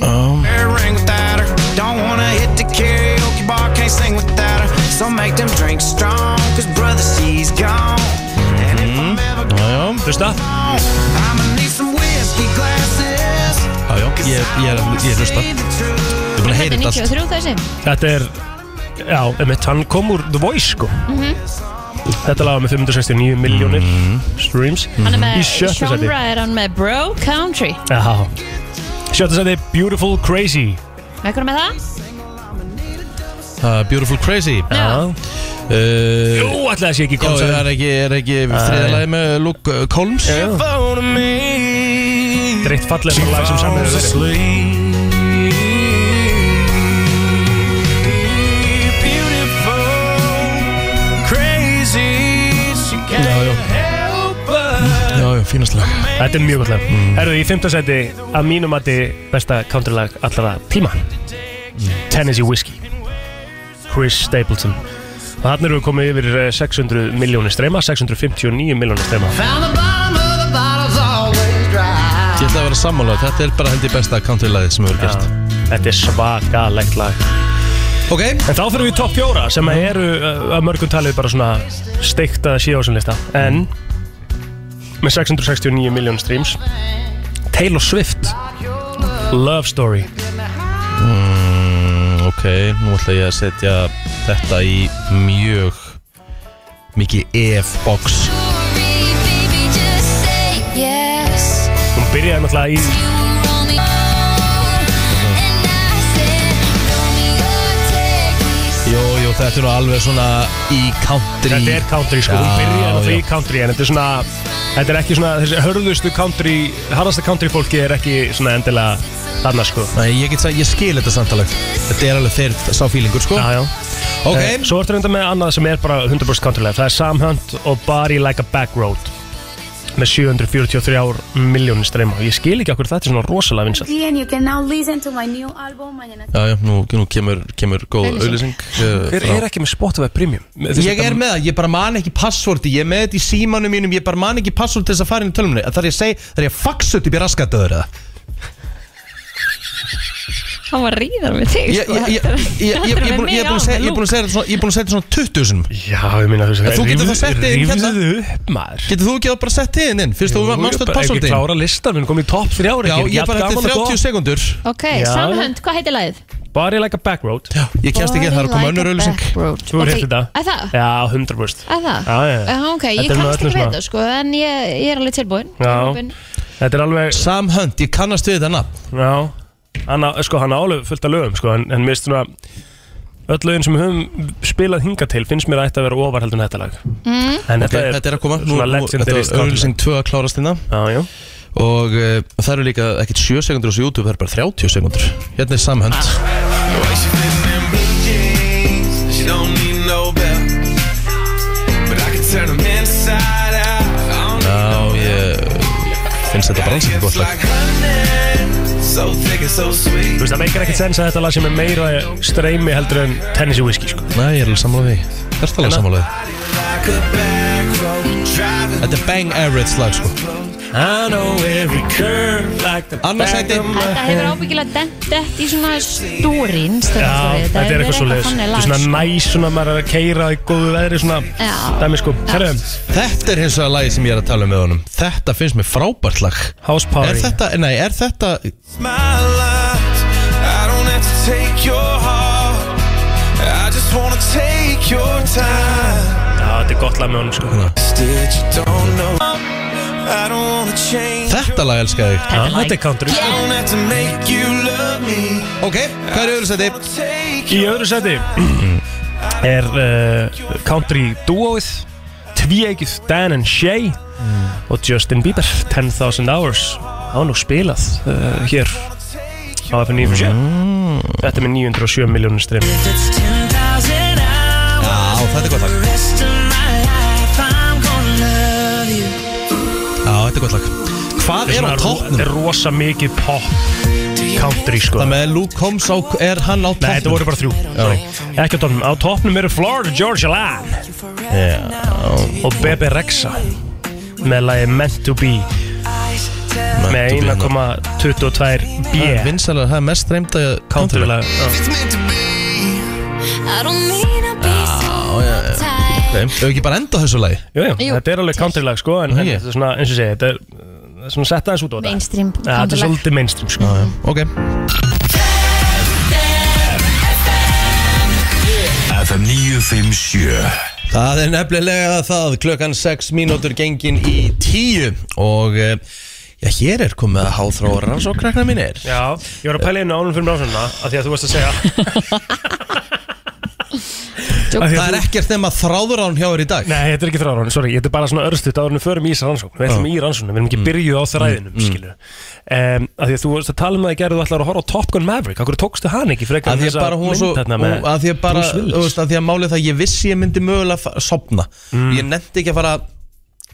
Speaker 1: Um.
Speaker 2: Can't ring without her Don't wanna hit the karaoke bar Can't sing without her So make them drinks strong Cause brother she's gone And if I'm ever
Speaker 1: Já,
Speaker 5: hlusta
Speaker 2: gone I'ma need some whiskey glasses
Speaker 1: Já, já, ég, ég, er- ég er hlusta Ég er búin að heyra þetta allt
Speaker 4: 93 þessi
Speaker 5: þetta er já, emitt, hann kom úr The Voice sko
Speaker 4: Mhm.
Speaker 5: þetta laga með 569 miljónir
Speaker 1: Mhm.
Speaker 5: streams
Speaker 4: Hann er
Speaker 5: Mm. í
Speaker 4: með
Speaker 5: sjötta sæti
Speaker 4: Sjónra er hann með Bro Country
Speaker 5: já sjötta sæti Beautiful Crazy
Speaker 4: Með hvernig með það?
Speaker 1: uh, Beautiful Crazy
Speaker 5: Já
Speaker 1: Uh,
Speaker 5: Jú, ætli það sé ekki
Speaker 1: Já,
Speaker 5: Combs,
Speaker 1: það er ekki, er ekki þriðalagi með Luke uh, Combs
Speaker 5: Þetta er eitt fallegasta lag sem samið hefur verið.
Speaker 1: Mm, Já, já, fínast lag
Speaker 5: Þetta er mjög gott lag Herðu, í fimmta seti að mínum mati besta countrylag allra tíma
Speaker 1: Mm.
Speaker 5: Tennessee Whiskey Chris Stapleton Og hann eru við komið yfir eh, 600 miljónir streyma 659 miljónir streyma
Speaker 2: Found the bottom of the bottle's always dry
Speaker 1: Ég ætla að vera sammála, þetta er bara held í besta country-lagið sem hefur gert
Speaker 5: Þetta er svakalegt lag
Speaker 1: Ok
Speaker 5: En þá fyrir við í topp fjóra sem að eru uh, að mörgum talið bara svona steikta síða á sem lista En með 669 miljónir streams Taylor Swift Love Story
Speaker 1: mm, Ok, nú ætla ég að setja þetta í mjög mikið F-box
Speaker 5: Hún byrjaði náttúrulega í
Speaker 1: Jú, jú, þetta er nú alveg svona í country
Speaker 5: Þetta er country sko, hún
Speaker 1: Já,
Speaker 5: byrjaði náttúrulega
Speaker 1: já.
Speaker 5: í country En þetta er svona, þetta er ekki svona Þessi hörðustu country, harðasta country fólki Er ekki svona endilega þarna sko
Speaker 1: Nei, ég get sagt, ég skil þetta samtalag Þetta er alveg þeir sá fílingur sko
Speaker 5: Já, já
Speaker 1: Ok.
Speaker 5: Eh, Svo ertu reynda með annað sem er bara 100% country life Það er Sam Hunt og Body Like a Back Road Með 743 miljónir streyma Og Ég skil ekki okkur þetta er svona rosalega vinsælt
Speaker 14: and you can now listen to my new album Mañana
Speaker 1: Já, já, nú, nú kemur, kemur góð
Speaker 14: Auglýsing.
Speaker 1: auðlýsing uh,
Speaker 5: Hver
Speaker 1: frá-
Speaker 5: er ekki með Spotify Premium? Með-
Speaker 1: Ég er með það, ég bara man ekki passvorti Ég er með þetta í símanum mínum, ég bara man ekki passvort til þess að fara inn í tölmunni Það er ég að segja, það er ég að faxa upp í raskatöður eða
Speaker 4: Hann var ríðar með þig
Speaker 1: Ég
Speaker 4: sko.
Speaker 1: ég- ég- ég- ég- ég er búin ég er búin að segja- ég er búin að segja þetta svona Ég er búin að segja þetta svona 20 sinum
Speaker 5: Já, ég minna
Speaker 1: En þú getur þá sett þig inn hérna.
Speaker 5: Rífðu upp maður
Speaker 1: Getur þú ekki þá bara sett þig inn inn Fyrst þú
Speaker 5: Jú,
Speaker 1: manstu
Speaker 5: bara
Speaker 1: þetta
Speaker 5: Ekki
Speaker 1: passvorti
Speaker 5: klára listan, við erum komið í topp þrjára
Speaker 1: Já, ég er bara eftir 30 sekundur
Speaker 4: Ok, samhönd, hvað heitir lagið?
Speaker 5: Body like a back road
Speaker 1: Ég kemst ekki, það er að koma Body like önnur a auglýsing. back road.
Speaker 5: Þú er
Speaker 4: Ok,
Speaker 5: hitt þetta
Speaker 4: er það?
Speaker 5: Já, 100%
Speaker 4: Er það?
Speaker 5: Já, já, já.
Speaker 4: Já, ok, ég
Speaker 5: Þetta er nú
Speaker 4: kannast ekki við
Speaker 5: öllum svona-
Speaker 4: þetta sko, en ég, ég er alveg tilbúin. Tilbúin.
Speaker 5: Já, þetta er alveg
Speaker 1: Sam Hunt, ég kannast við þetta nafn
Speaker 5: Já, hann, á- sko, hann álega fullt af lögum sko, en, en mist svona öll lögin sem við höfum spilað hinga til finnst mér að þetta vera ofar heldur en þetta lag
Speaker 1: Mm.
Speaker 5: En
Speaker 1: Ok, þetta er að koma Nú,
Speaker 5: svona
Speaker 1: nú, Þetta
Speaker 5: legendary
Speaker 1: er auðvilsing 2 að klárast hérna
Speaker 5: Já, já
Speaker 1: Og uh, það eru líka ekkert 7 sekundur á YouTube, það eru bara 30 sekundur Hérna er Sam Hunt
Speaker 15: Why she fitting in blue jeans? She don't need no belt. But I can turn 'em inside out. I don't
Speaker 2: Ah.
Speaker 1: Já, ég finnst þetta bara alls ekki gott lag
Speaker 15: like honey, so thick and so sweet.
Speaker 5: Þú veist, það meikir ekkert sens að þetta lag sem er meira streymi heldur en Tennessee Whiskey sko.
Speaker 1: Nei, ég er alveg sammála því Það er alveg sammála því
Speaker 15: Like a back road driving.
Speaker 1: Þetta er Bang Average lag sko
Speaker 15: I know every curve like the
Speaker 1: Annars
Speaker 15: back
Speaker 1: hætti
Speaker 15: of my
Speaker 4: Þetta hefur ábyggilega dent, dent í svona stúrin,
Speaker 5: Já, þetta
Speaker 1: um
Speaker 5: er eitthvað svo leiðis Þetta er
Speaker 1: sko.
Speaker 5: svona næs, svona maður er að keira í góðu veðri svona
Speaker 4: Já.
Speaker 5: dæmi sko Herru,
Speaker 1: Þetta er hins vegar lagi sem ég er að tala um með honum Þetta finnst mér frábært lag
Speaker 5: House
Speaker 1: Party Er þetta, nei, er þetta
Speaker 15: my lies. I don't have to take your heart. I just wanna take your time.
Speaker 5: Já, þetta er gott lag með honum sko
Speaker 15: That you don't know. I don't wanna change.
Speaker 1: Þetta lag elska ég
Speaker 15: Þetta er lag. Þetta er
Speaker 5: country
Speaker 15: I don't have to make you love me.
Speaker 1: Ok, hvað er í öðru sæti?
Speaker 5: Í öðru sæti er uh, country duoið Tvíegið Dan and Shay og Justin Bieber 10.000 Hours á nú spilað uh, hér á FN 957
Speaker 1: Mm.
Speaker 5: Þetta er með 907 miljónir stream
Speaker 1: Já, þetta er gott lag Já, þetta er gott lag Hvað er á toppnum?
Speaker 5: Þetta er rosa mikið pop country sko
Speaker 1: Það með Luke Combs á, er hann á toppnum?
Speaker 5: Nei, þetta voru bara þrjú Sorry. Ekki á toppnum, á toppnum eru Florida Georgia Line
Speaker 1: yeah.
Speaker 5: og Bebe Rexa með lagi Meant to Be með 1,22 B
Speaker 1: Það er vinsalega, það er mest streymda country
Speaker 5: lag Ah.
Speaker 1: Já, já, já Ok, hefur ekki bara enda á þessu lagi?
Speaker 5: Jú, jú, þetta er alveg country lag sko en, en þetta er svona, eins og segja, þetta er uh, það er svona sett aðeins út á þetta
Speaker 4: Mainstream
Speaker 5: ja, Þetta er
Speaker 4: countrylag.
Speaker 5: svolítið mainstream sko já,
Speaker 1: Ok
Speaker 6: FM 957
Speaker 1: Það er nefnilega það, klukkan 6 mínútur gengin í 10 og eh, já, hér er komið að háþróra svo krakkna mínir
Speaker 5: Já, ég var að pæla inn á ánum fyrir mér ásönda af því að þú varst að segja Af því að
Speaker 1: Það er
Speaker 5: þú-
Speaker 1: ekkert nema þráðurán hjá þér í dag
Speaker 5: Nei, þetta er ekki þráðrán, sorry, þetta er bara svona örstuðt áður en við förum í þessar rannsókn, við ætlum
Speaker 1: Já.
Speaker 5: í rannsókn, við erum ekki byrjuð á þræðinum, mm. skilu um, Af því að þú varst að tala um það í gerðu, þú ætlar að horfa á Top Gun Maverick, akkur tókstu hann ekki frekar
Speaker 1: Að
Speaker 5: en
Speaker 1: því að
Speaker 5: þessa
Speaker 1: bara hún var svo,
Speaker 5: mynd þarna með
Speaker 1: hún- að því að bara,
Speaker 5: Bruce Willis?
Speaker 1: þú veist, að því að málið það ég vissi ég myndi mögulega fa- sofna Ég nefndi ekki að fara að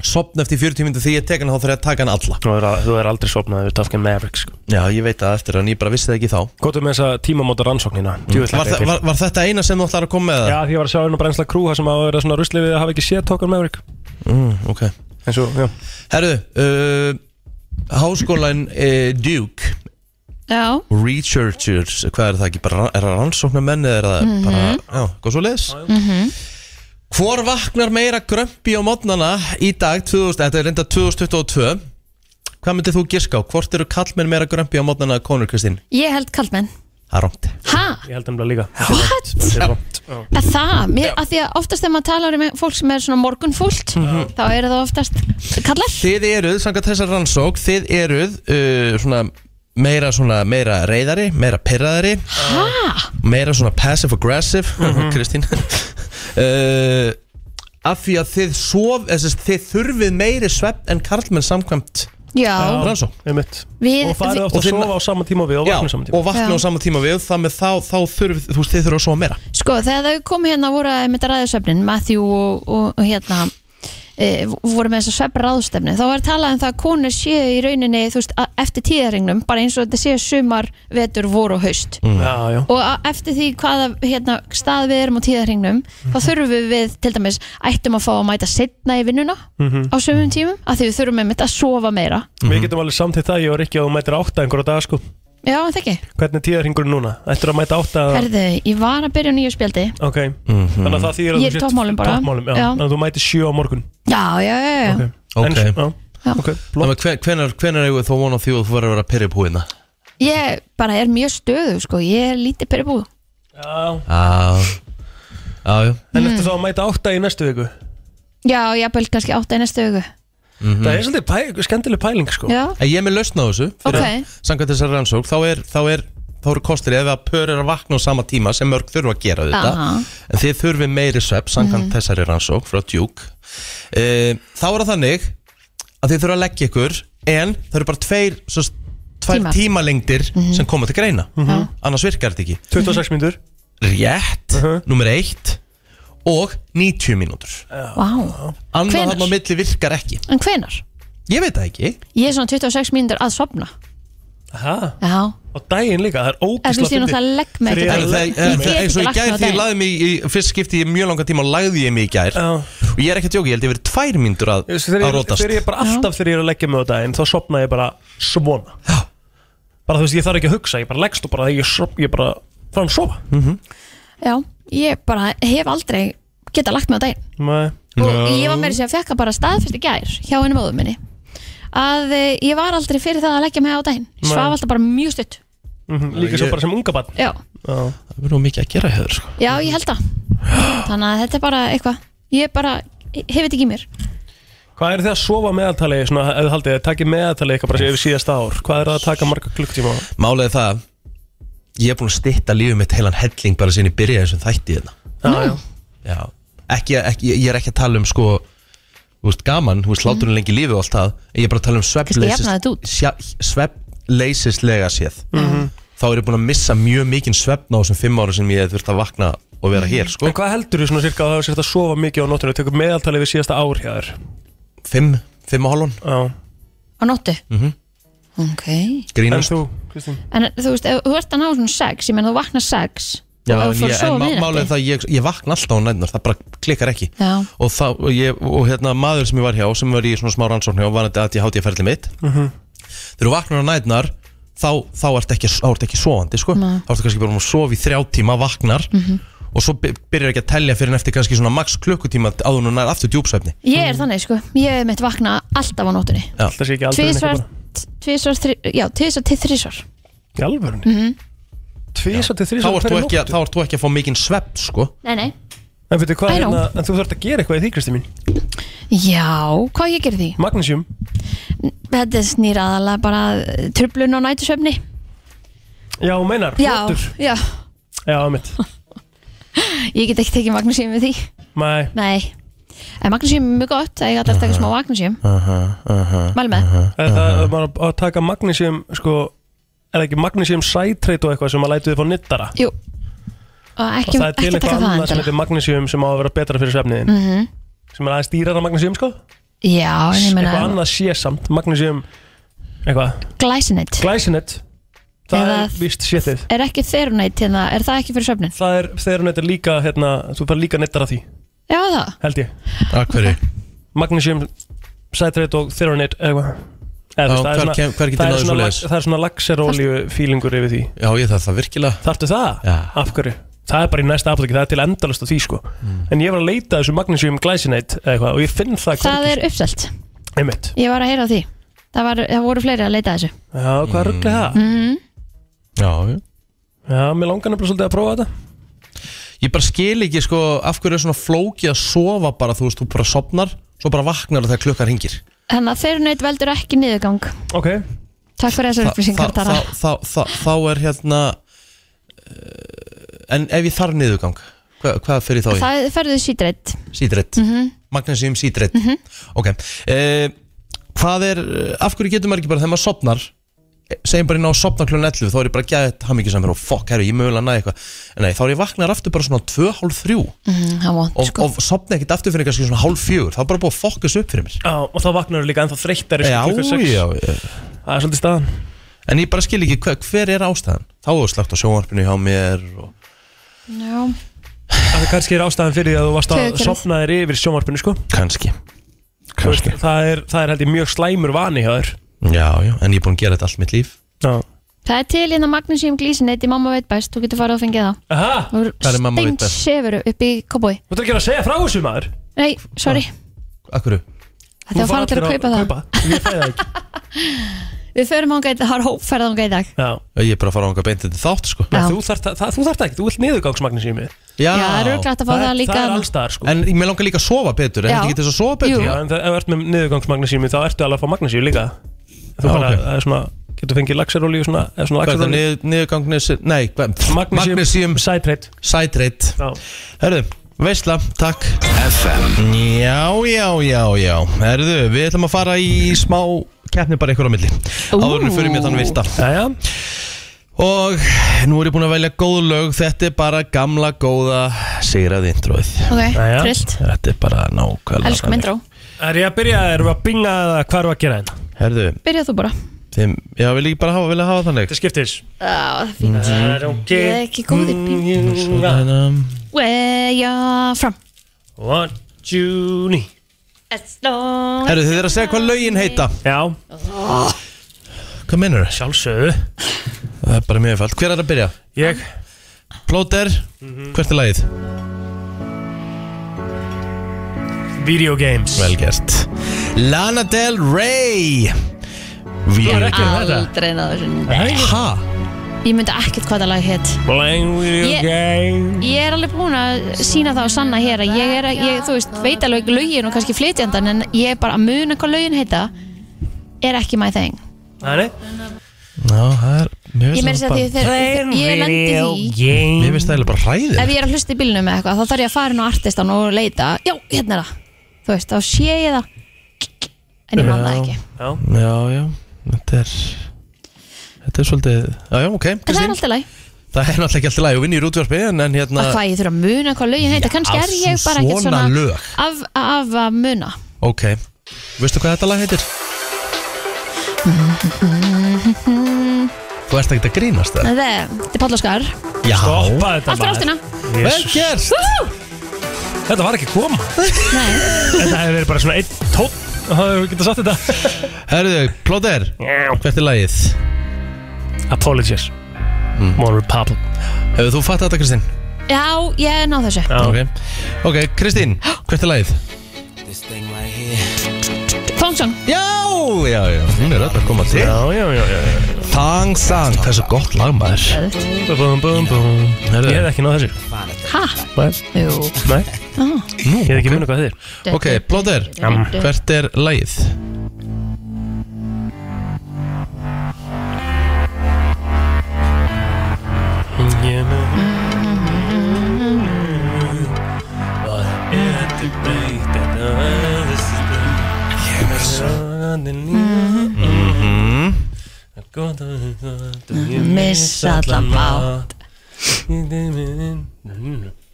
Speaker 1: sofna eftir 40 myndu því ég tek hann þá þarf ég að taka hann alla
Speaker 5: Þú er, þú er aldrei sofnað við Top Gun Maverick, sko
Speaker 1: Já, ég veit það eftir en ég bara vissi það ekki þá
Speaker 5: Góttu með þessa tímamóta rannsóknina, djúvill
Speaker 1: Mm. Var, þa- var, var þetta eina sem þú ætlar að koma með það?
Speaker 5: Já, því ég var að sjá hérna brennsla krú það sem að vera svona rusli við að hafa ekki séð Top Gun Maverick
Speaker 1: Mm, ok
Speaker 5: En svo, já
Speaker 1: Herru, uh, háskólan uh, Duke
Speaker 4: Já,
Speaker 1: Researchers, hvað er það ekki? Bara, er það rannsóknarmenn eða er það
Speaker 4: Mhm.
Speaker 1: bara, já, hvað svo leiðis?
Speaker 4: mhm.
Speaker 1: Hvor vaknar meira grömpi á modnana í dag, 2000, þetta er reynda 2022 Hvað myndið þú giska á? Hvort eru kallmenn meira grömpi á modnana konur, Kristín?
Speaker 4: Ég held kallmenn.
Speaker 1: Það er rámt
Speaker 4: Ha?
Speaker 5: Ég held um það líka
Speaker 4: What? Að það, mér, að því að oftast þegar maður talar um fólk sem er svona morgunfúlt þá eru það oftast kallar
Speaker 1: Þið eruð, samkvæmt þessar rannsók, þið eruð uh, svona meira svona meira reyðari, meira pyrraðari
Speaker 4: Ha?
Speaker 1: meira svona passive aggressive
Speaker 5: Mhm.
Speaker 1: Kristín uh, af því að þið sof þess, þið þurfið meiri svepp en karlmenn samkvæmt
Speaker 4: Já.
Speaker 1: rannsók
Speaker 4: Við-
Speaker 5: Og farið oft
Speaker 1: Og
Speaker 5: að
Speaker 1: þið-
Speaker 5: sofa á sama tíma og við og
Speaker 1: Já,
Speaker 5: vakna á sama tíma
Speaker 1: og vakna á
Speaker 4: Já.
Speaker 1: sama tíma við þannig þá, þá þurfið, þú veist, þið þurfið að sofa meira
Speaker 4: Sko, þegar þau komu hérna voru að mynda ræðisvefnin, Matthew og, og, og hérna e, voru með þess að svefra ráðstefni þá var talað um það að konur séu í rauninni þú veist, að- eftir tíðaringnum, bara eins og þetta séu sumar, vetur, vor og haust
Speaker 5: Já, já
Speaker 4: og a- eftir því hvaða hérna, stað við erum á tíðarhingnum þá þurfum við til dæmis ættum að fá að mæta setna í vinnuna
Speaker 5: Mhm.
Speaker 4: á sömum tímum af því við þurfum einmitt að sofa meira
Speaker 1: Mhm.
Speaker 5: Við getum alveg samtitt það, ég og Rikki að þú mætir átta einhverja dag sko
Speaker 4: Já, en það ekki
Speaker 5: Hvernig er tíðarhingurinn núna? Ættir að mæta átta
Speaker 4: Herðu, ég var að byrja á nýju spjaldi
Speaker 5: Ok,
Speaker 1: Mhm.
Speaker 5: þannig að það þýðir að
Speaker 4: Ég er
Speaker 5: þú sért-
Speaker 4: toppmálum bara.
Speaker 5: Toppmálum, já,
Speaker 4: Já.
Speaker 5: Þannig að þú mætir sjö á morgun
Speaker 4: Já, já, já, já
Speaker 1: ok,
Speaker 5: En, já,
Speaker 1: okay. Hvenar, hvenar eigum við þó vona því að þú verður að vera pyrri upp húina
Speaker 4: Ég bara er mjög stöðu sko, ég er lítið peribú
Speaker 5: Já,
Speaker 1: Já, já, já
Speaker 4: Mhm.
Speaker 5: en eftir þá að mæta átta í næstu viku
Speaker 4: Já, ég bæl kannski átt eina stöðu
Speaker 1: Mhm.
Speaker 5: Það er svolítið pæ, skemmtileg pæling sko
Speaker 4: Já.
Speaker 1: En ég er með lausn á þessu fyrir
Speaker 4: Ok.
Speaker 1: Samkvæmt þessar rannsók Þá er, þá er þá eru kostir ef að pör er að vakna á sama tíma sem mörg þurfa að gera þetta
Speaker 4: Aha.
Speaker 1: en þið þurfi meiri svepp samkvæmt
Speaker 4: Mhm.
Speaker 1: þessari rannsók frá Duke e, þá er það þannig að þið þurfa að leggja ykkur en það eru bara tveir, svo, s- tvær
Speaker 5: Tímar.
Speaker 1: tímalengdir sem koma til greina
Speaker 5: Mhm.
Speaker 1: annars virkar þetta ekki
Speaker 4: Mhm.
Speaker 5: 26 mínútur
Speaker 1: rétt, uh nummer eitt og 90 mínútur
Speaker 4: Vá,
Speaker 1: annað
Speaker 4: Hvenær?
Speaker 1: hann á milli virkar ekki
Speaker 4: en hvenar?
Speaker 1: ég veit það ekki
Speaker 4: Ég er svona 26 mínútur að sofna
Speaker 5: Aha.
Speaker 4: Já,
Speaker 5: Og daginn líka, það er
Speaker 4: En þú
Speaker 5: ógisla
Speaker 4: veist, ég náttúrulega legg mig ekki bara.
Speaker 1: Það-
Speaker 4: Ég
Speaker 1: það-
Speaker 4: get
Speaker 1: eins og
Speaker 4: ekki
Speaker 1: í
Speaker 4: lagt
Speaker 1: gær
Speaker 4: mig
Speaker 1: því
Speaker 4: á
Speaker 1: ég
Speaker 4: daginn.
Speaker 1: lagði mig í í fyrst skipti í mjög langan tíma og lagði ég mig í gær og ég er ekki að djóka, ég held ég verið tvær mínútur að, að
Speaker 5: þegar,
Speaker 1: rótast
Speaker 5: þegar ég bara alltaf þegar ég er að leggja mig á daginn þá sopna ég bara svona bara þú veist ég þarf ekki að hugsa ég bara leggst og bara ég, sop, ég bara fram sofa
Speaker 1: Mhm.
Speaker 4: Já, ég bara hef aldrei geta lagt mig á daginn
Speaker 5: og
Speaker 4: Ég var meira sér að fekka bara staðfyrst í gær hjá henni móðum minni að eh, ég var aldrei fyrir það að leggja mig á daginn
Speaker 5: Nei.
Speaker 4: Svaf alltaf bara mjög stutt
Speaker 5: líka svo bara sem unga barn
Speaker 4: Já,
Speaker 1: það verður of mikið að gera hefur sko.
Speaker 4: já ég held það Þannig að þetta er bara eitthvað Ég bara hef þetta ekki í mér
Speaker 5: hvað er þið að sofa meðaltali svona, ef þið haldið, takkið meðaltali eitthvað bara yfir síðasta ár hvað er það að taka marga klukktíma
Speaker 1: málið er það ég er búin að stytta lífið mitt heilan helling bara sinni byrja þessum þætti hérna
Speaker 5: já,
Speaker 1: já. Ekki, ekki, ég er ekki að tala um sko þú veist, gaman, þú veist, hláturinn lengi í lífi og allt það ég er bara að tala um
Speaker 4: jafnaði þetta
Speaker 1: svefnleysis sjá- svefnleysislega séð
Speaker 5: Mhm.
Speaker 1: þá er ég búin að missa mjög mikinn svefn á þessum fimm ára sem ég hef þurft að vakna og vera hér sko.
Speaker 5: en hvað heldur þú svona cirka að það sér að sofa mikið á nóttunni tekur meðaltali yfir síðasta ár hjá þér
Speaker 1: fimm, fimm og hálfun
Speaker 5: já
Speaker 4: Á nóttu
Speaker 1: mm -hmm.
Speaker 4: Ok
Speaker 1: Grínast.
Speaker 5: En þú, Kristín?
Speaker 4: En þú veist, ef þú ert að ná svona sex Ég menn þú vaknar sex
Speaker 1: Já,
Speaker 4: og
Speaker 1: en,
Speaker 4: ef þú
Speaker 1: ég,
Speaker 4: fór að sofa
Speaker 1: en má-
Speaker 4: miðnætti-
Speaker 1: málið er það að ég, ég vakna alltaf á nætnar, það bara klikkar ekki
Speaker 4: Já.
Speaker 1: og, þá, og, ég, og hérna maður sem ég var hjá sem var í svona smá rannsókn hjá var að ég háti að ferli mitt
Speaker 5: Mhm.
Speaker 1: þegar þú vaknar á nætnar þá, þá ertu ekki, þá ertu ekki sofandi sko.
Speaker 5: Nei.
Speaker 1: þá ertu kannski bara um að sofa í þrjá tíma vaknar
Speaker 4: Mhm.
Speaker 1: og svo by- byrjar ekki að telja fyrir en eftir kannski svona max klukkutíma áður en það er aftur djúpsvefni
Speaker 4: Ég er þannig sko, ég hef mitt vakna alltaf á nóttunni
Speaker 1: Alltaf
Speaker 5: sé ekki
Speaker 4: Tvísvar, tvísvar, þri, já, tvísvar til þrísvar
Speaker 5: í alvörunni
Speaker 4: mm
Speaker 5: tvísar til
Speaker 1: þá
Speaker 5: þrísar
Speaker 1: ert þú ekki, að- þá ert þú ekki að fá mikinn svefn sko.
Speaker 4: Nei, nei
Speaker 5: en, veitu, hvað,
Speaker 4: I know.
Speaker 5: hérna, en þú þarf að gera eitthvað í því Kristín mín
Speaker 4: Já, hvað ég gerir því?
Speaker 5: Magnesium
Speaker 4: Þetta snýr aðalega bara að truflun á nætusvefni
Speaker 5: já, þú meinar,
Speaker 4: Já,
Speaker 5: flottur.
Speaker 4: já,
Speaker 5: já, mitt
Speaker 4: ég get ekki tekið magnesium við því
Speaker 5: mæ
Speaker 4: Nei, en magnesium er mjög gott Það ég gæti að taka smá magnesium Mæli með.
Speaker 5: Er það er bara að taka magnesium sko, er það ekki magnesium citrate og eitthvað sem að lætu þið fá nittara
Speaker 4: Jú, og
Speaker 5: og
Speaker 4: ekki, um-
Speaker 5: það er
Speaker 4: ekki
Speaker 5: til
Speaker 4: að taka það
Speaker 5: eitthvað annað sem
Speaker 4: endilega.
Speaker 5: heitir magnesium sem á að vera betra fyrir svefniðin
Speaker 4: mm
Speaker 5: sem er aðeins dýrar af magnesium sko
Speaker 4: Já, en ég
Speaker 5: eitthvað
Speaker 4: meina
Speaker 5: annað sé samt magnesium eitthvað
Speaker 4: Glycinate
Speaker 5: glycinate það
Speaker 4: Eða-
Speaker 5: er víst sétið
Speaker 4: Er ekki þerunætt hérna, er það ekki fyrir svefnin?
Speaker 5: það er þegar þetta er líka hérna, þú fær líka nittara því
Speaker 4: Já, það
Speaker 5: held ég
Speaker 1: að hverju
Speaker 5: magnesium citrate og theronate eitthvað
Speaker 1: Já,
Speaker 5: Eða, þú veist,
Speaker 1: hver
Speaker 5: það er
Speaker 1: kem- hver
Speaker 5: svona-
Speaker 1: getur
Speaker 5: það er
Speaker 1: náð í
Speaker 5: svona
Speaker 1: svoleiðis?
Speaker 5: lax- það er svona laxerolíu fílingur yfir því
Speaker 1: já ég þarf það virkilega
Speaker 5: Þarftu það?
Speaker 1: Já.
Speaker 5: Af hverju? Það er bara í næsta apotekki, það er til endalast á því sko
Speaker 1: Mm.
Speaker 5: En ég var að leita að þessu magnesium glycinate eða eitthvað og ég finn það
Speaker 4: Það er uppselt
Speaker 5: Einmitt
Speaker 4: Ég var að heyra á því Það, var, það voru fleiri að leita að þessu
Speaker 5: Já, hvað mm. rugglega það?
Speaker 4: mm.
Speaker 1: já, já.
Speaker 5: Já, mér langar nefnilega svolítið að prófa þetta
Speaker 1: Ég bara skil ekki sko af hverju er svona flóki að sofa bara þú veist, þú bara sopnar svo bara vaknar þegar klukkan ringir
Speaker 4: Þannig að þerunætt veldur ekki niðurgang
Speaker 5: Ok
Speaker 4: Takk fyrir þessar upplýsingar
Speaker 1: þá,
Speaker 4: Tara
Speaker 1: þá, þá, þá er hérna eh, en ef ég þarf niðurgang hvað, hvað fyrir þá í?
Speaker 4: Það ferðu sítrætt
Speaker 1: Sítrætt, mm
Speaker 4: Mhm.
Speaker 1: magnesium sítrætt ok eh, hvað er, af hverju getur maður ekki bara þegar maður sopnar eh, segjum bara inn á sopna klun 11 þá er ég bara gæðið hammingisamur og fokk, herru, ég er mögulega að næja eitthvað En nei, þá er ég vaknar aftur bara svona 2.30
Speaker 4: Mm, Það sko. vond
Speaker 1: og, og sopna ekkert aftur fyrir kannski svona hálf fjögur þá er bara búið að fokkus upp fyrir mér
Speaker 5: Já, og þá vaknar þú líka ennþá þreyttari
Speaker 1: Já, já,
Speaker 5: Það er svolítið staðan
Speaker 1: En ég bara skil ekki, hver, hver er ástæðan? Þá er slögt á sjónvarpinu hjá mér og...
Speaker 4: Já
Speaker 5: Það kannski er ástæðan fyrir því að þú varst að
Speaker 4: Taugakerfið.
Speaker 5: sofna þér yfir sjónvarpinu sko
Speaker 1: Kannski
Speaker 5: Þú veist, það, er, það er held ég mjög slæmur vani hjá þér
Speaker 1: Já, já, en ég er búin að gera þetta allt mitt líf
Speaker 5: Já
Speaker 4: Það er til hérna Magnesium Glycinate í Mamma veit best Þú getur farið að fengja það
Speaker 5: Aha,
Speaker 1: Hvað er mamma veit best?
Speaker 4: Sefuru upp í kobói
Speaker 5: Þú ert ekki að segja frá þessu maður
Speaker 4: Nei, sorry
Speaker 1: Akkur
Speaker 4: Það var farið til að kaupa það
Speaker 5: Ég fæði það ekki
Speaker 4: Við förum ánga í dag, har hópferð ánga í dag
Speaker 1: Ég er bara að fara ánga beint þetta þátt sko
Speaker 4: Já.
Speaker 5: Þú þarft að- það- þú þarft ekki, þú vilt niðurgangsmagnísími
Speaker 1: Já,
Speaker 4: Já, það er örugglega hægt að fá það líka.
Speaker 5: Það er allstaðar sko
Speaker 1: En mér langar líka að sofa betur, er
Speaker 4: Já.
Speaker 1: þetta ekki þess að sofa betur?
Speaker 5: Já, en það- ef þú ert með niðurgangsmagnísími þá ertu alveg að fá magnísíu líka Þú bara,
Speaker 1: ok.
Speaker 5: það er svona, getur fengið laxaróli svona, eða svona
Speaker 1: Hvað er það
Speaker 5: laxaróli
Speaker 1: niður, niðurgangnis Nei, hvað Magnesium
Speaker 5: Citrate
Speaker 1: Citrate Herðu, veistla, takk FM Já, já, já, já Herðu, við ætlum að fara í smá keppni bara ykkur á milli Áður en við fyrir mér þann vilda
Speaker 5: Jæja
Speaker 1: Og nú er ég búin að velja góð lög Þetta er bara gamla góða sigraði introið
Speaker 4: Ok, trillt.
Speaker 1: Þetta er bara nákvæmlega
Speaker 4: Elskum
Speaker 1: þannig.
Speaker 4: intro
Speaker 5: Er ég að byrja, erum við að binga eða hvað erum við að gera hérna?
Speaker 1: Herðu,
Speaker 4: Byrjað þú bara
Speaker 1: þeim, já, vil ég bara hafa, vil ég hafa þannig
Speaker 5: Þetta skiptis
Speaker 4: Já, það fínt
Speaker 5: Það er ok Mm,
Speaker 4: Ég er ekki góð í
Speaker 5: píl
Speaker 4: Where you're from
Speaker 5: One, two, ní
Speaker 4: As long
Speaker 1: Herðu, þið er að segja hvað lögin heita
Speaker 5: Já
Speaker 1: Hvað mennur það?
Speaker 5: Sjálfsögðu
Speaker 1: Það er bara mjög fælt Hver er að byrja?
Speaker 5: Ég
Speaker 1: Plóter, hvert er lagið?
Speaker 5: Video games
Speaker 1: Vel gert Lana Del Rey Við
Speaker 4: Ég er aldrei náður sinni
Speaker 1: Ha?
Speaker 4: Ég myndi ekkert hvað það lag hétt
Speaker 5: Playing video
Speaker 4: Ég-
Speaker 5: games
Speaker 4: Ég er alveg búin að sína það og sanna hér að ég er að, ég, þú veist, veit alveg lögin og kannski flytjandan en ég er bara að muna hvað lögin heita er ekki my thing
Speaker 5: Nei,
Speaker 1: Ná, það er Mér
Speaker 4: Ég meira sér að því þegar ég lendi því
Speaker 5: því
Speaker 1: Mér finnst það eiginlega bara hræðið
Speaker 4: ef ég er að hlusta í bílnum eða eitthvað þá þarf ég að fara inn á artistan og leita já, hérna er það, þú veist, þá sé ég það en ég man það ekki
Speaker 5: Já,
Speaker 1: já, já Þetta er Þetta er svolítið Já, já, ok
Speaker 4: en það
Speaker 1: Kristín
Speaker 4: er alltaf læg,
Speaker 1: Það er náttúrulega ekki alltaf læg og vinni í útvarpi En, en hérna
Speaker 4: að hvað ég þurfa að muna hvað lögin heita, kannski er ég bara ekkert
Speaker 1: svona
Speaker 4: svona
Speaker 1: lög.
Speaker 4: af, af að muna
Speaker 1: Ok Veistu hvað þetta lag heitir? Þú ert ekki að grínast það
Speaker 4: það er, þetta er Páll Óskar
Speaker 1: Já
Speaker 5: Stoppa þetta
Speaker 4: Aftur
Speaker 5: maður.
Speaker 4: ástina.
Speaker 1: Vel
Speaker 5: Jesus.
Speaker 1: gert
Speaker 5: Þetta var ekki að koma Þetta hefði verið bara svona einn tótt Það hefur getað sagt þetta
Speaker 1: Herðu, Plóter Hvert er lagið?
Speaker 5: Apologies More Republic
Speaker 1: Hefur þú fatt þetta, Kristín?
Speaker 4: já, ég náð þessu
Speaker 1: Ok, ok, Kristín, hvert er lagið?
Speaker 4: Fangsson,
Speaker 1: Já, já, já, hún er öll að koma til
Speaker 5: Já, já, já, já, já.
Speaker 1: Thang Sang, það er svo gott lag maður
Speaker 5: Bum, bum, bum. Ég hef ekki náð þessu
Speaker 4: ha?
Speaker 5: Nei,
Speaker 4: Jú.
Speaker 5: Nei.
Speaker 4: Ah.
Speaker 5: ég hef ekki munið hvað þið
Speaker 1: Ok, Blóður,
Speaker 5: Mm.
Speaker 1: hvert er lagið?
Speaker 5: er
Speaker 1: Mhm.
Speaker 4: Missa allan mátt.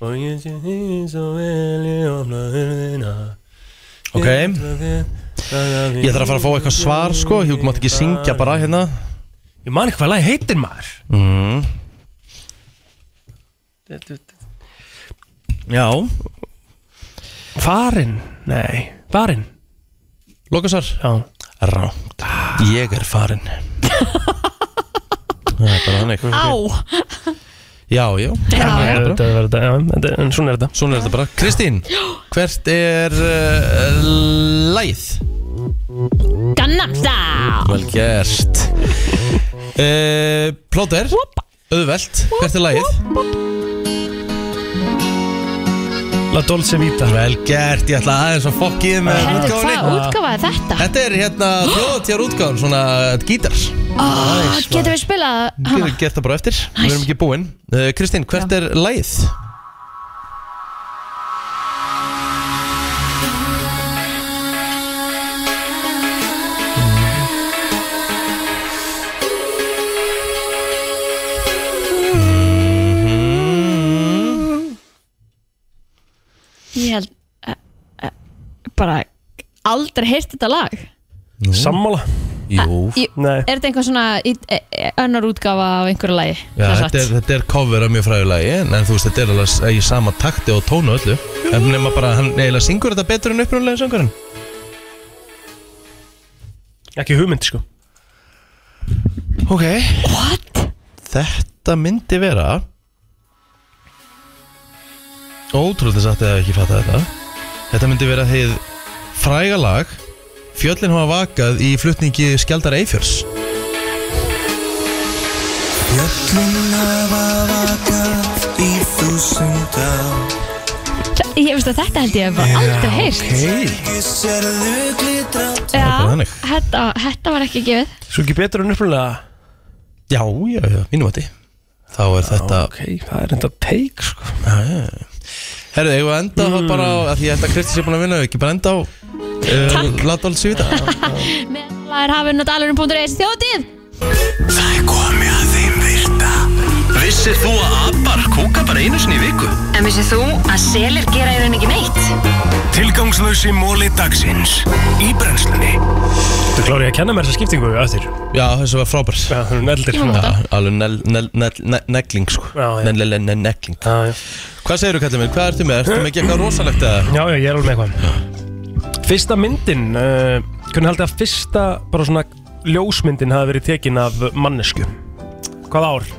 Speaker 5: Og ég sé því svo vel ég opna hurðina
Speaker 1: Ok, ég þarf að fara að fá eitthvað svar sko Hjúk mátt ekki syngja bara hérna
Speaker 5: Ég man ekki hvað lagi heitir maður
Speaker 1: mm. Já
Speaker 5: Farinn, nei, farinn
Speaker 1: Lókasar
Speaker 5: Já
Speaker 1: Rámt Ég er farin Það er bara þannig
Speaker 4: á
Speaker 1: Já, já
Speaker 4: Já, já.
Speaker 5: Þetta er þetta, já, þetta- en svona er þetta
Speaker 1: Svona er þetta bara Kristín, hvert er uh, lagið?
Speaker 4: Gangnam Style
Speaker 1: Vel gert uh, Plóter Auðvelt, hvert er lagið?
Speaker 5: La Dolce Vita
Speaker 1: Vel gert, ég ætla aðeins að fokkið með
Speaker 4: Herðu, hvað
Speaker 1: útgáfunni
Speaker 4: útgafa er þetta?
Speaker 1: Þetta er hérna þjóðatjár útgáfun, svona gítar
Speaker 4: Oh, getum við spilað hana?
Speaker 1: Getur gert það bara eftir, við erum ekki búin uh, Kristín, hvert er lagið?
Speaker 4: Ég held eh, eh, bara aldrei heyrt þetta lag
Speaker 5: Sammála
Speaker 1: Jú,
Speaker 4: Ég,
Speaker 5: Nei,
Speaker 4: Er þetta einhver svona í- eh, eh, önnur útgafa af einhverju lagi?
Speaker 1: Já, þetta, er, þetta er cover af mjög fræðu lagi en, en þú veist, þetta er alveg í sama takti og tónu öllu En nema bara, hann eiginlega syngur þetta betur en upprunalega söngurinn
Speaker 5: ekki hugmynd sko
Speaker 1: Ok
Speaker 4: What?
Speaker 1: Þetta myndi vera Ótrúlega satt eða ekki fatta þetta Þetta myndi vera þið fræga lag Fjöllin hafa vakað í flutningi Skjaldar Eifjörs
Speaker 2: Öllum hafa vakað í þúsund ár
Speaker 4: Þa- Ég veist að þetta held ég bara aldrei heyrt
Speaker 5: bara
Speaker 4: Já,
Speaker 5: þannig.
Speaker 4: þetta, þetta var ekki gefið
Speaker 5: Svo ekki betur en upprunalega
Speaker 1: Já, já, já, mínum að Þá er þetta
Speaker 5: Ok, það er enda teik sko
Speaker 1: Ah, Herðu, eigum við að enda
Speaker 5: Hmm.
Speaker 1: mm. bara á að Því að þetta Kristi sé búin að vinna Við ekki bara enda á uh, Latváld Svíta
Speaker 4: Það er hafinn og dalurinn.is Þjótið
Speaker 2: Það er komið að þeim virta Vissir þú að abar kúka bara einu sinni í viku?
Speaker 3: En vissið þú að selir gera í rauninni ekki neitt?
Speaker 2: Tilgangslösi móli dagsins Í brennslunni
Speaker 5: Þú klári að kenna mér þessa skiptingu eftir
Speaker 1: Já, þessu var frábær Já,
Speaker 5: það er neldir
Speaker 1: Já, alveg nel- nel- nel- ne- negling sko Nel-le-le-ne- Negling Hvað segirðu kallið minn? Hvað ertu með? Ertu með ekki eitthvað rosalegt eða?
Speaker 5: Já, já, ég er alveg með eitthvað Fyrsta myndin uh, Hvernig haldið að fyrsta bara svona ljósmyndin hafi verið tekin af mannesku Hvað ár?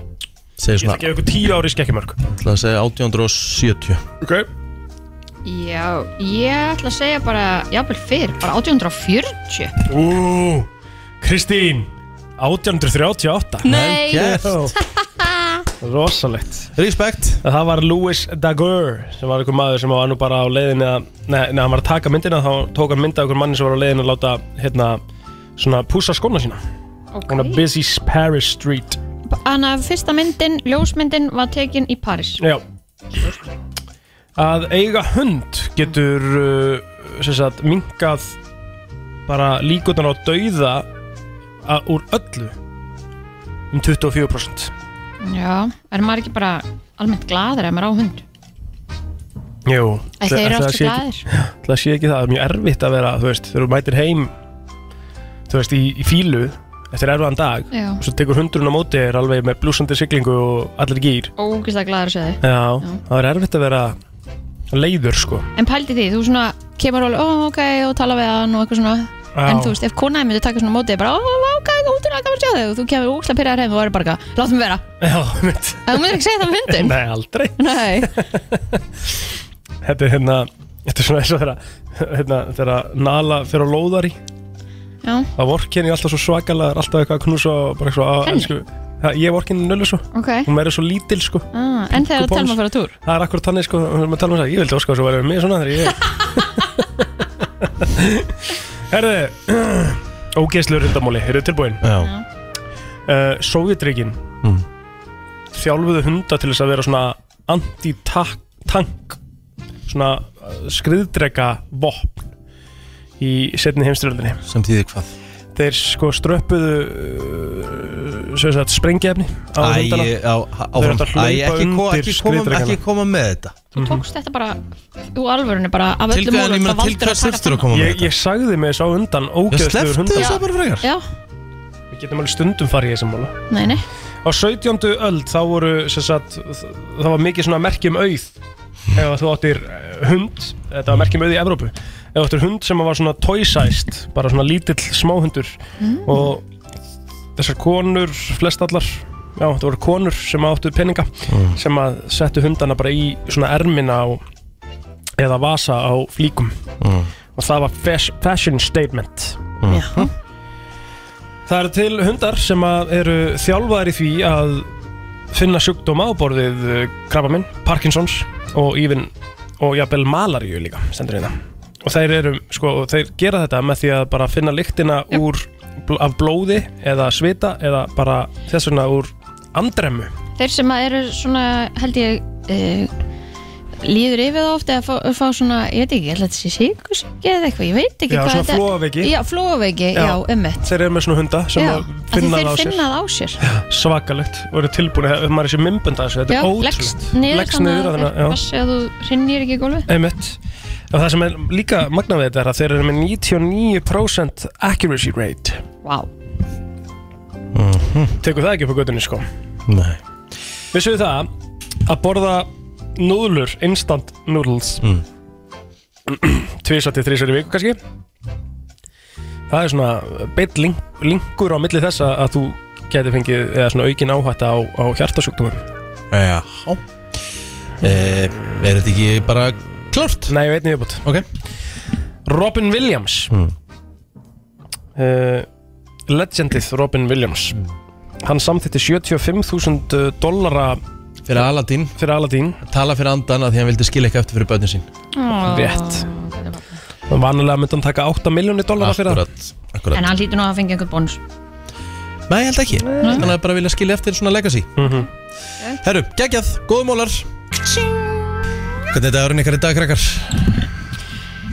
Speaker 1: Segir
Speaker 5: Ég ætla
Speaker 1: svona-
Speaker 5: að gefa ykkur tíu ári í skekkjumörk
Speaker 1: Það að segja 1870
Speaker 5: Ok
Speaker 4: Já, ég ætla að segja bara Jábel fyrr, bara 1840
Speaker 5: Ú, Kristín 1838
Speaker 4: Nei. Vel gert.
Speaker 5: Rosalegt
Speaker 1: Respekt
Speaker 5: Það var Louis Daguerre sem var einhver maður sem var nú bara á leiðinni að Nei, nei, hann var að taka myndina þá tók hann mynda einhver manni sem var á leiðinni að láta hérna, svona pússa skóna sína
Speaker 4: Ok.
Speaker 5: Hún er Busy Paris Street
Speaker 4: Þannig að fyrsta myndin, ljósmyndin var tekin í París
Speaker 5: Já Að eiga hund getur uh, sem sagt minkað bara líkundan á dauða að, úr öllu um 24%
Speaker 4: Já, er maður ekki bara almennt gladur ef maður á hund
Speaker 5: Jú
Speaker 4: Æ, þeir eru alltaf glaðir.
Speaker 5: Það sé ekki það, það er mjög erfitt að vera þú veist, þegar þú mætir heim þú veist, í, í fílu eftir erfaðan dag
Speaker 4: Já.
Speaker 5: og svo tekur hundurinn á móti er alveg með blúsandi siglingu og allir gýr
Speaker 4: Ógislega gladur séði
Speaker 5: Já, það er erfitt að vera leiður sko
Speaker 4: En pældi því, þú svona kemur alveg, ó, ok, og tala við hann og eitthvað svona
Speaker 5: Já.
Speaker 4: En þú veist, ef konaði myndi taka svona mótið bara, ó, ok, útrúlega gaman að sjá þig og þú kemur úkslega pyrraðar heim og verður bara, eitthvað, látum vera
Speaker 5: Já, mynd
Speaker 4: En þú myndir ekki segja það með hundin
Speaker 5: Nei, aldrei
Speaker 4: Nei
Speaker 5: Þetta er hérna Þetta er svona eins og þeirra hérna, Þeirra Nala fyrir að lóðar í
Speaker 4: Já,
Speaker 5: Það vorkenni ég alltaf svo svakalega er Alltaf eitthvað að knúsa og bara eitthvað að-
Speaker 4: Henni?
Speaker 5: elsku. Það- Ég vorkenni nölu svo
Speaker 4: ok
Speaker 5: Hún verður svo lítil sko
Speaker 4: ah, En þegar það telma fyrir að túr
Speaker 5: Það er akkur tannig sko Hún verður að tala um það Ég vildi óska svo verður mig svona þegar ég Herðu Ógeðslu rindamóli Eru tilbúin?
Speaker 1: Já
Speaker 5: uh, Sovjetríkin
Speaker 1: Mm.
Speaker 5: þjálfuðu hunda til þess að vera svona anti-tank svona uh, skriðdrega vopn í setni heimstyröldinni
Speaker 1: Sem þýðir hvað?
Speaker 5: þeir sko ströppuðu uh, sem sagt sprengjefni á
Speaker 1: Æ,
Speaker 5: hundana
Speaker 1: á,
Speaker 5: Þeir
Speaker 1: áfram
Speaker 5: áttu að hlaupa
Speaker 1: Æ, ekki, ko ekki,
Speaker 5: undir
Speaker 1: koma,
Speaker 5: skriðdrekana.
Speaker 1: ekki koma með þetta
Speaker 4: Þú tókst þetta bara, þú alvörunni bara af
Speaker 1: Til
Speaker 4: öllum
Speaker 1: hvað- ég
Speaker 4: múlum,
Speaker 1: meina, til
Speaker 4: það
Speaker 1: hvað
Speaker 4: valdur að taka
Speaker 1: sirftur að koma með
Speaker 5: ég, ég sagði mig þess á undan ógeðsluður
Speaker 1: slepptu
Speaker 5: hundar
Speaker 1: þessu bara frekar.
Speaker 4: Já,
Speaker 5: við getum alveg stundum farið í þessum mála
Speaker 4: nei, nei
Speaker 5: á 17. öld þá voru sem sagt, þ- það var mikið svona merkjum auð ef að þú áttir eh, hund þetta var merkjum auð í Evrópu ef þú áttir hund sem var svona toysæst bara svona lítill smáhundur
Speaker 2: Mm.
Speaker 5: og þessar konur flest allar já, það voru konur sem áttu peninga
Speaker 2: Mm.
Speaker 5: sem að settu hundana bara í svona ermina á, eða vasa á flíkum
Speaker 2: Mm.
Speaker 5: og það var fas fashion statement
Speaker 2: Mm.
Speaker 5: Já Það eru til hundar sem að eru þjálfaðir í því að finna sjúkdóma á borðið krabaminn, Parkinsons og even og jafnvel malaríu líka stendur hérna og þeir eru, sko, og þeir gera þetta með því að bara finna lyktina úr bl af blóði eða svita eða bara þess vegna úr andremmu
Speaker 4: Þeir sem að eru svona, held ég uh, líður yfir það ofta að fá, fá svona, ég veit ekki, ég held að þetta sé sikursíki eða eitthvað, ég veit ekki
Speaker 5: Já,
Speaker 4: hvað
Speaker 5: svona
Speaker 4: þetta
Speaker 5: flogaveiki.
Speaker 4: Já, flóaveiki, já,
Speaker 5: Já.
Speaker 4: ummitt
Speaker 5: þeir eru með svona hunda sem
Speaker 4: Já,
Speaker 5: að
Speaker 4: af því
Speaker 5: finna
Speaker 4: þeir
Speaker 5: það á sér
Speaker 4: finna það á sér
Speaker 5: svakalegt og eru tilbúin ef maður er sér mymbund að þessu, þetta
Speaker 4: Já,
Speaker 5: er
Speaker 4: leggst
Speaker 5: ótrúlegt
Speaker 4: niður
Speaker 5: Leggst niður að
Speaker 4: þannig að
Speaker 5: þannig að- já.
Speaker 4: passi að þú hrinnir ekki í gólfið
Speaker 5: Einmitt. Og það sem er líka magnað við þetta er að þeir eru með 99% accuracy rate.
Speaker 4: Wow.
Speaker 5: Tekur það ekki upp á göttunni sko.
Speaker 1: Nei
Speaker 5: Vissuðu það að borða núðlur, instant noodles, mm. tvísar til þrísar í viku kannski. Það er svona beitt link, linkur á milli þess að að þú geti fengið eða svona aukin áhætta á, á hjartasjúkdómum.
Speaker 1: Já Eh, Er þetta ekki bara klárt?
Speaker 5: Nei, ég veit niður bútt
Speaker 1: Ok
Speaker 5: Robin Hmm. Eh, Williams mm. legendið Robin Williams hann samþýtti 75.000 eh, dollara
Speaker 1: Fyrir Aladin
Speaker 5: Fyrir Aladin
Speaker 1: Tala fyrir andan að því hann vildi skilja ekki eftir fyrir börnin sín
Speaker 5: Rétt. Vanilega myndi hann taka 8 miljónir dollara fyrir það
Speaker 1: Akkurat.
Speaker 4: En hann hlýtur nú að fengja einhvern bónus
Speaker 1: Nei, ég held ekki Þannig að bara vilja skilja eftir svona legacy Herru, geggjað, góðu mólar Hvernig þetta er ykkar í dag, krakkar?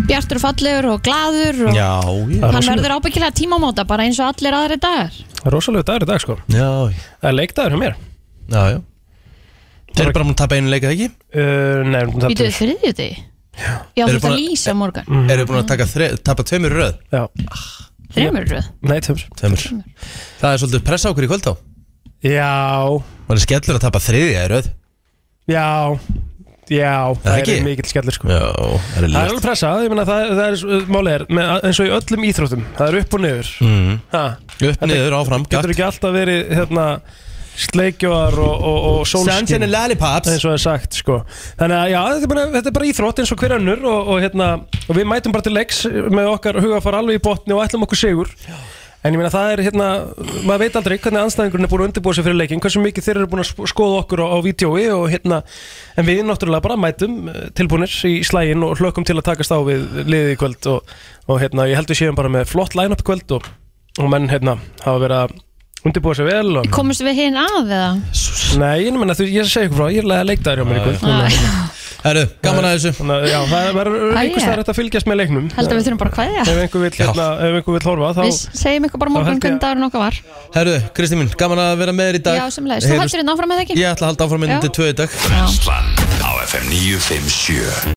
Speaker 4: Bjartur og fallegur og glaður og
Speaker 1: Já, já
Speaker 4: Hann verður ábyggilega tímamóta bara eins og allir aðri dagar
Speaker 5: Rósalega dagur í dag sko
Speaker 1: Já
Speaker 5: Það er leikdagur hjá mér
Speaker 1: Já, já Þeir eru bara múin að tapa einu leik eða ekki?
Speaker 5: Uh, nei, við
Speaker 4: Býtu við þriðju degi? Já,
Speaker 1: Eru
Speaker 4: þú ert
Speaker 1: búin
Speaker 4: að
Speaker 1: að-
Speaker 4: lýsa morgan
Speaker 5: Mm.
Speaker 1: Eru búin að taka þre, tapa tveimur í röð?
Speaker 5: Já
Speaker 4: Þreymur röð
Speaker 5: Nei, tveimur
Speaker 1: Tveimur Það er svolítið pressa á okkur í kvöld þá
Speaker 5: Já
Speaker 1: Man er skellur að tapa þriðja í röð
Speaker 5: Já, já, það
Speaker 1: ekki?
Speaker 5: er mikill skellur sko
Speaker 1: Já, það er
Speaker 5: Það er alveg
Speaker 1: lýtt
Speaker 5: pressa, ég meina það, það er, málið er, með, eins og í öllum íþróttum, það er upp og niður
Speaker 1: mm.
Speaker 5: ha,
Speaker 1: Upp, niður, áfram,
Speaker 5: Getur
Speaker 1: gatt.
Speaker 5: ekki alltaf verið, hérna, sleikjóar og, og, og sólskin
Speaker 1: Sunshine and lollipops.
Speaker 5: Eins og er sagt, sko Þannig að, já, þetta er bara, þetta er bara íþrótt eins og hver önnur og, og, hérna, og við mætum bara til leiks með okkar hugafar alveg í botni og ætlum okkur sigur En ég meina það er hérna, maður veit aldrei hvernig anstæðingurinn er búin að undirbúa sig fyrir leikin, hversu mikið þeir eru búin að sp- skoða okkur á, á vídjói og hérna, en við náttúrulega bara mætum eh, tilbúnir í slægin og hlökkum til að takast á við liðið í kvöld og, og hérna, ég heldur séum bara með flott line-up í kvöld og, og menn hérna hafa verið að undirbúa sig vel og...
Speaker 4: Komumst við hinn af eða?
Speaker 5: Nei, ég meina þú, ég er að segja ykkur frá, ég er að leikdagur hjá mér í kvöld.
Speaker 4: Æ.
Speaker 1: Herru, gaman að
Speaker 5: þessu. Þannig að, já, það er
Speaker 4: Æ,
Speaker 5: einhvers
Speaker 4: ég-
Speaker 5: það er hægt að fylgjast með leiknum.
Speaker 4: Held að við þurfum bara að kveðja
Speaker 5: Sko- Ef einhver vill, hérna, ef einhver vill horfa, þá...
Speaker 4: Við segjum ykkur bara
Speaker 5: þá
Speaker 4: morgun
Speaker 5: held ég-
Speaker 4: hvernig dagurinn okkar var
Speaker 1: Herru, Kristi mín, gaman að vera með þér í dag
Speaker 4: Já, semlega, þú
Speaker 1: Heyrumst-
Speaker 4: hættur hérna áfram með það ekki?
Speaker 1: Ég ætla að halda áfram
Speaker 4: Já.
Speaker 1: myndið tvö í dag
Speaker 4: Já.
Speaker 2: á FM 957